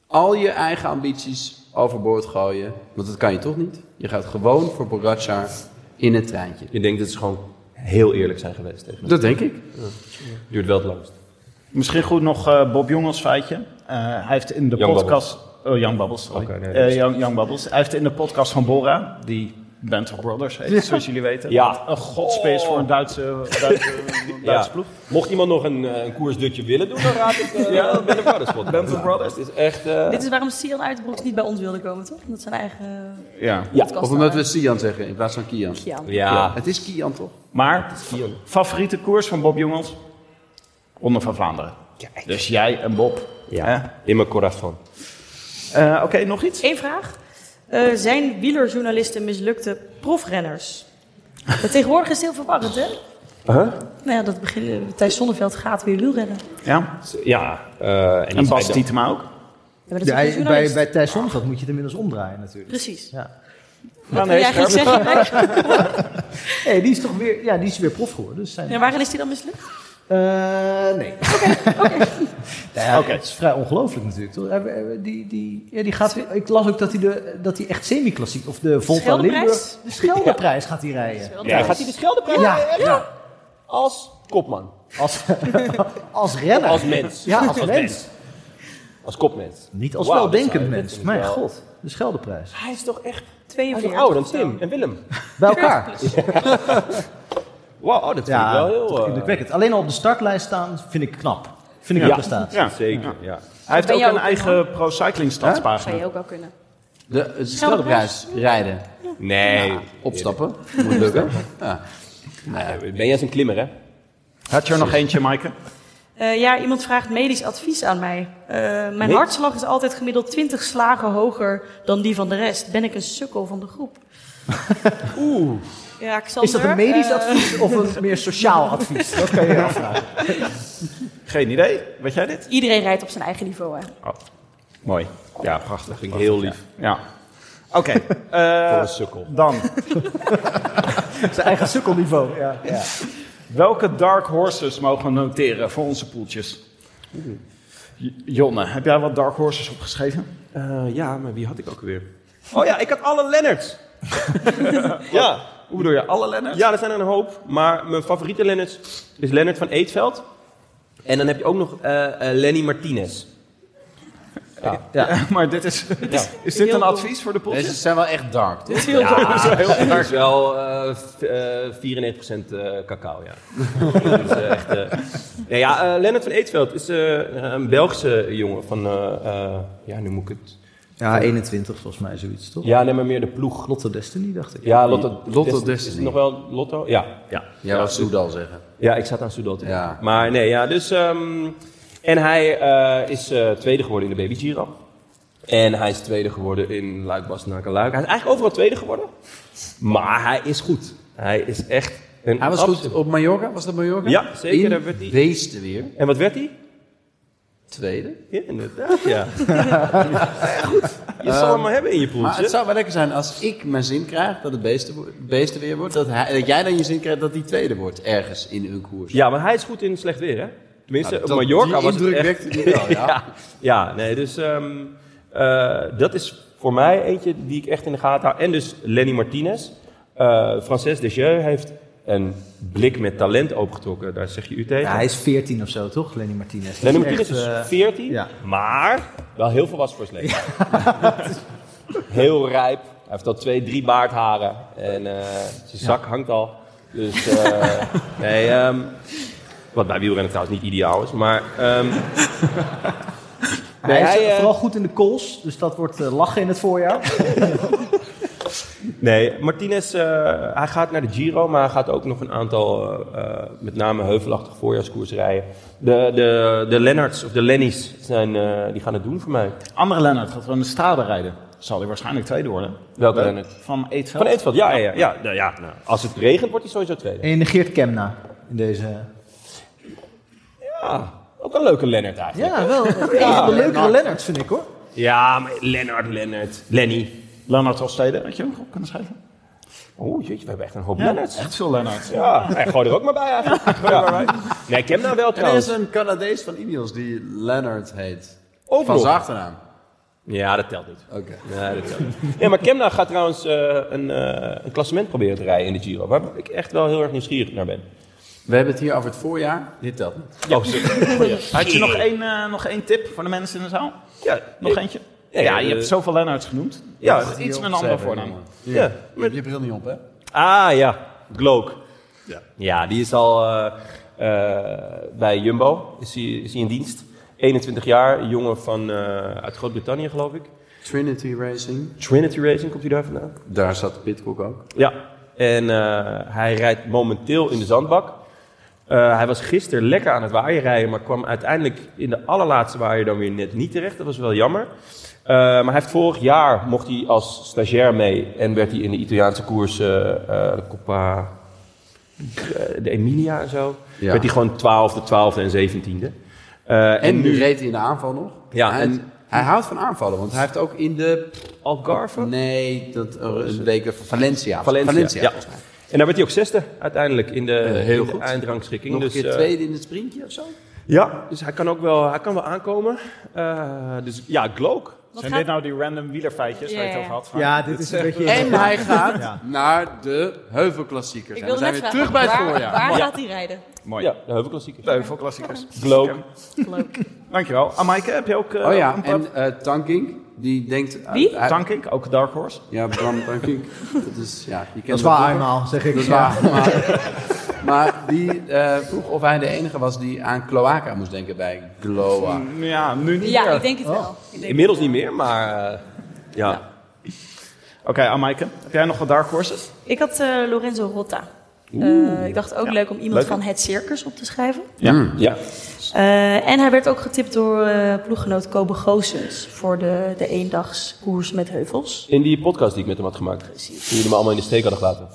E: al je eigen ambities overboord gooien. Want dat kan je toch niet? Je gaat gewoon voor Pogacar in het treintje.
G: Je denkt dat ze gewoon heel eerlijk zijn geweest. Tegen hem.
E: Dat denk ik.
G: Duurt wel het langst.
C: Misschien goed nog eh, Bob Jong als feitje. Eh, hij heeft in de
G: Young
C: podcast... Oh, Jan Babbels, sorry.
G: Oké, nee,
C: Eh,
G: dat is-
C: Young, Young Babbels. Hij heeft in de podcast van Bora, die Band of Brothers heet, zoals jullie weten.
G: Ja.
E: Oh,
C: Een godspace voor een Duitse, Duitse,
G: (laughs)
C: Duitse
G: Oh. Ja.
C: ploeg.
G: Mocht iemand nog een, eh, een koersdutje willen doen, dan raad ik eh
C: Ja.
G: Ben Brothers podcast.
C: Band of Brothers.
G: Het is echt... eh,
D: Dit is waarom Sian Uiterbroeks niet bij ons wilde komen, toch? Omdat zijn eigen eh,
C: Ja.
D: podcast
E: Of omdat
D: daar-
E: we Sian zeggen in plaats van Kian.
D: Kian.
G: ja.
E: Het is Kian toch?
C: Maar, favoriete koers van Bob Jongens? Ronde van Vlaanderen. Dus jij en Bob. Hè?
G: ja. In mijn corazon.
C: Eh, Oké, nog iets?
D: Eén vraag. Eh, zijn wielerjournalisten mislukte profrenners? Maar tegenwoordig is het heel verwarrend, hè? Nou ja, dat begin, Thijs Zonneveld gaat weer wielrennen. Ja,
C: Ja.
G: Ja. eh, en
C: En
G: die
C: Bas
G: zei dan-
C: Tietema ook.
D: maar dat is
B: Ja,
D: ook een
B: bij, bij,
D: journalist.
B: bij Thijs Zonneveld moet je het inmiddels omdraaien natuurlijk.
D: Precies.
B: Ja.
D: Wat wil jij eigenlijk zeggen? Mike?
B: Hey, die is toch weer, ja, die is weer prof geworden. Dus zijn,
D: Ja, waarin is die dan mislukt?
B: Eh, nee. Nou (laughs) ja,
C: Oké.
B: Het is vrij ongelooflijk natuurlijk. Toch? Hij- hij- Die, die, ja, die gaat, weer- ik las ook dat hij, de, dat hij echt semi-klassiek, of de Volta
D: Scheldeprijs?
B: Limburg, de Scheldeprijs gaat hij rijden.
G: Ja, gaat hij dus- de Scheldeprijs
B: Ja, ja.
G: als kopman?
B: Als, (laughs) als renner.
G: Als mens.
B: Ja, als mens.
G: Als kopmens.
B: Niet als
G: Wauw, dat
B: weldenkend
G: zou- dat
B: mens.
G: vind ik
B: Mijn
G: wel-
B: god, de Scheldeprijs.
G: Hij is toch echt... Hij is
D: 42.
G: nog ouder dan Tim en Willem.
B: Bij elkaar.
G: Wauw, oh, dat vind ik wel heel... eh,
B: indrukwekkend. Alleen al op de startlijst staan vind ik knap. Vind ik
G: ja.
B: een prestatie.
C: Ja.
G: Zeker, ja.
C: Hij heeft
D: Ben
C: ook
D: jij
C: een
D: ook
C: eigen pro-cycling stadspagina.
D: Zou je ook wel kunnen.
E: De, de Scheldeprijs rijden.
G: Nee.
E: Opstappen. Moet lukken. Ja.
G: Nou Ja, Ben jij eens een klimmer, hè?
C: Had je er nog eentje, Maaike?
D: Eh, ja, iemand vraagt medisch advies aan mij. Eh, mijn hartslag is altijd gemiddeld 20 slagen hoger dan die van de rest. Ben ik een sukkel van de
G: (laughs)
D: groep? Oeh. Ja, Xander,
B: Is dat een medisch
D: eh,
B: advies of een meer sociaal advies? Dat kan je je afvragen.
C: Geen idee. Weet jij dit?
D: Iedereen rijdt op zijn eigen niveau, hè?
G: Oh.
C: Mooi. Ja, prachtig. Vind ik heel
G: lief.
C: Ja. Oké.
G: (laughs)
C: eh,
G: Voor een sukkel.
C: dan,
B: Zijn eigen sukkelniveau. Ja. Ja.
C: welke dark horses mogen we noteren voor onze poeltjes? J- Jonne, heb jij wat dark horses opgeschreven?
G: Eh, ja, maar wie had ik ook weer? Oh ja, ik had alle (laughs) Lennarts. ja.
C: Hoe bedoel je, alle Lennart?
G: ja, er zijn er een hoop. Maar mijn favoriete Lennarts is Lennart van Eetveld. En dan heb je ook nog eh, eh, Lenny Martinez.
C: (laughs) maar dit is, is dit een advies voor de
E: (laughs) Deze
C: poeltjes?
E: zijn wel echt dark. toch?
G: Ja, dat is wel, heel dat is wel eh, v- eh 94% eh, cacao, (laughs) ja. dat is eh, echt... eh, nee, ja, eh, Lennart van Eetveld is eh, een Belgische jongen van... eh, eh, ja, nu moet ik het...
B: ja, 21 volgens mij zoiets, toch?
G: Ja, neem maar meer de ploeg.
B: Lotto Destiny, dacht ik.
G: Ja, Lotto,
E: Lotto
G: Dest- Is
E: Destiny.
G: het nog wel Lotto? Ja, ja.
E: Ja, wat Soedal zeggen.
G: Ja, ik zat aan Soudal te denken.
E: Ja.
G: Maar nee, ja, dus... ehm, en hij eh, is eh, tweede geworden in de Baby Giro. En hij is tweede geworden in Luik, Bastenaken, Luik. Hij is eigenlijk overal tweede geworden. Maar hij is goed. Hij is echt een
E: Hij was
G: absolute-
E: goed op Mallorca. Was dat Mallorca?
G: Ja, zeker,
E: In
G: daar werd hij-
E: Weesde weer.
G: En wat werd hij?
E: Tweede.
G: Ja, inderdaad, ja.
E: (laughs)
G: Goed, je zal hem maar hebben in je
E: Ehm, Maar het
G: poeltje.
E: zou wel lekker zijn als ik mijn zin krijg dat het beesten, wo- beesten weer wordt. Dat, hij, dat jij dan je zin krijgt dat die tweede wordt ergens in uw koers.
G: Ja, maar hij is goed in slecht weer, hè? Tenminste,
E: Nou,
G: op
E: dat-
G: Mallorca
E: die
G: was het
E: indruk
G: echt...
E: wekte
G: (laughs)
E: die wel, ja.
G: ja. ja, nee, dus ehm, eh, dat is voor mij eentje die ik echt in de gaten hou. En dus Lenny Martinez. Eh Frances Desjeux heeft een blik met talent opengetrokken. Daar zeg je u tegen.
B: Ja, hij is 14 of zo, toch? Lenny Martinez.
G: Lenny
B: Dat is
G: Martinez
B: echt, eh,
G: is 14,
B: ja.
G: maar wel heel veel was voor zijn leven. (laughs) heel rijp. Hij heeft al twee, drie baardharen. En eh, zijn zak hangt al. Dus eh, (laughs) nee, ehm, wat bij wielrennen trouwens niet ideaal is. Maar ehm,
B: (laughs) Hij is
G: hij, eh,
B: vooral goed in de calls, dus dat wordt eh, lachen in het voorjaar.
G: Nee, Martinez, eh, hij gaat naar de Giro, maar hij gaat ook nog een aantal, eh, eh, met name heuvelachtige voorjaarskoers rijden. De, de, de Lennarts of de Lennies zijn, eh, die gaan het doen voor mij.
C: Andere Lennart gaat gewoon de strade rijden. Zal hij waarschijnlijk tweede worden.
G: Welke
C: Eh,
G: Lennart?
C: Van Eetveld.
G: Van Eetveld, ja, ja, ja. ja, nou ja, nou, als het regent, wordt hij sowieso tweede.
B: En je negeert Kemna in deze...
G: Ja, ook een leuke Lennart eigenlijk.
B: Ja, wel. Een
G: Ja.
B: van de leukere Lennarts vind ik hoor.
G: Ja, maar Lennart, Lennart, Lenny.
C: Lennart Hofstede, had je hem op kunnen schrijven?
G: Oeh, jeetje, we hebben echt een hoop
C: Ja,
G: Lennarts.
C: echt veel Lennart.
G: Ja, hij gooi er ook maar bij eigenlijk. Gooi er maar bij. Nee, ik heb nou wel
E: Er is
G: trouwens.
E: een Canadees van Ineos die Leonard heet.
G: Ook
C: eh,
E: van
G: nog.
E: zijn achternaam.
G: Ja, dat telt niet.
E: Oké.
G: Nee, dat telt niet. Ja, maar Kemna gaat trouwens eh, een, eh, een klassement proberen te rijden in de Giro. Waar ik echt wel heel erg nieuwsgierig naar ben.
E: We hebben het hier over het voorjaar. Dit telt niet.
G: Oh,
C: (laughs)
G: sorry.
C: Had je nog één, eh, nog één tip voor de mensen in de zaal?
G: Ja,
C: Nog
G: nee.
C: eentje?
G: Ja,
C: Ja,
G: eh,
C: je hebt zoveel Lennarts genoemd.
G: Ja,
C: Ja, iets met een andere voornaam.
G: Ja.
E: Ja. Je hebt je bril niet op, hè?
G: Ah ja, Gloak. Ja. die is al eh, eh, bij Jumbo. Is hij is hij in dienst. 21 jaar, een jongen van, eh, uit Groot-Brittannië geloof ik.
E: Trinity Racing.
G: Trinity Racing komt hij daar vandaan.
E: Daar zat Pitcock ook.
G: Ja, en eh, hij rijdt momenteel in de zandbak. Eh, hij was gisteren lekker aan het waaien rijden, maar kwam uiteindelijk in de allerlaatste waaier dan weer net niet terecht. Dat was wel jammer. Eh, maar hij heeft vorig jaar mocht hij als stagiair mee en werd hij in de Italiaanse koers, eh, eh, de Coppa, eh, de Emilia en zo,
E: Ja.
G: werd hij gewoon twaalfde, twaalfde en zeventiende. Eh, en,
E: En, nu
G: nu
E: reed hij in de aanval nog.
G: Ja,
E: Hij,
G: en-
E: hij houdt van aanvallen, want hij heeft ook in de...
G: Algarve.
E: Nee, dat oh, een week van Valencia.
G: Valencia, ja.
E: volgens mij. Eh,
G: En daar werd hij ook zesde uiteindelijk in de,
E: heel
G: in de
E: goed.
G: eindrangschikking.
E: Nog
G: dus,
E: een keer
G: eh,
E: tweede in het sprintje of zo?
G: Ja, dus hij kan ook wel, hij kan wel aankomen. Eh, dus ja, Gloak.
D: Wat
C: Zijn
D: gaat-
C: dit nou die random wielerfeitjes waar je het
D: Ja,
C: over had? Frank?
B: Ja, dit is een beetje...
E: En hij gaat
B: Ja.
E: naar de Heuvelklassiekers.
D: Ik
E: En we
D: wilde
E: zijn
D: net
E: weer
D: vragen,
E: terug bij het
D: waar,
E: voorjaar.
D: waar gaat hij rijden?
C: Mooi.
G: Ja, de heuvelklassieker.
C: Veel klassiekers.
G: Gloak.
D: Leuk.
C: Dankjewel. Ah, Maaike, heb je ook eh,
E: Oh
C: een
E: ja,
C: pad?
E: en eh Tankink, die denkt...
D: Wie?
E: hij-
C: Tankink, ook Dark Horse.
E: Ja, Bram Tankink. Dat is, ja, je kent
B: Dat is
E: hem
B: waar
E: vroeger.
B: eenmaal, zeg ik.
E: Dat is
B: Ja.
E: waar. Maar, maar die eh, vroeg of hij de enige was die aan cloaca moest denken bij Gloa.
C: Ja, nu niet
D: Ja,
C: meer.
D: ik denk
B: Oh.
D: het wel. Ik denk
G: Inmiddels
D: het
G: niet
D: wel.
G: meer, maar eh, ja.
C: Oké, ah, Maaike, heb jij nog wat Dark Horses?
D: Ik had eh, Lorenzo Rotta. Eh, ik dacht ook leuk om iemand
G: Leuk.
D: van het circus op te schrijven.
C: Ja.
G: ja.
D: Eh, en hij werd ook getipt door eh, ploeggenoot Kobe Goossens voor de, de eendagskoers met heuvels.
G: In die podcast die ik met hem had gemaakt. Die
D: Precies.
G: jullie me allemaal in de steek hadden gelaten.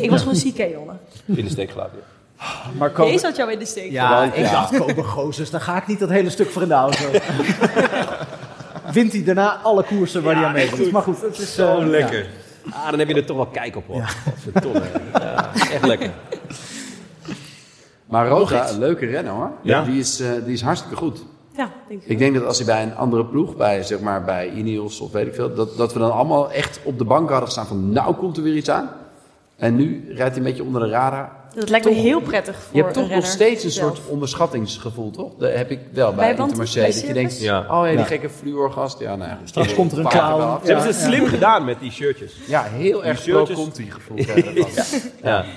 D: Ik was gewoon ziek, hè, jongen.
G: In de steek gelaten. ja.
C: Maar
D: Deze
C: Kobe,
D: had jou in de steek.
B: Ja, ik dacht, Kobe Gozes, dan ga ik niet dat hele stuk voor in de (laughs) auto. Wint hij daarna alle koersen waar hij aan meedoet. Maar goed, het is... eh, ja.
G: Ah, dan heb je er toch wel kijk op hoor. Godverdomme. (laughs) Ja, echt lekker.
E: Maar Roga, een leuke renner hoor.
G: Ja.
E: Die, is, eh, die is hartstikke goed.
D: Ja, denk ik.
E: Ik denk dat als hij bij een andere ploeg, bij, zeg maar, bij Ineos of weet ik veel, dat, dat we dan allemaal echt op de bank hadden gestaan van nou komt er weer iets aan. En nu rijdt hij een beetje onder de radar.
D: Dat lijkt me heel prettig voor
E: Je hebt
D: een
E: toch nog
D: renner
E: steeds een
D: zelf.
E: soort onderschattingsgevoel, toch? Dat heb ik wel bij,
D: Bij want-
E: Intermarché.
D: bij
E: dat je
D: circus?
E: denkt,
G: Ja.
E: oh ja, die
B: Ja.
E: gekke fluorgast. Ja, nou, ja, goed,
B: Straks
E: die
B: komt er een
E: paard
B: clown.
E: wel af.
G: Ze hebben ze slim gedaan met die shirtjes.
E: Ja, heel erg
G: Die shirtjes.
E: pro-Conti gevoel.
G: (laughs)
E: hebben we
G: Ja.
E: van.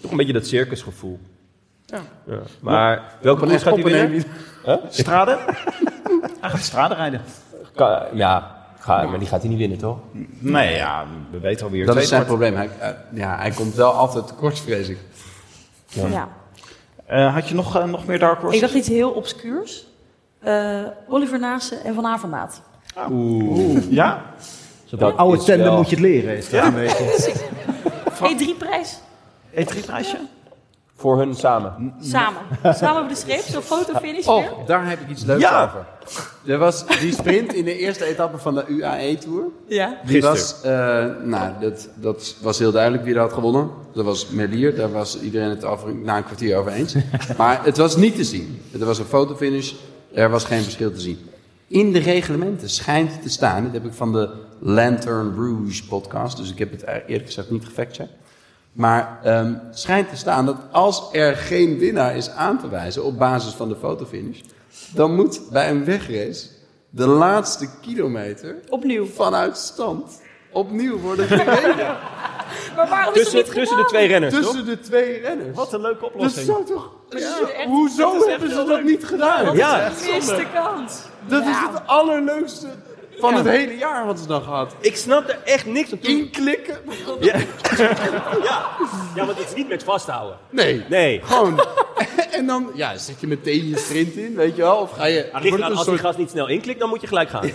G: Toch een beetje dat circusgevoel. Ja. Maar welke koers gaat hij
E: Oppenheim.
G: winnen?
C: (laughs) Strade? Hij gaat Strade rijden.
G: Ka- Ja, ga, maar die gaat hij niet winnen toch?
C: Nee, ja, we weten alweer.
E: Dat
C: Tweede
E: is zijn
C: wordt-
E: probleem. Hij, eh, ja, hij komt wel altijd tekort, vrees ik.
D: Ja.
C: Eh, had je nog, eh, nog meer Dark Horses?
D: Ik dacht iets heel obscuurs. Eh, Oliver Naassen en Van Avermaat.
C: Ja?
G: Dat
B: Oude
G: is
B: tenden
G: wel-
B: moet je het leren, is dat een beetje.
D: E3-prijs.
C: E3-prijsje?
G: Voor hun samen.
D: Samen. Samen over de streep. Zo'n fotofinish weer.
E: Oh, daar heb ik iets leuks
G: Ja.
E: over. Er was die sprint in de eerste etappe van de E UAE-tour.
D: Ja.
E: Die
G: Gisteren.
E: was, eh, nou, dat, dat was heel duidelijk wie er had gewonnen. Dat was Merlier, daar was iedereen het over, na een kwartier over eens. maar het was niet te zien. Het was een fotofinish, er was geen verschil te zien. In de reglementen schijnt te staan, dit heb ik van de Lantern Rouge podcast, dus ik heb het eigenlijk eerlijk gezegd niet gefactcheckt. Maar ehm, schijnt te staan dat als er geen winnaar is aan te wijzen op basis van de fotofinish, dan moet bij een wegrace de laatste kilometer
D: Opnieuw.
G: (laughs)
E: vanuit stand opnieuw worden gereden.
D: Maar waarom is het
G: Tussen-
D: niet
G: tussen
D: gedaan?
G: de twee renners,
E: Tussen
G: toch?
E: de twee renners.
G: Wat een leuke
E: Dat
G: oplossing.
E: zou toch...
D: Dat is echt-
E: Hoezo
D: dat is echt
E: hebben ze
D: heel
E: dat
D: leuk.
E: niet gedaan?
D: Wat
G: Ja.
D: een gemiste kans.
E: Dat is
D: Ja.
E: het allerleukste van
G: Ja.
E: het hele jaar wat ze dan gehad.
G: Ik snap er echt niks van. Toen...
E: Inklikken?
G: Ja. ja. ja, want het is niet met vasthouden.
E: Nee.
G: Nee.
D: (laughs)
E: Gewoon. en dan ja, zet je meteen je sprint in, weet je wel? Of ga je.
G: Het
E: wordt
G: ligt
E: het
G: eraan,
E: een
G: als die
E: soort-
G: gast niet snel inklikt, dan moet je gelijk gaan.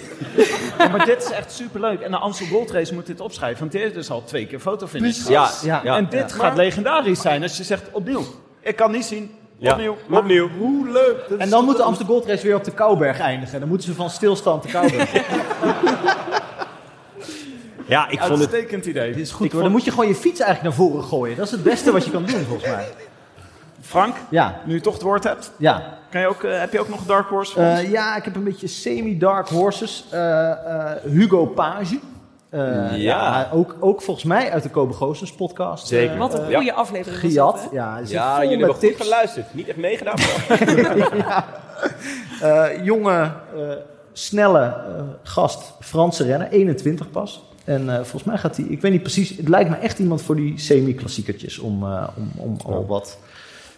C: Ja, maar dit is echt superleuk. En de Amstel Gold Race moet dit opschrijven. Want dit is dus al twee keer fotofinish.
E: Precies.
G: Ja,
B: Ja.
G: ja.
C: en dit gaat legendarisch zijn als je zegt opnieuw. Ik kan niet zien.
G: Ja.
C: Opnieuw.
G: Opnieuw.
E: Hoe leuk. Dat
B: En dan
E: is toch
B: moet de
E: een-
B: Amsterdam Gold Race weer op de Kouberg eindigen. Dan moeten ze van stilstand de Kouberg. (laughs) op.
G: Ja, ik vond het...
C: Uitstekend idee.
B: Dit is goed hoor. Dan moet je gewoon je fiets eigenlijk naar voren gooien. Dat is het beste wat je kan doen volgens mij.
C: Frank,
B: Ja,
C: nu je toch het woord hebt,
B: ja.
C: kan je ook, eh, heb je ook nog Dark Horse? voor ons?
B: Eh, ja, ik heb een beetje semi-dark horses. Eh, eh, Hugo Page. Eh,
G: Ja.
B: ook, ook volgens mij uit de Kobe Goossens podcast.
G: Zeker.
D: Wat een goede aflevering. was dat,
B: Giat.
D: hè?
B: Ja, die zit
G: Ja,
B: vol
G: jullie
B: met
G: hebben goed
B: tips.
G: geluisterd. Niet echt meegedaan. maar-
B: (laughs) Eh, jonge, eh, snelle eh, gast, Franse renner, 21 pas. En eh, volgens mij gaat hij, ik weet niet precies, het lijkt me echt iemand voor die semi-klassiekertjes om, eh, om, om al wat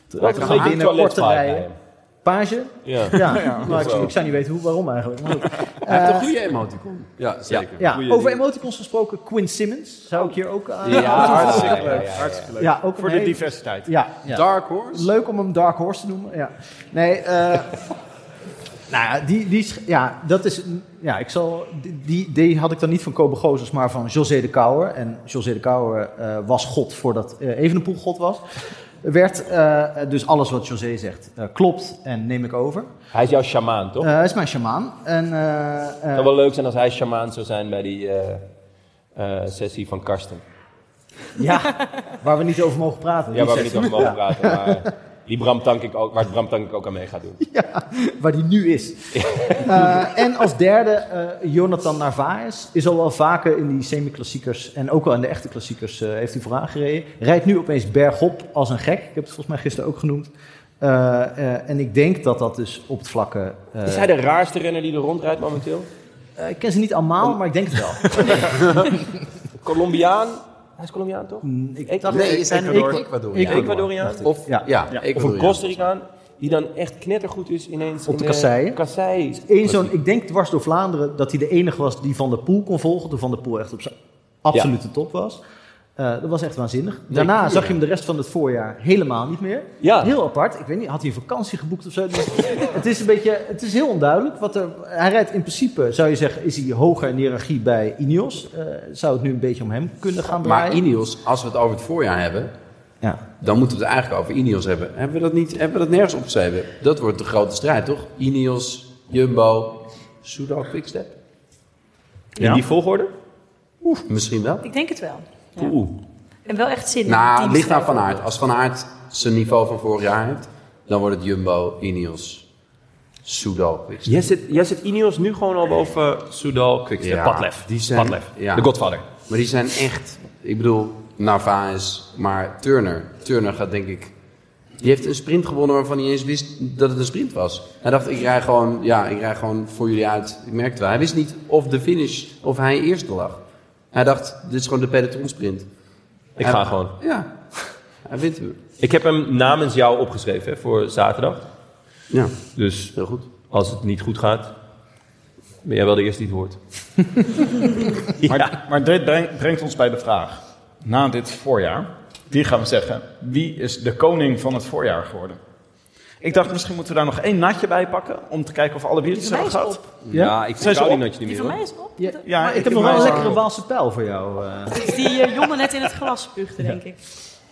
B: te,
G: Lijkt
B: te
G: een beetje
B: winnen, kort te
G: toiletvibe bij
B: rijden.
G: hem.
B: Page?
G: Ja.
B: Ja, maar ik,
G: zo.
B: ik zou niet weten hoe, waarom eigenlijk. Maar goed.
E: Hij heeft een goede emoticon. Ja, zeker.
B: Ja,
G: Goeie
B: over
G: ding.
B: emoticons gesproken, Quinn Simmons zou ik hier ook aan.
C: hartstikke
G: ja,
C: leuk.
G: ja, ja.
C: Hartstikke leuk.
B: ja, ook
C: Voor
B: een
C: de
B: hele-
C: diversiteit.
B: Ja, ja.
E: Dark Horse.
B: Leuk om hem Dark Horse te noemen. Ja. Nee, eh, (laughs) nou ja, die, die, is- ja, dat is, een- ja, ik zal, die- die, die had ik dan niet van Kobe Gozers, maar van José de Kouwer. En José de Kouwer eh, was God voordat eh Evenepoel God was. Werd, eh, dus alles wat José zegt eh, klopt en neem ik over.
G: Hij is jouw shamaan, toch?
B: Eh, hij is mijn shamaan. En, eh, eh,
G: Het zou wel leuk zijn als hij shamaan zou zijn bij die eh, eh, sessie van Karsten. (laughs)
B: ja, waar we niet over mogen praten.
G: Ja, waar we
B: Die
G: niet over mogen praten. Maar die Bram Tank ik ook, waar Bram Tank ik ook aan mee gaat doen.
B: waar die nu is. Eh, en als derde, eh, Jonathan Narvaez is al wel vaker in die semi-klassiekers en ook wel in de echte klassiekers eh, heeft hij vooraan gereden. Rijdt nu opeens bergop als een gek. Ik heb het volgens mij gisteren ook genoemd. Eh, eh, en ik denk dat dat dus op het vlakke... eh,
G: Is hij de raarste renner die er rondrijdt momenteel?
B: eh, ik ken ze niet allemaal, maar ik denk het wel.
G: Colombiaan? Hij is Colombiaan, toch?
B: ik
E: Nee, is hij een
B: Ecuador.
E: Ecuador?
B: Ecuador.
G: Ecuadoriaan?
E: Of,
B: Ja.
E: ja,
G: Of
E: Ecuadoriaan.
G: een Costa Ricaan? Die dan echt knettergoed is ineens in
B: Op
G: eh,
B: de kasseien?
G: kasseien.
B: Eén zo'n, ik denk dwars door Vlaanderen, dat hij de enige was die Van der Poel kon volgen. Toen Van der Poel echt op zijn absolute top was. Eh, dat was echt waanzinnig. Daarna zag je hem de rest van het voorjaar helemaal niet meer.
G: Ja.
B: Heel apart. Ik weet niet, had hij een vakantie geboekt of zo? Dus (laughs) het is een beetje, het is heel onduidelijk. Wat er, hij rijdt in principe, zou je zeggen, is hij hoger in hiërarchie bij Ineos. Eh, zou het nu een beetje om hem kunnen gaan draaien?
E: Maar Ineos, als we het over het voorjaar hebben,
B: Ja.
E: dan moeten we het eigenlijk over Ineos hebben. Hebben we dat, niet, hebben we dat nergens opgeschreven? Dat wordt de grote strijd, toch? Ineos, Jumbo, Soudal, Quickstep?
G: In die volgorde?
E: Misschien wel.
D: Ik denk het wel. Ja.
G: Oeh.
D: En wel echt zin in.
E: Nou, het
D: teams
E: ligt aan Van
D: hebben.
E: Aert. Als Van Aert zijn niveau van vorig jaar heeft, dan wordt het Jumbo, Ineos, Soudal, Quickstep.
G: Jij zit, jij zit Ineos nu gewoon al boven Soudal, Quickstep,
E: Ja,
G: Padlef.
E: die zijn-
G: Padlef,
E: ja.
G: de Godfather.
E: Maar die zijn echt, ik bedoel, Narvaez, maar Turner. Turner gaat denk ik, die heeft een sprint gewonnen waarvan hij niet eens wist dat het een sprint was. Hij dacht, ik rij gewoon, ja, ik rij gewoon voor jullie uit. Ik merkte wel, hij wist niet of de finish, of hij eerste lag. Hij dacht, dit is gewoon de peloton sprint.
G: Ik
E: Hij-
G: ga gewoon.
E: Ja, hij wint hem.
G: Ik heb hem namens jou opgeschreven hè, voor zaterdag.
E: Ja,
G: Dus
E: heel goed.
G: als het niet goed gaat, ben jij wel de eerste die het hoort.
C: Maar, maar dit breng- brengt ons bij de vraag. Na dit voorjaar, die gaan we zeggen, wie is de koning van het voorjaar geworden? Ik dacht, misschien moeten we daar nog één natje bij pakken, om te kijken of alle biertjes
D: Die van mij
C: hebben
D: is
C: gehad.
D: op.
G: Ja, ik
C: Zijn ze
G: vertrouw die
C: op?
G: notje niet
D: Die
G: meer.
D: van mij
G: hoor.
D: is op.
B: Ja,
C: Ja,
B: maar ik,
C: ik
B: heb nog
C: heb
B: wel een
C: mij
B: lekkere
C: ook.
B: Waalse pijl voor jou. eh.
D: Dat is die eh, jongen net in het glas spuugde, denk ik.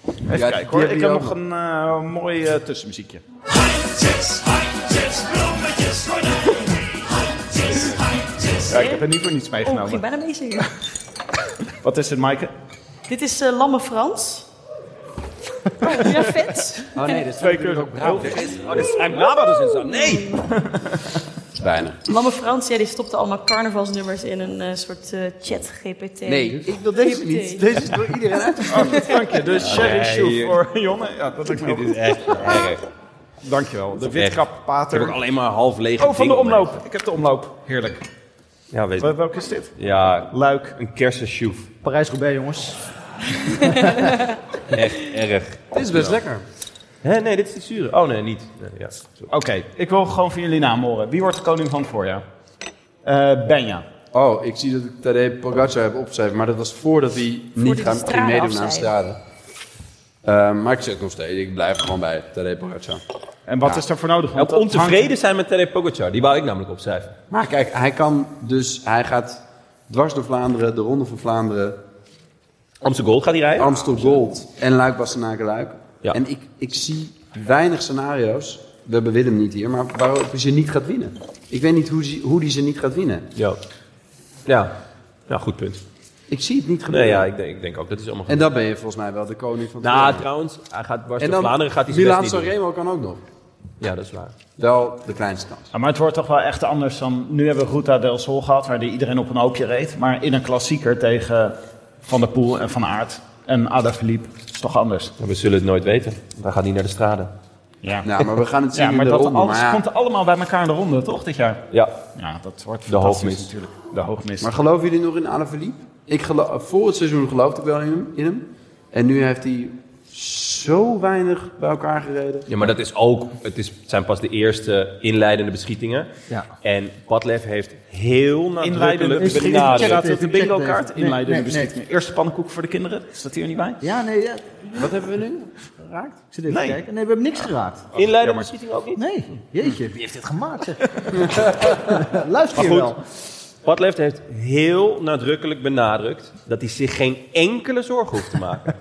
C: Even
E: Ja,
C: kijken
E: die
C: hoor,
E: heb
C: ik
E: je
C: heb
E: ook
C: nog een eh, mooi eh, tussenmuziekje.
F: Handjes, handjes, blommetjes, gordijnen. Handjes, handjes.
C: Ja, ik heb er niet voor niets
D: Oh, ik ging
C: meegenomen.
D: bijna meezingen. (laughs)
C: Wat is het, Maaike?
D: Dit is eh, Lamme Frans. (laughs) ja, vet.
E: Oh nee, dat is
C: Twee keer.
G: Oh, dit is eigenlijk Brabant dus en zo. Nee!
E: weinig.
D: Lamme Frans, ja, die stopte allemaal carnavalsnummers in een eh, soort eh, chat GPT.
E: Nee, ik wil deze niet. Deze is door iedereen uit.
C: (laughs) Dank je, de sherry shoe
G: hier.
C: voor Jonne. Ja, dat lukt me ook goed.
G: echt
C: Dankjewel, de
G: is echt-
C: witkap
G: Ik heb ook
C: pater.
G: alleen maar half leeg.
C: Oh, van de omloop. Ik heb de omloop. Heerlijk.
G: Ja, weet
C: Wel- Welke is dit?
G: Ja,
C: Luik.
G: een kersensjoef.
B: (laughs) Parijs-Roubaix, jongens.
G: Echt erg.
E: Dit is best lekker.
G: Hè, nee, dit is het zure. Oh nee, niet. Nee, ja.
C: Oké, ik wil gewoon van jullie naam horen. Wie wordt de koning van het voorjaar? Eh, Benja.
E: Oh, ik zie dat ik Tadej Pogacar heb opgeschreven. Maar dat was voordat hij niet
D: die
E: gaan,
D: de
E: ging
D: stralen
E: meedoen aan
D: afzei.
E: straden. Eh, maar ik zeg het nog steeds. Ik blijf gewoon bij Tadej Pogacar.
C: En wat
E: Ja.
C: is er voor nodig?
G: Ook
C: dat
G: ontevreden zijn met Tadej Pogacar. Die wou ik namelijk opschrijven.
E: Maar kijk, hij kan dus... Hij gaat dwars door Vlaanderen, de Ronde van Vlaanderen...
G: Amsterdam Gold gaat hij rijden.
E: Amstel Gold en Luik Bastenaken Luik.
G: Ja.
E: En ik, ik zie weinig scenario's, we hebben Willem niet hier, maar waarop hij ze niet gaat winnen. Ik weet niet hoe, ze, hoe die ze niet gaat winnen.
G: Ja. Ja. Ja, goed punt.
E: Ik zie het niet gebeuren.
G: Nee, ja, ik denk, ik denk ook. Dat is allemaal goed.
E: En dan ben je volgens mij wel de koning van het
G: Nou,
E: Vlaanderen.
G: trouwens, hij gaat dwars
E: En
G: door
E: dan
G: Vlaanderen gaat hij zijn best
E: Milaan
G: niet doen.
E: Sanremo kan ook nog.
G: Ja, dat is waar.
E: Wel de kleinste kans.
C: Ja, maar het wordt toch wel echt anders dan... Nu hebben we Ruta del Sol gehad, waar die iedereen op een hoopje reed. Maar in een klassieker tegen Van der Poel en Van Aert en Adafiliep. Dat is toch anders?
G: Maar we zullen het nooit weten. Hij gaat niet naar de straten.
C: Ja,
E: Nou, maar we
C: (laughs)
E: gaan het zien
C: ja maar
E: in de
C: dat
E: ronde.
C: alles
E: Maar, ja,
C: komt allemaal bij elkaar in de ronde, toch, dit jaar?
G: Ja.
C: Ja, dat wordt
G: De
C: fantastisch
G: hoogmis.
C: natuurlijk. De hoogmis.
E: maar geloven jullie nog in Alaphilippe? Ik gelo- voor het seizoen geloofde ik wel in hem, in hem. En nu heeft hij zo weinig bij elkaar gereden.
G: Ja, maar dat is ook... Het is, het zijn pas de eerste inleidende beschietingen.
B: Ja.
G: En Padlef heeft heel nadrukkelijk
B: Inleidende
G: benaderd.
B: beschietingen.
C: Staat het de bingo kaart?
B: Nee,
C: Inleidende
B: nee, nee.
C: beschikking. Eerste pannenkoek voor de kinderen. Staat hier niet bij?
B: Ja, nee, ja.
E: Wat hebben we nu?
B: geraakt. Ik zit even
C: Nee.
B: te kijken. Nee, we hebben niks geraakt.
G: Inleidende beschieting ook niet?
B: Nee, jeetje, wie heeft dit gemaakt? Zeg? Luister je
G: Maar
B: wel.
G: goed. Padlef heeft heel nadrukkelijk benadrukt dat hij zich geen enkele zorgen hoeft te (laughs) maken.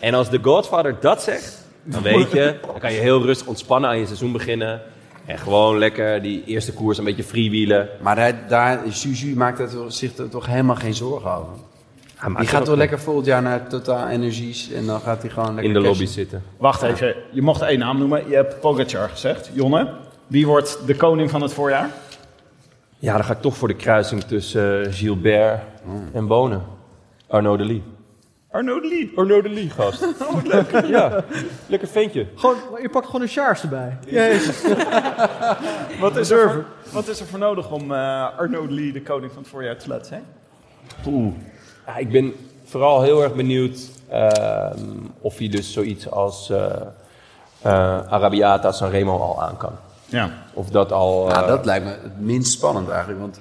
G: En als de Godfather dat zegt, dan weet je, dan kan je heel rustig ontspannen aan je seizoen beginnen. En gewoon lekker die eerste koers een beetje freewheelen.
E: Maar hij, daar, Suzu maakt er toch- zich er toch helemaal geen zorgen over.
G: Hij maakt
E: Die
G: het
E: gaat
G: ook
E: toch lekker volgend jaar naar Totaal Energies en dan gaat hij gewoon lekker
G: in de lobby
E: cashen.
G: zitten.
C: Wacht even, je mocht één naam noemen. Je hebt Pogacar gezegd. Jonne, wie wordt de koning van het voorjaar?
G: Ja, dan ga ik toch voor de kruising tussen eh, Gilbert en Bonen. Arnaud de Lee. Oh,
C: Arnaud de Lee.
G: Arnaud de Lee, gast. (laughs) lekker. Ja, lekker ventje.
B: Gewoon, je pakt gewoon een Sjaars erbij.
C: Wat is, er voor, wat is er voor nodig om eh Arnaud de Lee de koning van het voorjaar te laten zijn?
G: Ja, ik ben vooral heel erg benieuwd ehm, of hij dus zoiets als eh eh Arabiata Sanremo al aan kan.
C: Ja.
G: Of dat al...
E: Ja,
G: eh,
E: dat lijkt me het minst spannend eigenlijk, want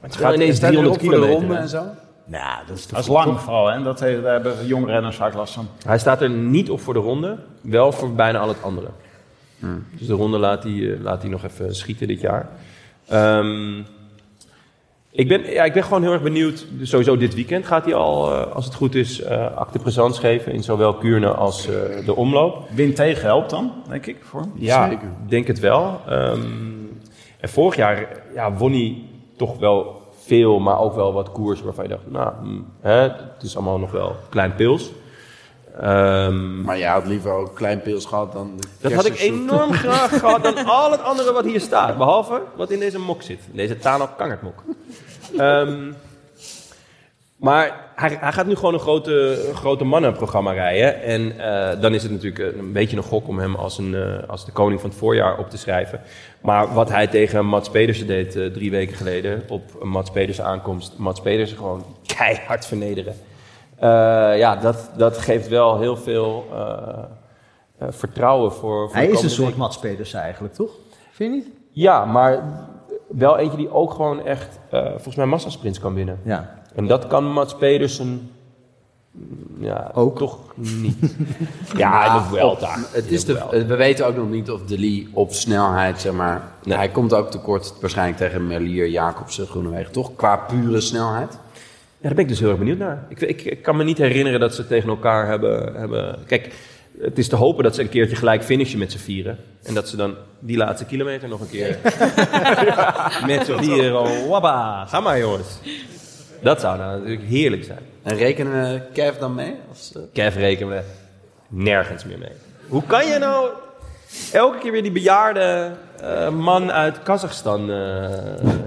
G: het gaat ineens
E: staat hij erop
G: 300
E: voor de
G: kilometer.
E: ronde Nou,
G: hè?
E: en zo.
C: Dat is lang vooral, hè? Dat he- daar hebben jonge renners vaak last van.
G: Hij staat er niet op voor de ronde, wel voor bijna al het andere.
E: Hmm.
G: Dus de ronde laat hij, eh, laat hij nog even schieten dit jaar. Ehm, ik, ben, ja, ik ben gewoon heel erg benieuwd. Dus sowieso dit weekend gaat hij al, eh, als het goed is, eh acte présence geven in zowel Kuurne als eh, de omloop.
C: Win tegen helpt dan, denk ik. Voor. hem.
G: Ja, ik denk het wel. Ehm, en vorig jaar ja, won hij toch wel veel, maar ook wel wat koers waarvan je dacht, nou, hm, hè, het is allemaal nog wel klein pils. Ehm,
E: Maar jij had liever ook een klein pils gehad dan de
G: dat had ik
E: kersensoep.
G: enorm (laughs) graag gehad dan al het andere wat hier staat. Behalve wat in deze mok zit. In deze Tano Kangertmok. Ehm, maar hij, hij gaat nu gewoon een grote, een grote mannenprogramma rijden. En eh, dan is het natuurlijk een, een beetje een gok om hem als, een, eh, als de koning van het voorjaar op te schrijven. Maar wat hij tegen Mats Pedersen deed eh, drie weken geleden op Mats Pedersen aankomst. Mats Pedersen gewoon keihard vernederen. Eh, ja, dat, dat geeft wel heel veel eh, eh, vertrouwen voor, voor
B: Hij
G: de
B: is een
G: komende
B: soort Mats Pedersen eigenlijk, toch? Vind je niet?
G: ja, maar wel eentje die ook gewoon echt, eh, volgens mij, massasprints kan winnen.
B: Ja.
G: En dat kan Mats Pedersen mm, ja,
B: Ook.
G: toch (laughs) niet. ja, in de Vuelta.
E: Het is de, we weten ook nog niet of de Lee op snelheid, zeg maar...
G: Nee.
E: Hij komt ook tekort waarschijnlijk tegen Merlier, Jacobsen, Groenewegen, toch? Qua pure snelheid.
G: Ja, daar ben ik dus heel erg benieuwd naar. Ik, ik, ik kan me niet herinneren dat ze tegen elkaar hebben, hebben... Kijk, het is te hopen dat ze een keertje gelijk finishen met z'n vieren. En dat ze dan die laatste kilometer nog een (laughs) keer... met z'n vieren, wabba, ga maar jongens. Dat zou nou natuurlijk heerlijk zijn.
E: En rekenen we Kev dan mee? Of ze-
G: Kev rekenen we nergens meer mee. Hoe kan je nou elke keer weer die bejaarde eh, man uit Kazachstan... eh,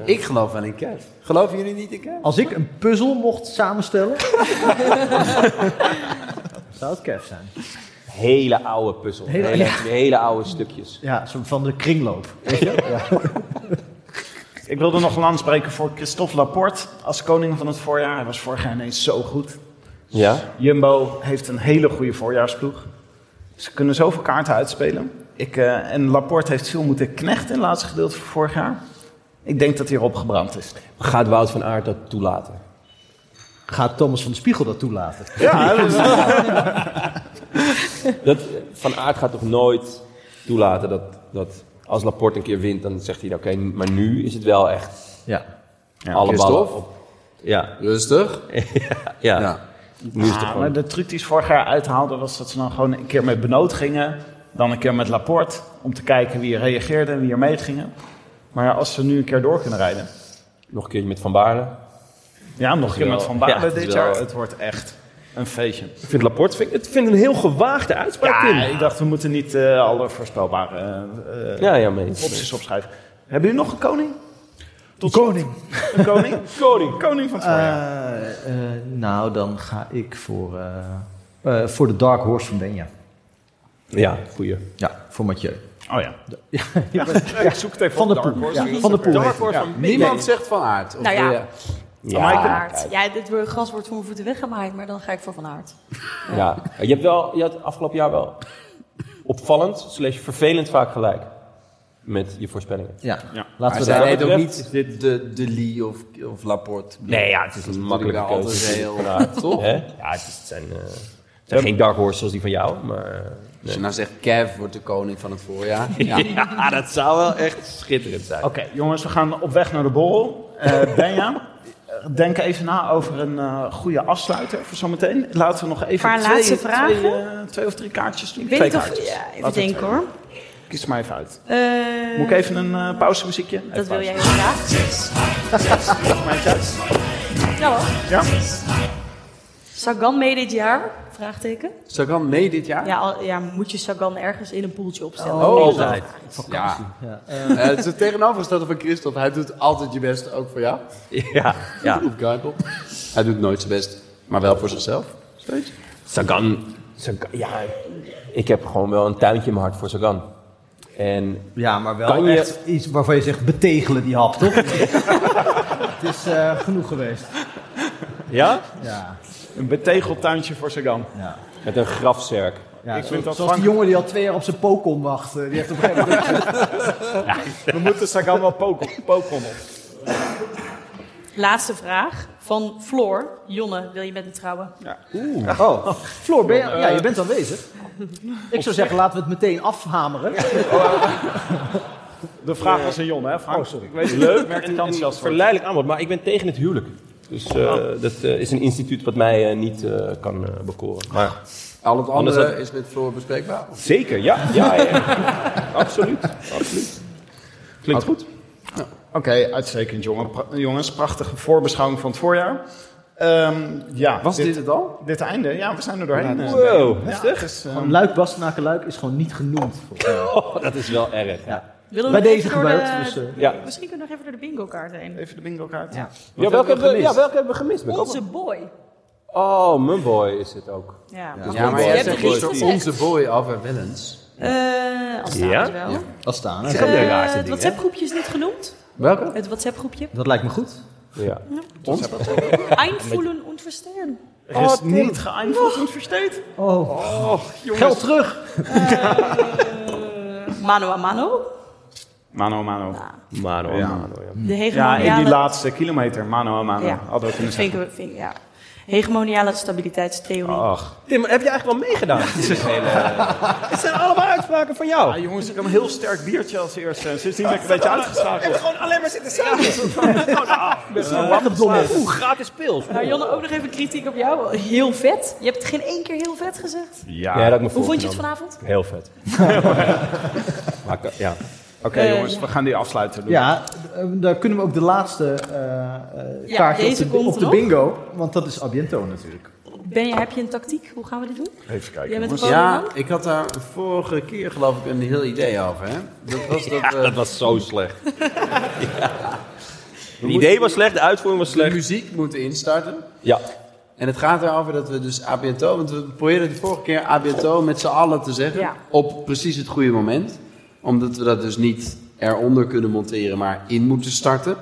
E: Ik geloof wel in Kev. Geloven jullie niet in Kev?
B: Als ik een puzzel mocht samenstellen, (laughs) zou het Kev zijn.
G: hele oude puzzel. Hele,
B: Hele-
G: hele,
B: ja.
G: oude stukjes.
B: Ja, zo van de kringloop.
C: Ik wilde nog een aanspreken voor Christophe Laporte als koning van het voorjaar. Hij was vorig jaar ineens zo goed.
G: Ja.
C: Jumbo heeft een hele goede voorjaarsploeg. Ze kunnen zoveel kaarten uitspelen. Ik, eh, en Laporte heeft veel moeten knechten in het laatste gedeelte van vorig jaar. Ik denk dat hij erop gebrand is.
G: Gaat Wout van Aert dat toelaten?
B: Gaat Thomas van Spiegel dat toelaten?
C: Ja, dat is-
G: Dat, van Aert gaat toch nooit toelaten dat, dat als Laporte een keer wint, dan zegt hij, nou, oké, maar nu is het wel echt
B: Ja.
G: alle ballen
E: Christophe?
G: op. Ja,
E: Rustig. Nou,
G: ja, ja.
E: Ja.
G: Nu is het
C: Ah,
G: gewoon-
C: maar de truc die ze vorig jaar uithaalden was dat ze dan gewoon een keer met Benoot gingen. Dan een keer met Laporte. Om te kijken wie er reageerde en wie er meegingen. Maar als ze nu een keer door kunnen rijden.
G: nog een keertje met Van Baarle.
C: Ja, nog een keer
G: wel-
C: met Van Baarle
G: ja, dat is
C: dit
G: wel-
C: jaar. Het wordt echt een feestje.
G: Ik vind Laporte vind, ik- het vind een heel gewaagde uitspraak,
C: Ja,
G: Tim.
C: ik dacht we moeten niet eh, alle voorspelbare eh, eh,
G: Ja, ja, mee.
C: opties opschrijven. Hebben jullie nog een koning?
B: Tot koning.
C: Een koning? (laughs) koning. Koning van het voorjaar.
B: Oh, Eh, eh, nou, dan ga ik voor, eh, eh, voor de Dark Horse van Benja.
G: Ja, goeie.
B: Ja, voor Mathieu.
C: Oh (laughs) ja.
B: Ja,
C: (laughs) Ik zoek het even
B: Van de
C: op, Dark
B: Poel.
C: Horse.
B: Ja, van de Poel.
E: Dark
B: heet hij.
E: Horse van Niemand zegt van aard. Of
D: Nou ja.
E: wil je-
G: Ja,
D: Aert. Ja, dit wordt- gras wordt voor mijn voeten weggemaaid, maar dan ga ik voor Van Aert.
G: Ja, je hebt wel, je had afgelopen jaar wel opvallend, slash vervelend vaak gelijk met je voorspellingen.
B: Ja.
C: Ja.
B: Laten
E: Maar
B: we
E: zij
B: daar...
G: zijn-
E: heet ook
G: betreft
E: niet de, de Lee of, of Laporte.
G: Nee, ja, het is een makkelijke
E: natuurlijk wel
G: keuze.
E: altijd
G: Van
E: heel-
G: Aert,
E: (laughs) toch?
G: Hè? Ja, het, is, het zijn, eh, het zijn geen dark horse zoals die van jou, maar... eh,
E: Als
G: nee.
E: je nou zegt Kev wordt de koning van het
G: (laughs)
E: voorjaar. Ja.
G: Ja, dat zou wel echt schitterend zijn.
C: Oké, jongens, we gaan op weg naar de borrel. (laughs) Eh Benja, eh, denk even na over een eh, goede afsluiter voor zometeen. Laten we nog even
D: Paar
C: twee,
D: laatste
C: twee,
D: vragen?
C: eh, twee of drie kaartjes doen.
D: Ik weet
C: twee
D: niet of...
C: kaartjes.
D: Ja, even
C: Laten we
D: denken
C: twee.
D: hoor.
C: Kies er maar even uit.
D: Eh,
C: Moet ik even een eh, pauzemuziekje? Even
D: Dat wil
C: pauze.
D: jij heel graag.
C: Kies maar even uit.
D: Ja hoor.
C: Ja?
D: Sagan mee dit jaar? Vraagteken.
E: Sagan mee dit jaar?
D: Ja, al- ja, moet je Sagan ergens in een poeltje opstellen?
E: Oh,
G: altijd.
E: Ja. Eh, het is het tegenovergestelde van Christophe. Hij doet altijd je best, ook voor jou.
G: Ja, ja.
E: Op Kuipel. Hij doet nooit zijn best, maar wel voor zichzelf. Steeds.
G: Sagan, Sagan- Ja, ik heb gewoon wel een tuintje in mijn hart voor Sagan. En
B: Ja, maar wel
G: Kan je-
B: echt iets waarvan je zegt betegelen die hap, (laughs) toch? Het is eh, genoeg geweest.
G: ja?
B: Ja,
C: Een betegeltuintje voor Sagan.
B: ja.
G: met een grafzerk.
B: ja
C: Ik
B: zo-
C: vind dat
B: zoals die
C: Frank-
B: jongen die al twee jaar op zijn pokom wacht. eh, Die heeft op een gegeven moment
C: We moeten Sagan wel poken, poken op.
D: Laatste vraag van Floor. Jonne, wil je met me trouwen?
B: (laughs) Oh, Floor, ben je, ja,
C: eh,
B: je bent aanwezig. Ik zou zeggen, laten we het meteen afhameren.
C: De vraag was een Jon, hè Frank?
B: Oh, sorry.
C: Ik weet het niet, ik
G: Leuk
C: merk de
G: en,
C: kans
G: en
C: zelfs voor.
G: verleidelijk aanbod, maar ik ben tegen het huwelijk. Dus eh, dat eh, is een instituut wat mij eh, niet eh, kan eh, bekoren. Maar
E: Al het
G: Anders
E: andere
G: had-
E: is met Floor bespreekbaar.
G: zeker, ja. ja, ja. absoluut, absoluut. Klinkt goed.
C: Oké, uitstekend jongen. Pra- jongens. Prachtige voorbeschouwing van het voorjaar. Ehm, ja,
E: Was dit het al?
C: Dit einde, ja, we zijn er doorheen. eh.
G: Wow,
C: Ja,
G: heftig.
C: het is, eh,
B: Gewoon Luik Bastenaken Luik is gewoon niet genoemd. volgens mij.
G: Oh, dat is wel erg.
B: Ja.
D: Willen
B: Bij
D: nog
B: deze
D: even door
B: gebeurt.
D: de-
B: Dus, eh,
G: Ja.
D: Misschien kunnen we nog even door de bingo kaart heen.
C: even de bingo kaart.
B: ja.
G: Ja, welke hebben, we, ja, welke hebben we gemist? Ben ik
D: Onze boy.
G: ook- Oh, mijn boy is het ook.
D: Ja,
E: Ja, maar
D: je
E: jij
D: hebt er
E: zegt
D: drie
E: voor
D: gezegd.
E: onze boy af en Wellens.
D: Eh, als
G: Ja?
D: ja? wel.
B: Dat staan. hè.
D: Eh,
G: de raarste
D: het
G: dingen,
D: WhatsApp groepje is niet genoemd.
E: Welke?
D: Het WhatsApp groepje.
B: Dat lijkt me goed.
G: Ja.
D: Einvoelen und verstehen.
C: Er is niet geëindigd en versteed.
B: Oh, geld terug.
D: Eh, Mano a mano.
C: Mano, mano.
G: Mano,
C: Ja.
G: mano, ja.
D: De
C: ja, in die
D: hegemoniale...
C: laatste kilometer. Mano, mano.
D: Ja.
C: Hadden we kunnen
D: vind
C: zeggen.
D: ik, vind, ik- ja. Hegemoniale stabiliteitstheorie.
C: Ach.
G: Tim, heb je eigenlijk wel (laughs) meegedaan? Het zijn allemaal uitspraken van jou.
C: Ah, jongens, ik heb een heel sterk biertje als eerste. En sindsdien ben ik een beetje uitgeschakeld.
G: Gewoon alleen maar zitten samen.
C: Eh,
B: Echt op domme voet.
G: Gratis pils.
D: Nou, Jonne, ook nog even kritiek op jou. Heel vet. Je hebt het geen één keer heel vet gezegd.
C: Ja.
G: Ja, dat me
D: Hoe vond je het vanavond?
G: Heel vet. maar, ik- ja.
C: Oké jongens, we gaan die afsluiten. Doen.
B: Ja, eh, daar kunnen we ook de laatste eh, eh,
D: Ja,
B: kaartje
D: deze
B: op de,
D: komt
B: op de
D: nog.
B: bingo. Want dat is Abiento natuurlijk.
D: Ben je, heb je een tactiek? Hoe gaan we dit doen?
C: Even kijken.
D: Jij bent
C: jongens.
D: een
E: Ja,
D: man?
E: ik had daar vorige keer geloof ik een heel idee over. Hè? Dat was dat, eh,
G: dat was zo slecht. (laughs) ja. Het idee was slecht, de uitvoering was
E: de
G: slecht.
E: muziek moeten instarten.
G: Ja.
E: En het gaat erover dat we dus ABNTO, want we probeerden de vorige keer ABNTO met z'n allen te zeggen.
D: Ja.
E: Op precies het goede moment. Omdat we dat dus niet eronder kunnen monteren, maar in moeten starten.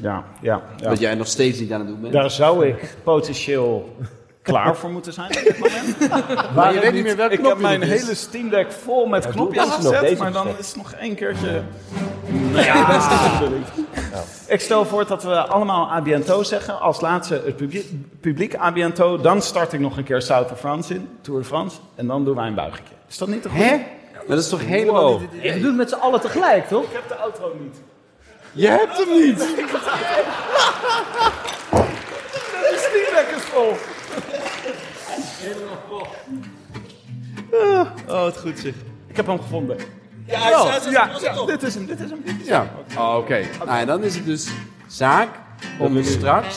C: Ja, ja, ja.
E: Wat jij nog steeds niet aan het doen bent.
C: Daar zou ik potentieel (laughs) klaar voor moeten zijn op dit (laughs) moment.
I: Maar je weet niet meer welke
C: Ik heb
I: knop je
C: mijn
I: dit is.
C: hele Steam Deck vol met
I: Ja, doe
C: knopjes
I: deze nog,
C: gezet,
I: deze
C: maar dan
I: gezet.
C: is het nog één keertje...
I: Ja.
C: Nou Ja, dat is dit natuurlijk. Ik stel voor dat we allemaal abiento zeggen. Als laatste het publiek, publiek abiento. Dan start ik nog een keer South of France in, Tour de France. En dan doen wij een buigetje. Is dat niet een goed?
B: Hè?
C: Dat is toch
B: helemaal niet het idee? We doen het met z'n allen tegelijk, toch? Ik
C: heb de outro niet.
I: Je hebt hem niet!
C: De Steam Deck is vol. Ah, Oh, het goed zeg. Ik heb hem gevonden.
I: Ja, hij is- hij is- hij is-
C: ja,
I: hij is-
C: ja, dit is hem, dit is hem. dit is
E: Ja,
C: hem. Oké.
E: Oh, oké. Nou, en dan is het dus zaak om straks...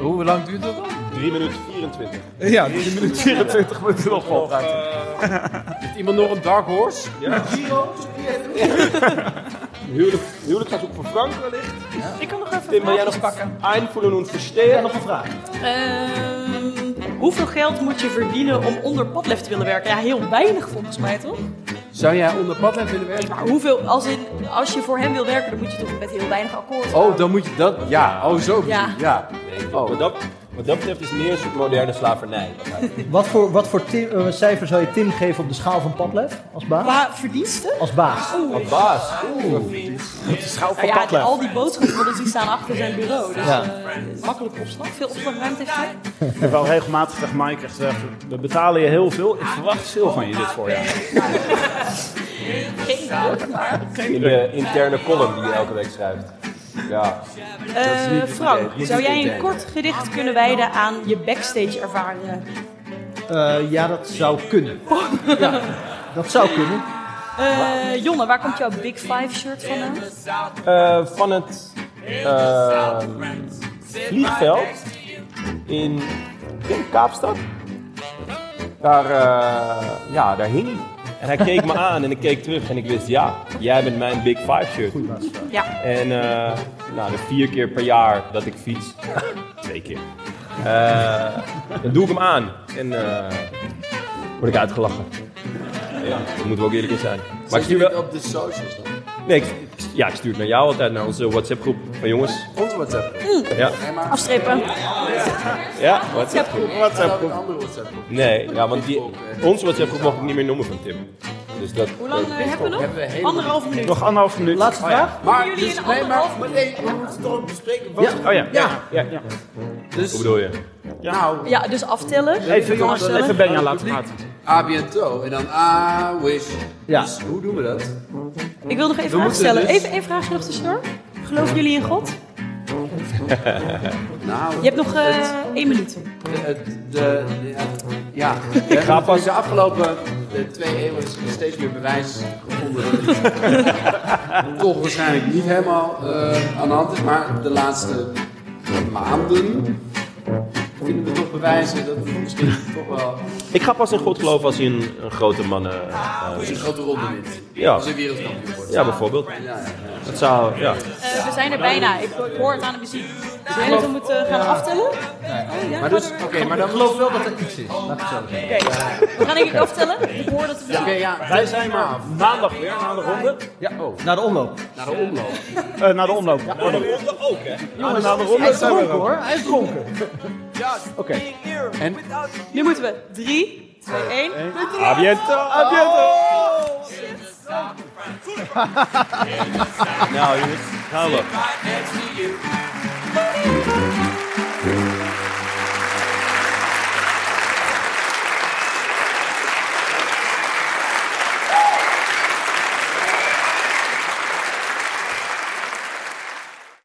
E: Hoe lang duurt dat dan?
G: 3 minuten 24.
E: Ja, 3 minuten 24
C: moet er nog wel praten.
E: Heeft iemand nog een dark horse?
G: Ja.
B: Giro?
G: Huwelijk, huwelijksverzoek voor Frank wellicht.
D: Ik kan nog even
G: Tim, wil jij nog
D: vragen.
G: pakken? Einvoelen und verstehen. nog een vraag.
D: Ehm, hoeveel geld moet je verdienen om onder padlef te willen werken? Ja, heel weinig volgens mij, toch?
E: Zou jij onder padlef willen werken?
D: Maar hoeveel, als, in, als je voor hem wil werken, dan moet je toch met heel weinig akkoord.
E: Oh, dan moet je dat... Ja, oh zo.
D: Ja.
E: Ja. ja.
G: Oh, Wat, dat, wat dat betreft is het meer een soort moderne slavernij.
B: Wat voor, wat voor Tim- eh, cijfer zou je Tim geven op de schaal van Padlef als baas?
D: Qua verdiensten?
B: Als baas.
D: Oeh. Als
G: baas.
B: schaal
D: Nou ja, die- al die boodschappen die staan achter zijn bureau. Dus
C: Ja.
D: eh, makkelijk opslag. Veel opslagruimte heeft hij.
C: Ik heb wel regelmatig tegen Mike gezegd, we betalen je heel veel. Ik verwacht veel van je dit voorjaar.
D: Geen druk, maar...
G: In de interne column die je elke week schrijft. Ja.
D: Eh,
G: Dat is niet het idee.
D: Frank,
G: Dit is
D: zou
G: het
D: jij
G: idee.
D: een kort gedicht kunnen wijden aan je backstage ervaringen?
B: Eh, ja, dat zou kunnen. ja, dat zou kunnen.
D: Eh, Jonne, waar komt jouw Big Five shirt vandaan?
G: Eh, van het ehm, vliegveld in ik denk Kaapstad. Daar, eh, ja, daar hing hij. En hij keek me aan en ik keek terug en ik wist, ja, jij bent mijn Big Five shirt.
D: Ja.
G: En eh, nou, de vier keer per jaar dat ik fiets, (laughs) twee keer, Eh, dan doe ik hem aan en eh, word ik uitgelachen. Ja, daar moeten we ook eerlijk in zijn. Maar ik stuur wel,
E: op de socials dan.
G: Nee, ik, ik- ja, ik stuur het naar jou altijd, naar onze WhatsApp-groep van jongens.
E: Onze WhatsApp.
G: Ja,
D: Afstrepen.
G: ja WhatsApp-groep.
E: Een andere eh. WhatsApp groep.
G: Nee, ja, want die, onze WhatsApp-groep mag ik niet meer noemen van Tim. Dus dat,
D: Hoe lang eh, hebben we nog? Anderhalve minuut.
C: Nog anderhalf minuut. Oh
B: Laatste vraag?
E: Maar,
D: Jullie
E: dus,
D: een
E: nee, maar,
D: anderhalf
E: maar nee, we moeten het toch bespreken. Wat,
C: Ja. Oh ja.
E: Ja.
C: ja, ja.
E: Dus,
G: Hoe bedoel je?
E: nou,
D: Ja, dus aftellen.
C: Even jongens,
D: Aftellen.
C: even Benja laten praten.
E: A bientôt. En dan I wish.
B: Ja.
E: Dus hoe doen we dat?
D: Ik wil nog
E: We
D: even een vraag
E: moeten
D: stellen.
E: dus-
D: Even één vraagje nog tussendoor. Geloven jullie in God?
E: Nou,
D: Je hebt nog eh, één minuut.
E: het, de, ja, ja, we hebben pas de afgelopen eh, twee eeuwen steeds meer bewijs gevonden dat het toch waarschijnlijk niet helemaal eh, aan de hand is. Maar de laatste maanden vinden we toch bewijzen dat het misschien toch wel
G: Ik ga pas in God geloven als hij een, een grote man... eh, eh,
E: als je een grote ronde wint.
G: Ja.
E: Als je wereldkampioen wordt.
G: ja, bijvoorbeeld.
E: Ja, ja.
G: Dat zou, ja.
D: Eh, we zijn er bijna. Ik ik hoor het aan de muziek. Zullen we het moeten gaan aftellen? Oh, ja,
E: Maar, dus, oké, maar dan geloof wel dat er iets is.
D: We gaan denk ik aftellen. Ik hoor dat het
E: Oké, ja.
C: Wij zijn maar maandag weer na de ronde.
E: Ja, oh,
B: Naar de omloop.
E: naar de omloop.
C: Eh naar de omloop.
G: Maar de ronde ook, hè?
B: Jongens,
C: na de ronde
B: hij is
C: zijn we
B: dronken
C: er ook.
B: hoor. Hij is dronken.
E: Oké. En
D: Nu moeten we. 3, 2, 1.
G: Abiento! Nou, jongens, gaan we.
F: Right next to you.